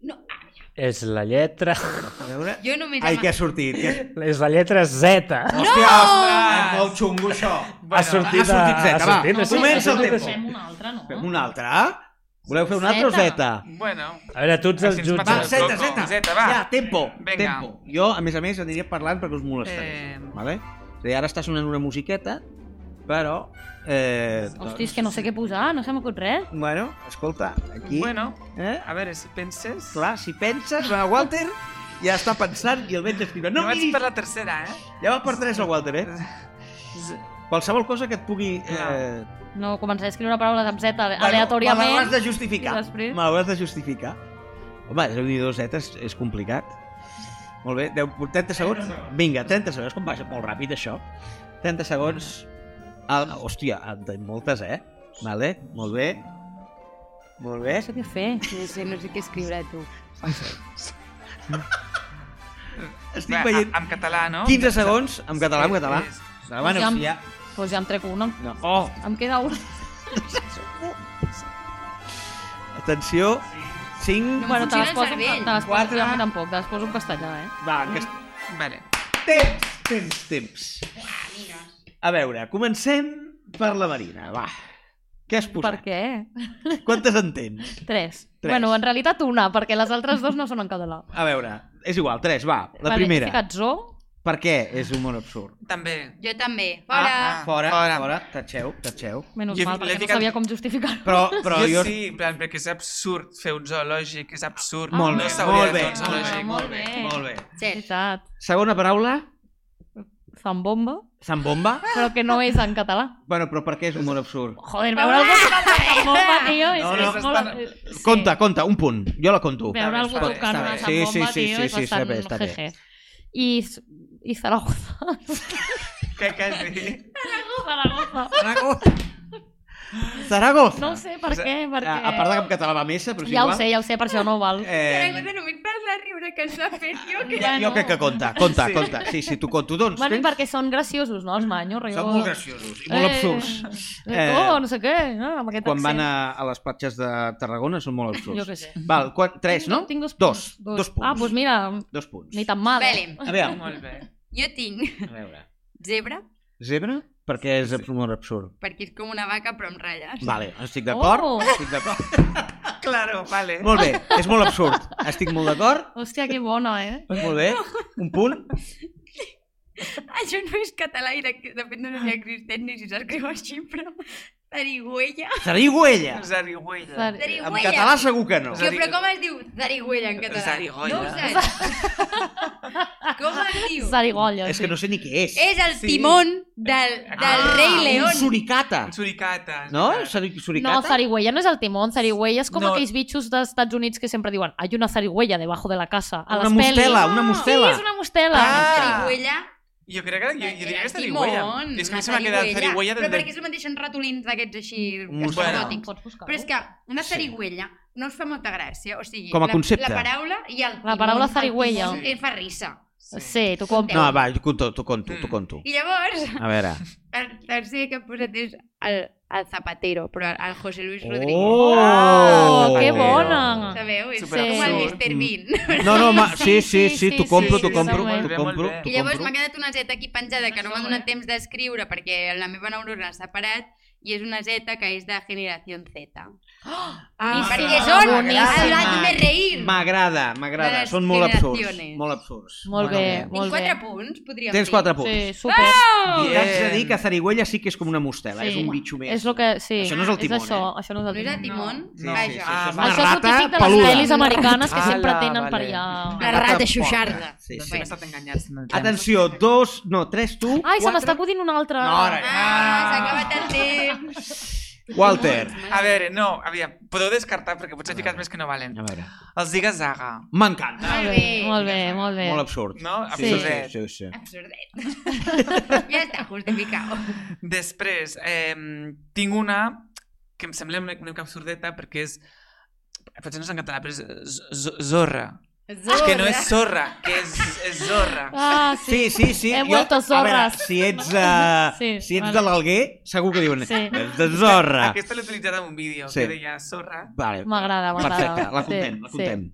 F: No, ah,
E: És la lletra...
B: A veure...
F: jo només...
B: Ai,
F: amb-
B: que ha sortit. Que...
E: És la lletra Z.
B: Hòstia, ostres, molt xungo això.
E: ha sortit,
B: ha sortit
E: de-
B: Z, va.
E: sortit,
B: No,
E: és-
B: Comença el tempo.
E: és-
C: Fem una altra, no?
B: Fem una altra? Voleu fer una altra o
C: Zeta.
B: Z?
D: Bueno,
E: A veure, tu ets el
D: Així ens
E: jutge.
B: Va,
D: matem el
B: Z,
D: coco.
B: Z.
D: Zeta, va.
B: Ja, tempo.
D: Vinga.
B: Tempo. Jo, a més a més, aniria parlant perquè us molestaré.
D: Eh.
B: Vale? És a dir, ara està sonant una musiqueta, però... Eh, doncs,
C: Hosti, és que no sé què posar, no se m'acut res.
B: Bueno, escolta, aquí...
D: bueno,
B: Eh?
D: a veure, si penses...
B: Clar, si penses, va, Walter ja està pensant i el veig escriure. No, no
D: no vaig
B: miris!
D: per la tercera, eh?
B: Ja va per tres el Walter, eh? Qualsevol cosa que et pugui... Eh...
C: No, començaré a escriure paraules amb Z aleatòriament.
B: Me l'hauràs de justificar.
C: i després-
B: Me l'hauràs de justificar. Home, és dir, dos zetes és complicat. Molt bé, 10, 30 segons. Vinga, 30 segons, com baixa molt ràpid això. 30 segons. Ah, hòstia, en tenim moltes, eh? Vale, molt bé. Molt bé.
C: No sé què fer.
F: No sé, no sé què escriure, tu.
B: Estic veient
D: En català, no?
B: 15 segons, en català, en català.
D: És-
B: Bueno,
C: Ja em-
B: si ja...
C: Doncs pues ja en trec una.
B: No. Oh,
C: Em queda una.
B: atenció. 5,
F: No.
C: bueno, te les
F: funciona el
C: poso,
F: cervell.
C: te les poso,
B: Quatre.
C: ja, a mi tampoc, te les poso en castellà, eh?
B: va, que... es-
D: Vale.
B: Temps, temps, temps. A veure, comencem per la Marina, va. Què has
C: Per
B: posat?
C: què?
B: Quantes en tens?
C: Tres.
B: Tres.
C: Bueno, en realitat una, perquè les altres dues no són en català.
B: A veure, és igual, tres, va. La
C: Vale,
B: primera.
C: He ficat zo.
B: Per què és humor absurd?
D: També.
F: Jo també. Fora.
D: Ah,
B: Fora,
D: fora.
B: fora, tatxeu, tatxeu.
C: Menys
D: Jo he
C: mal,
D: fi- l'he
C: perquè no
D: ficat-
C: sabia com justificar.
B: Però, però jo...
D: sí, en plan, perquè és absurd fer un zoològic, és absurd.
B: Molt
D: no
B: bé,
D: s'hauria
B: molt
D: de
B: bé,
D: fer un
B: molt bé,
D: zoològic.
C: molt bé.
B: Molt bé.
F: Cert.
C: Veritat.
B: Segona paraula,
C: Zambomba,
B: zambomba.
C: però que no és en català.
B: Bueno, però per què és humor absurd?
C: Joder, veure algú tocant la zambomba, tio, és,
B: No,
C: no,
B: no,
C: és
D: està-
C: molt... Sí.
B: Compte, compte, un punt. Jo la conto.
C: Veure algú
D: Està bé,
C: tocant
D: està
C: una
D: bé.
B: Sí, sí,
C: zambomba,
B: sí,
C: tio,
B: sí,
C: és
B: sí, està
C: bastant
B: bé, està bé.
C: jeje. I, I Zaragoza.
D: Què, què has dit?
C: Zaragoza.
B: Zaragoza. Zaragoza.
C: No sé per què, perquè...
B: A, a part de que en català va a missa, però és
C: Ja
B: igual.
C: ho sé, ja ho sé, per això no ho val.
B: Eh,
F: Però només per la riure que ens ha fet, jo que...
B: ja, jo
C: Bueno.
B: crec que conta, conta,
D: Sí.
B: sí. conta. Sí, sí, tu, tu doncs
C: Bueno, i
B: tens...
C: perquè són graciosos, no, els manyos? rotllo-
B: Són molt graciosos i molt
C: Eh,
B: absurds.
C: Eh,
B: Eh,
C: oh, no sé què, no? amb aquest
B: Quan van
C: accent.
B: a, a les platges de Tarragona són molt absurds.
C: Jo què sé.
B: Val, quan, tres, no?
C: Tinc dos
B: dos,
C: punts.
B: dos. punts.
C: Ah, doncs mira,
B: Dos punts.
C: ni tan mal. eh?
F: Vale,
B: A veure,
D: Molt bé.
F: jo tinc
B: a veure.
F: zebra,
B: Zebra? Perquè és molt absurd.
F: perquè és com una vaca però amb ratlles.
B: Vale, estic d'acord.
C: Oh.
B: Estic d'acord.
D: Claro, vale.
B: Molt bé, és molt absurd. Estic molt d'acord.
C: Hòstia, que bona, eh?
B: Molt bé. Un punt. Mm.
F: Això no és català i de, de fet no sé si existeix ni si s'escriu així, però... Zarigüeya.
B: Zarigüella.
D: Zarigüella.
C: Zari-
B: Eh, En
F: Zarigüeya.
B: català segur que no.
F: Jo, però com es diu zarigüeya en català?
D: Zarigüeya.
F: No ho saps. com es diu?
C: Zarigolla.
B: És que no sé ni què és.
F: És el
D: Sí.
F: timón del, del
D: Ah,
F: rei
B: Un
F: León.
B: suricata.
D: Suricata.
B: No?
D: Suricata.
B: Suri-
C: No,
B: Suricata?
C: zarigüeya no és el timón, zarigüeya és com
D: No.
C: aquells bitxos dels Estats Units que sempre diuen hay una zarigüeya debajo de la casa, a
B: Una
C: les pel·lis.
B: mostela, una mostela.
C: Sí, és una mostela.
D: Ah!
F: Zarigüeya
D: Jo crec que, jo, jo diria que és
F: Era
D: zarigüella.
F: timón,
D: És que a mi
F: una
D: se m'ha quedat zarigüella
F: Però
D: del...
F: perquè és el mateix en ratolins d'aquests així
B: Bueno.
F: exòtics.
C: Pots buscar-ho.
F: Però és que una zarigüella no us fa molta gràcia, o sigui...
B: Com a
F: la-
B: concepte.
F: La paraula i el timón.
C: La paraula
F: el timón
C: zarigüeya.
F: eh, fa risa.
C: Sí, t'ho compro.
B: No, va, t'ho conto, t'ho conto, t'ho
D: Mm.
B: conto.
F: I llavors,
B: A veure.
F: el tercer que he posat és el, el Zapatero, però el José Luis Rodríguez.
B: Oh!
C: que bona.
F: Sabeu? És
D: Super
F: com el
D: absurd.
B: Mm.
F: Mr. Bean.
B: No, no, ma... sí, sí, sí, t'ho compro,
D: sí,
B: t'ho
D: sí,
B: compro,
D: molt
B: t'ho
D: bé, molt
B: compro.
D: bé.
B: t'ho
F: I llavors
B: compro.
F: m'ha quedat una zeta aquí penjada que no m'ha donat temps d'escriure perquè la meva neurona s'ha parat i és una zeta que és de generació Z. I perquè són el hazme reír.
B: M'agrada, m'agrada.
F: Les
B: Són molt absurds.
F: generacions.
B: Molt absurds.
C: Molt bé,
F: Tinc
C: molt
F: quatre
C: bé.
F: punts, podríem
B: Tens
F: dir.
B: quatre punts.
C: Sí, super.
B: I
D: Bien.
B: T'haig de dir que Zarigüella sí que és com una mostela,
C: Sí.
B: Ah. és un bitxo més.
C: És lo que... Sí.
B: Això no és el timón,
C: és això,
B: eh?
C: això no és
F: No
C: el
F: era
C: timón.
F: Timon?
B: Sí, sí, sí,
D: Ah,
B: això és
D: va.
B: una
C: Això és
B: rata
C: típic de les
B: peluda.
C: pel·lis americanes que
D: Ala,
C: sempre tenen
D: vale.
C: per allà...
F: La
B: Una
F: rata
B: rata
F: xuxarda.
B: porca. Sí, sí.
D: Doncs hem estat enganyats. en el temps.
B: Atenció, dos, no, tres, tu.
C: Ai, se
B: quatre.
C: m'està acudint una altra.
B: No, ara.
F: Ah, s'ha acabat el temps.
B: Walter.
D: A veure, no, aviam, podeu descartar perquè potser he ficat més que no valen.
B: A veure.
D: Els ziga-zaga,
B: M'encanta.
C: Molt
F: Molt
C: bé,
F: bé.
C: molt bé, molt bé.
B: Molt absurd.
D: no?
B: Sí, sí,
D: Absurdet.
B: sí, sí.
F: Absurdet. ja està justificat.
D: Després, eh, tinc una que em sembla una, una mica absurdeta perquè és... Potser no és en català, però és eh, z- z- zorra. Que no és zorra, que és, és zorra.
C: Ah,
B: Sí,
C: sí.
B: sí, sí.
C: He vuelto
B: a veure,
C: zorras.
B: si ets, uh, sí,
C: Sí,
B: si ets
C: vale.
B: de l'Alguer, segur que diuen...
C: Sí.
B: Sí. De zorra.
D: Aquesta l'he utilitzat en un vídeo,
B: Sí.
D: que deia zorra.
B: Vale.
C: M'agrada, m'agrada.
B: Perfecte, la contem,
C: Sí,
B: la contem.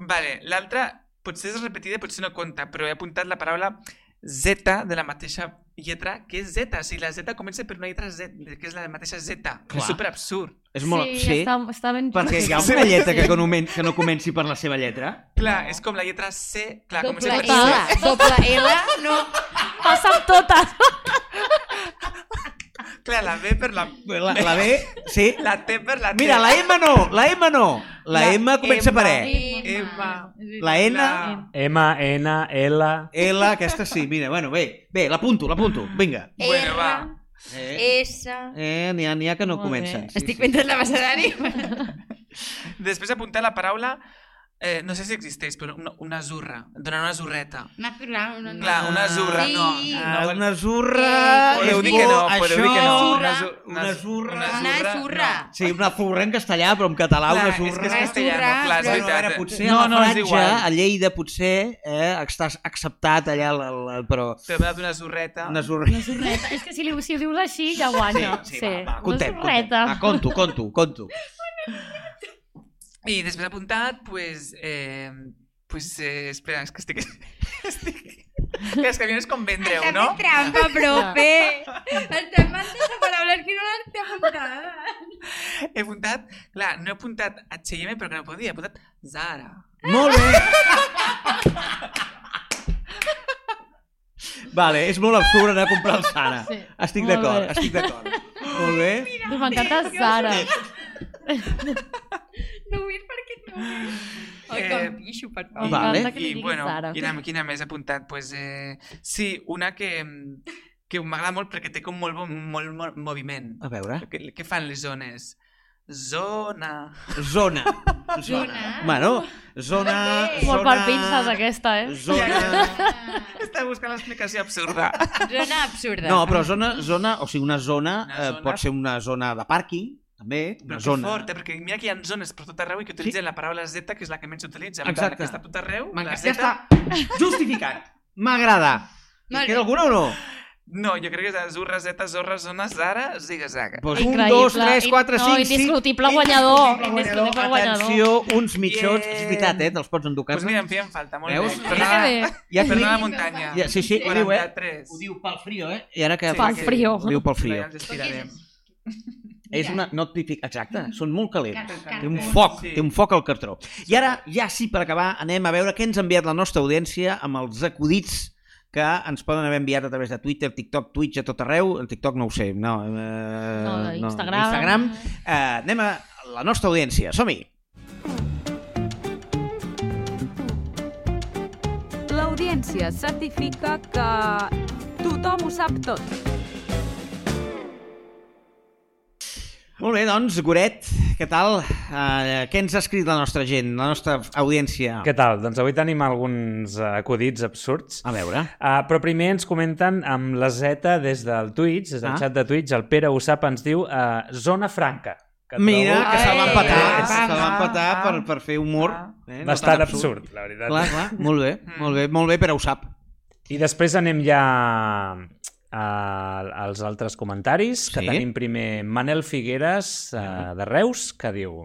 D: Vale, l'altra potser és repetida, potser no compta, però he apuntat la paraula Z de la mateixa lletra, que és Z. O sigui, la Z comença per una lletra Z, que és la mateixa Z. Que
B: Clar.
D: és superabsurd.
B: És molt...
C: Sí, està, està ben...
B: Perquè hi ha
C: Sí.
B: una lletra que, comen- que no comenci per la seva lletra.
D: Clar, és com la lletra C, clar, comença
F: Doble
D: per
F: L.
D: C.
F: Doble L. No.
C: Passa amb totes.
D: Clar, la B per la...
B: La, la B, sí.
D: La T per la T.
B: Mira, la M no, la M no. La,
D: La
B: M comença
D: M.
B: per E.
D: Eva.
B: La N,
D: La-
E: M, N, L...
B: L, aquesta sí, mira, bueno, bé, bé, l'apunto, l'apunto, vinga.
D: Bueno, va.
B: Eh,
F: S.
B: eh n'hi ha, n'hi ha que no
C: Molt
B: comencen.
C: bé.
B: Sí,
F: Estic
B: sí.
F: fent tot l'abecedari.
D: Després apuntar la paraula... Eh, no sé si existeix, però una, una zurra. Donar una zurreta.
F: Una zurra, una
D: Clar, una zurra, no.
F: Sí.
B: Ah,
D: no
B: una
F: Eh,
B: zurra...
D: Podeu
B: és
D: dir que
B: bo,
D: no, podeu dir que no.
B: això.
F: Una
D: zu-
B: Una zurra.
F: Una
D: zurra,
F: zurra.
D: no.
B: Sí, una zurra en castellà, però en català una
D: Clar, és que
B: zurra...
D: és
F: Una
D: castellano,
F: zurra,
D: clar, és
F: però-
D: veritat. eh?
B: Ara, potser a
D: no,
B: la
D: no, és
B: franja,
D: igual.
B: a Lleida, potser, eh, estàs acceptat allà, la, la, però
D: T'he donat una zurreta.
B: una zurra...
C: Una sorreta. És que si, li, si ho dius així ja guanya.
B: Sí, sí, va, va,
C: Una
B: contem, contem.
C: sorreta.
B: Va, conto, conto, conto.
D: I després apuntat, pues, eh, pues, eh, espera, és este que estic... estic... que és que vienes com vendreu,
F: Estàs
D: Ah, no?
F: fent trampa, profe. Estem mantes paraules que no les té apuntades.
D: He apuntat, clar, no he apuntat H&M, però que no podia, he apuntat Zara.
B: Molt bé! Vale, és molt absurd anar a comprar el Sara.
C: Sí.
B: Estic
C: Molt
B: d'acord,
C: bé.
B: estic d'acord. Molt bé.
C: Diu, M'encanta Zara.
F: No ho veig perquè no ho veig. Ai,
D: Eh,
F: com pixo, per favor.
B: Va. Vale.
C: M'encanta que li
D: I,
C: diguis
D: bueno,
C: Zara.
D: quina, quina més he apuntat? Pues, eh, sí, una que, que m'agrada molt perquè té com molt, bo- molt, molt moviment.
B: A veure.
D: Què que fan les zones? Zona.
B: Zona.
F: Zona.
B: Bueno, zona...
F: Molt
C: Molt
B: zona,
C: per pinces aquesta, eh?
B: Zona...
F: Ah.
D: Està buscant l'explicació absurda.
F: Zona absurda.
B: No, però zona, zona o sigui, una zona,
D: Una
B: una zona...
D: zona.
B: Eh, pot ser una zona de pàrquing, també,
D: Però
B: una
D: que eh,
B: zona...
D: forta, perquè mira que hi ha zones per tot arreu i que utilitzen la paraula Z, que és la que menys s'utilitza. Per tant,
B: Exacte.
D: La que està a tot arreu, la
B: Ja
D: Z...
B: està. Justificat. M'agrada.
F: Molt
B: Molt
F: bé.
B: Queda alguna o no?
D: No, jo crec que és azurra, Z, zorra, zona, Zara, ziga-zaga.
B: Pues
C: Increïble.
B: Doncs un, dos, tres,
C: In-
B: quatre,
C: no,
B: cinc, cinc...
C: indiscutible guanyador, indiscutible guanyador.
B: Atenció, uns mitjons.
D: Bien.
B: És veritat, eh? Te'ls pots endur a
D: Doncs pues
B: casa.
D: mira, em feien falta, molt
B: Veus?
D: bé.
B: Mira
C: Mira que
D: Perdona,
C: bé.
B: ja,
D: perdona la muntanya.
B: ja, sí, sí, ho diu, eh?
D: 43.
B: Ho diu pel frio, eh? I ara que
D: Sí,
C: Pel
D: sí.
C: frio.
B: Ho diu pel
D: Ja
B: frio.
D: ens estirarem.
B: És una... No et pific... Exacte, són molt calents.
F: Car-
B: Té un
F: car-
B: foc,
D: Sí.
B: té un foc al cartró. I ara, ja sí, per acabar, anem a veure què ens ha enviat la nostra audiència amb els acudits que ens poden haver enviat a través de Twitter, TikTok, Twitch, a tot arreu. El TikTok no ho sé, no. Eh,
C: No,
B: no,
C: Instagram.
B: Instagram. Eh, anem a la nostra audiència. Som-hi!
A: L'audiència certifica que tothom ho sap tot.
B: Molt bé, doncs, Goret, què tal? Uh, què ens ha escrit la nostra gent, la nostra audiència?
E: Què tal? Doncs avui tenim alguns eh, acudits absurds.
B: A veure.
E: Uh, però primer ens comenten amb la Z des del Twitch, des del
B: Ah.
E: ah. xat de Twitch, el Pere ho sap, ens diu uh, Zona Franca. Que
B: Mira, que
E: trobo
B: se va
D: Ai,
B: empatar,
D: eh,
B: se va
D: ah,
B: empatar
D: ah,
B: per, per fer humor.
D: ah.
B: Eh?
E: Bastant
B: tan
E: absurd, la veritat.
B: Clar, clar, molt bé, molt bé, molt bé, però ho sap.
E: I després anem ja a, als altres comentaris, que
B: Sí.
E: tenim primer Manel Figueres, uh, de Reus, que diu...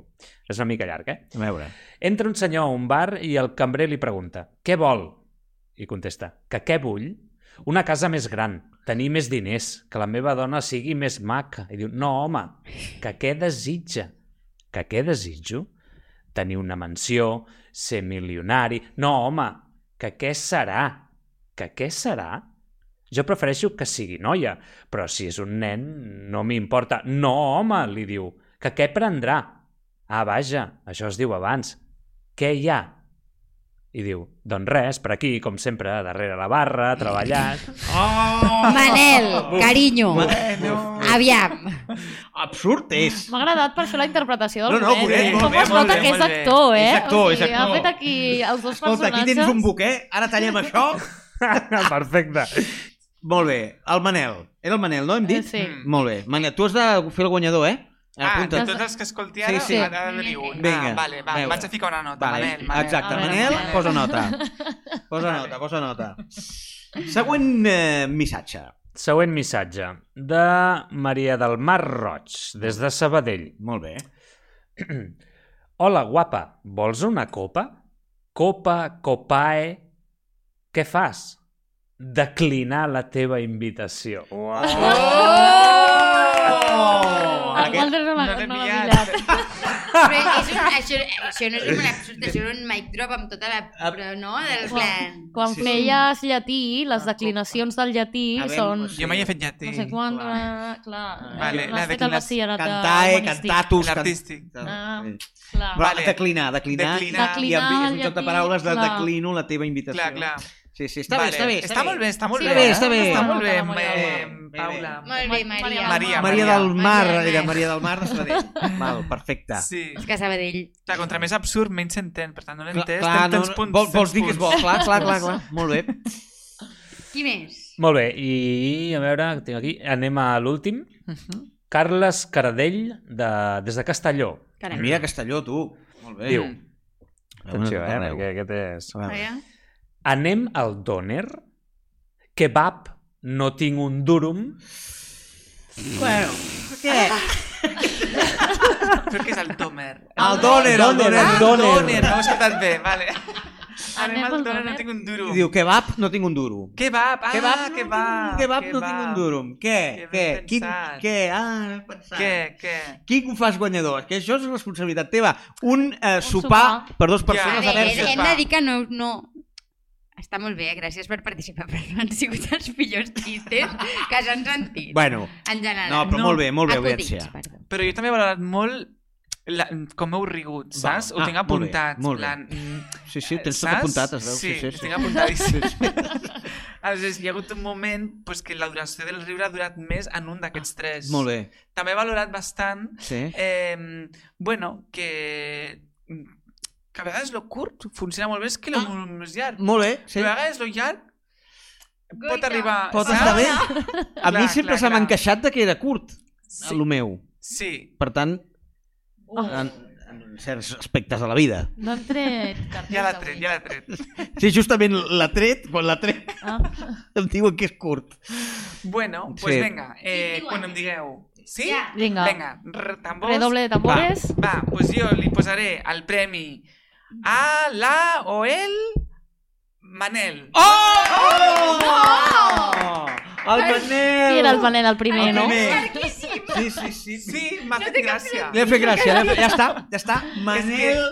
E: És una mica llarg, eh?
B: A veure.
E: Entra un senyor a un bar i el cambrer li pregunta què vol? I contesta que què vull? Una casa més gran, tenir més diners, que la meva dona sigui més maca. I diu, no home, que què desitja? Que què desitjo? Tenir una mansió, ser milionari... No home, que què serà? Que què serà? Jo prefereixo que sigui noia, però si és un nen no m'importa. No home, li diu, que què prendrà? Ah, vaja, això es diu abans. Què hi ha? I diu, doncs res, per aquí, com sempre, darrere la barra, treballant...
B: Ah,
F: Manel, carinyo, aviam.
B: Absurd és.
C: M'ha agradat per això la interpretació del
B: No, no,
C: Bonet,
B: Bonet,
C: eh?
B: molt
C: Com
B: bé,
C: es
D: molt
C: nota
D: bé,
C: que és
D: molt bé.
C: actor, eh?
B: És actor,
C: O
B: és
C: sigui,
B: actor.
C: Ha fet aquí els dos
B: Escolta, aquí
C: personatges.
B: tens un buc, eh? Ara tallem això.
E: Perfecte.
B: Molt bé, el Manel. Era el Manel, no? Hem
C: Eh,
B: dit?
C: sí.
D: Mm.
B: Molt bé. Manel, tu has de fer el guanyador, eh?
D: Ah, de
B: Apunta't.
D: tots els que escolti ara,
B: Sí,
D: sí,
B: sí.
D: sí. ara ara veniu un.
B: Vinga,
D: Ah, vale, va,
B: veure.
D: vaig a ficar una nota,
B: Vale,
D: Manel, Manel.
B: Exacte,
C: A veure,
B: Manel,
C: Manel.
B: posa nota. Posa nota, posa nota. Següent eh, missatge.
E: Següent missatge, de Maria del Mar Roig, des de Sabadell.
B: Molt bé.
E: Hola, guapa, vols una copa? Copa, copae... Què fas? Declinar la teva invitació.
B: Oh!
E: Uau.
D: Oh!
C: El Walter no l'ha
D: l'he
C: no l'ha
D: pillat.
C: pillat.
F: Però és un, això, això no és un absurd, això era un mic drop amb tota la... Però no, del plan...
C: Quan
B: Sí, sí.
C: feies llatí, les declinacions del llatí
B: A veure, doncs,
C: són...
B: pues,
D: Jo mai he fet llatí.
C: No sé quan...
B: clar.
C: Clar, clar
D: Vale,
C: no
D: la
C: has fet el
D: declinació-
C: batxillerat de
B: Cantae,
C: humanístic.
B: cantatus... can-
D: L'artístic.
C: Ah,
B: Sí.
C: Clar.
B: eh, Però
D: Vale.
B: declinar, declinar, i
D: Declinar.
B: amb, és un
C: Declinar,
B: joc de paraules de
C: clar.
B: declino la teva invitació.
D: Clar, clar.
B: Sí, sí, està
D: Vale.
B: bé, està bé.
D: Està molt bé, està molt
C: Sí,
D: bé.
C: bé,
D: eh?
B: està bé.
D: Està molt bé,
C: Està molt bé,
D: eh,
B: molt bé.
D: Paula.
F: Molt bé,
C: Ma-
F: Maria.
D: Maria,
B: Maria del Mar,
F: Maria del Mar.
B: era Maria del Mar de Sabadell. Val, perfecte.
D: Sí.
F: És que Sabadell...
D: Clar, contra més absurd, menys s'entén. Per tant, no
B: Clar,
D: l'entens,
B: clar,
D: tens,
B: no,
D: tens punts.
B: vols, vols
D: tens
B: dir que és bo,
D: punts.
B: clar, clar, clar, clar. Molt bé.
F: Qui més?
E: Molt bé, i a veure, que tinc aquí, anem a l'últim. Carles Cardell, de, des de Castelló.
F: Caram.
B: Mira Castelló, tu. Molt bé.
E: Diu.
B: A veure,
E: Atenció, eh,
B: a veure.
E: perquè aquest és...
B: A veure.
F: Maria.
E: Anem al doner? Kebab, no tinc un durum.
B: Bueno, què?
D: Crec que és el Tomer.
B: El Doner, el Doner.
E: Doner.
D: Ah,
B: Ah,
D: Doner, no ho he escoltat bé, vale. Anem
C: Anem
D: al
C: al
D: dòlar, no
C: dòlar.
D: tinc un duro.
B: I diu, kebab, no tinc un duro.
D: Kebab, ah,
B: Kebab, no
D: kebab,
B: tinc un- kebab, no tinc un duro. Què?
D: Que
B: Què?
D: ben
B: Quin,
D: pensat.
B: què? Ah, he pensat.
D: Què, què?
B: Qui ho fas guanyador? Que això és responsabilitat teva. Un, eh, sopar,
C: sopar.
B: per dues
F: A
B: persones
D: Ja.
B: a
F: veure,
B: Verges.
F: hem de dir que no... no... Està molt bé, eh? gràcies per participar, però no han sigut els millors xistes que s'han sentit.
B: Bueno,
F: en general.
B: no, però molt bé, molt bé,
F: Acudits,
B: audiència.
F: perdó.
D: Però jo també he valorat molt la, com heu rigut, saps?
B: ah,
D: Ho tinc
B: molt bé,
D: apuntat.
B: molt bé.
D: plan, mm,
B: Sí, sí, ho tens tot
D: saps?
B: apuntat, es veu. Sí,
D: Sí,
B: sí, sí.
D: ho tinc apuntadíssim. Aleshores, hi ha hagut un moment pues, que la duració del riure ha durat més en un d'aquests tres.
B: Molt bé,
D: També he valorat bastant
B: sí.
D: Eh, bueno, que... mm, Que a vegades lo curt funciona molt bé, és que lo ah. més llarg.
B: Molt bé,
D: Sí.
B: sí.
D: A vegades lo llarg pot
F: Goita. Ah.
D: arribar...
B: Pot
D: saps?
B: estar bé. A mi
D: Clar,
B: sempre
D: clar,
B: se m'ha
D: clar.
B: encaixat de que era curt, sí.
D: Sí,
B: el meu.
D: sí.
B: Per tant, en, en certs aspectes de la vida.
C: No hem tret cartes
D: Ja l'ha tret, ja l'ha tret.
B: Sí, justament l'ha tret, quan l'ha tret
C: Ah.
B: em diuen que és curt.
D: Bueno, pues
B: Sí.
D: venga, eh,
F: Sí,
D: quan
F: diuen.
D: em digueu. Sí?
F: Ja.
C: Vinga.
D: Vinga, r- tambors.
C: Redoble de tambores.
D: Va, pues jo li posaré el premi a la o el Manel. Oh!
B: Oh! El Manel!
C: Qui era el Manel el primer,
B: El
C: no?
B: primer.
F: Llarguíssim.
B: Sí, sí, sí. sí.
D: Sí, m'ha fet gràcia.
B: Li ha fet gràcia, li ha fet... ja està, ja està. Manel,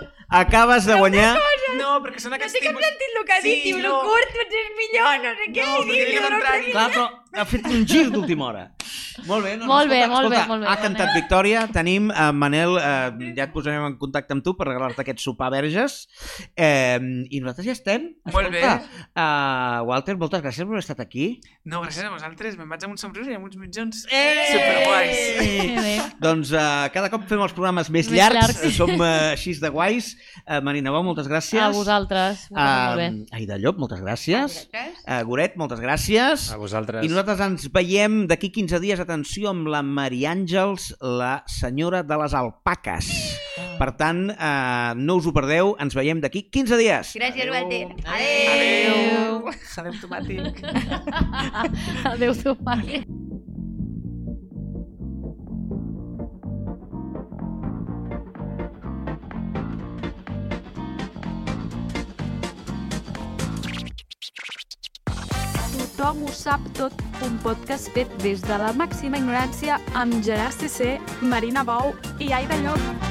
B: acabes de guanyar...
D: No, perquè són
F: No
D: aquests
F: sé que hem
D: tipus...
F: sentit el que ha
D: Sí,
F: dit, diu,
D: no.
F: lo curt, potser és millor, no sé què,
D: No,
F: i
D: no
F: diu,
D: diria
F: no,
D: el
F: no,
D: contrari.
B: Clar, però ha fet un gir d'última hora. Molt bé, no,
C: Molt
B: no, escolta,
C: bé, molt bé,
B: escolta,
C: molt bé,
B: Ha
C: molt
B: cantat
C: bé.
B: Victòria, tenim eh, Manel, eh, ja et posarem en contacte amb tu per regalar-te aquest sopar verges. Eh, I nosaltres ja estem.
D: Molt bé.
B: Escolta, eh, Walter, moltes gràcies per haver estat aquí.
D: No, gràcies a vosaltres. Me'n vaig amb un somriure i amb uns mitjons
B: Eh!
D: superguais.
C: Que bé.
B: Doncs uh, cada cop fem els programes més,
C: Més
B: llargs,
C: llargs.
B: eh, som uh, així de guais. Uh, Marina Bau, moltes gràcies.
C: A vosaltres. Uh, molt bé. Ah,
B: Uh, Aida Llop, moltes gràcies.
F: Gràcies.
B: Uh, Goret, moltes gràcies.
E: A vosaltres.
B: I nosaltres ens veiem d'aquí 15 dies, atenció, amb la Maria Àngels, la senyora de les alpaques. Per tant, eh, no us ho perdeu, ens veiem d'aquí 15 dies.
F: Gràcies, Walter.
D: Adéu. Adéu, tomàtic.
C: Adéu, teu pare.
A: Tothom ho sap tot, un podcast fet des de la màxima ignorància amb Gerard CC, Marina Bou i Aida Llop.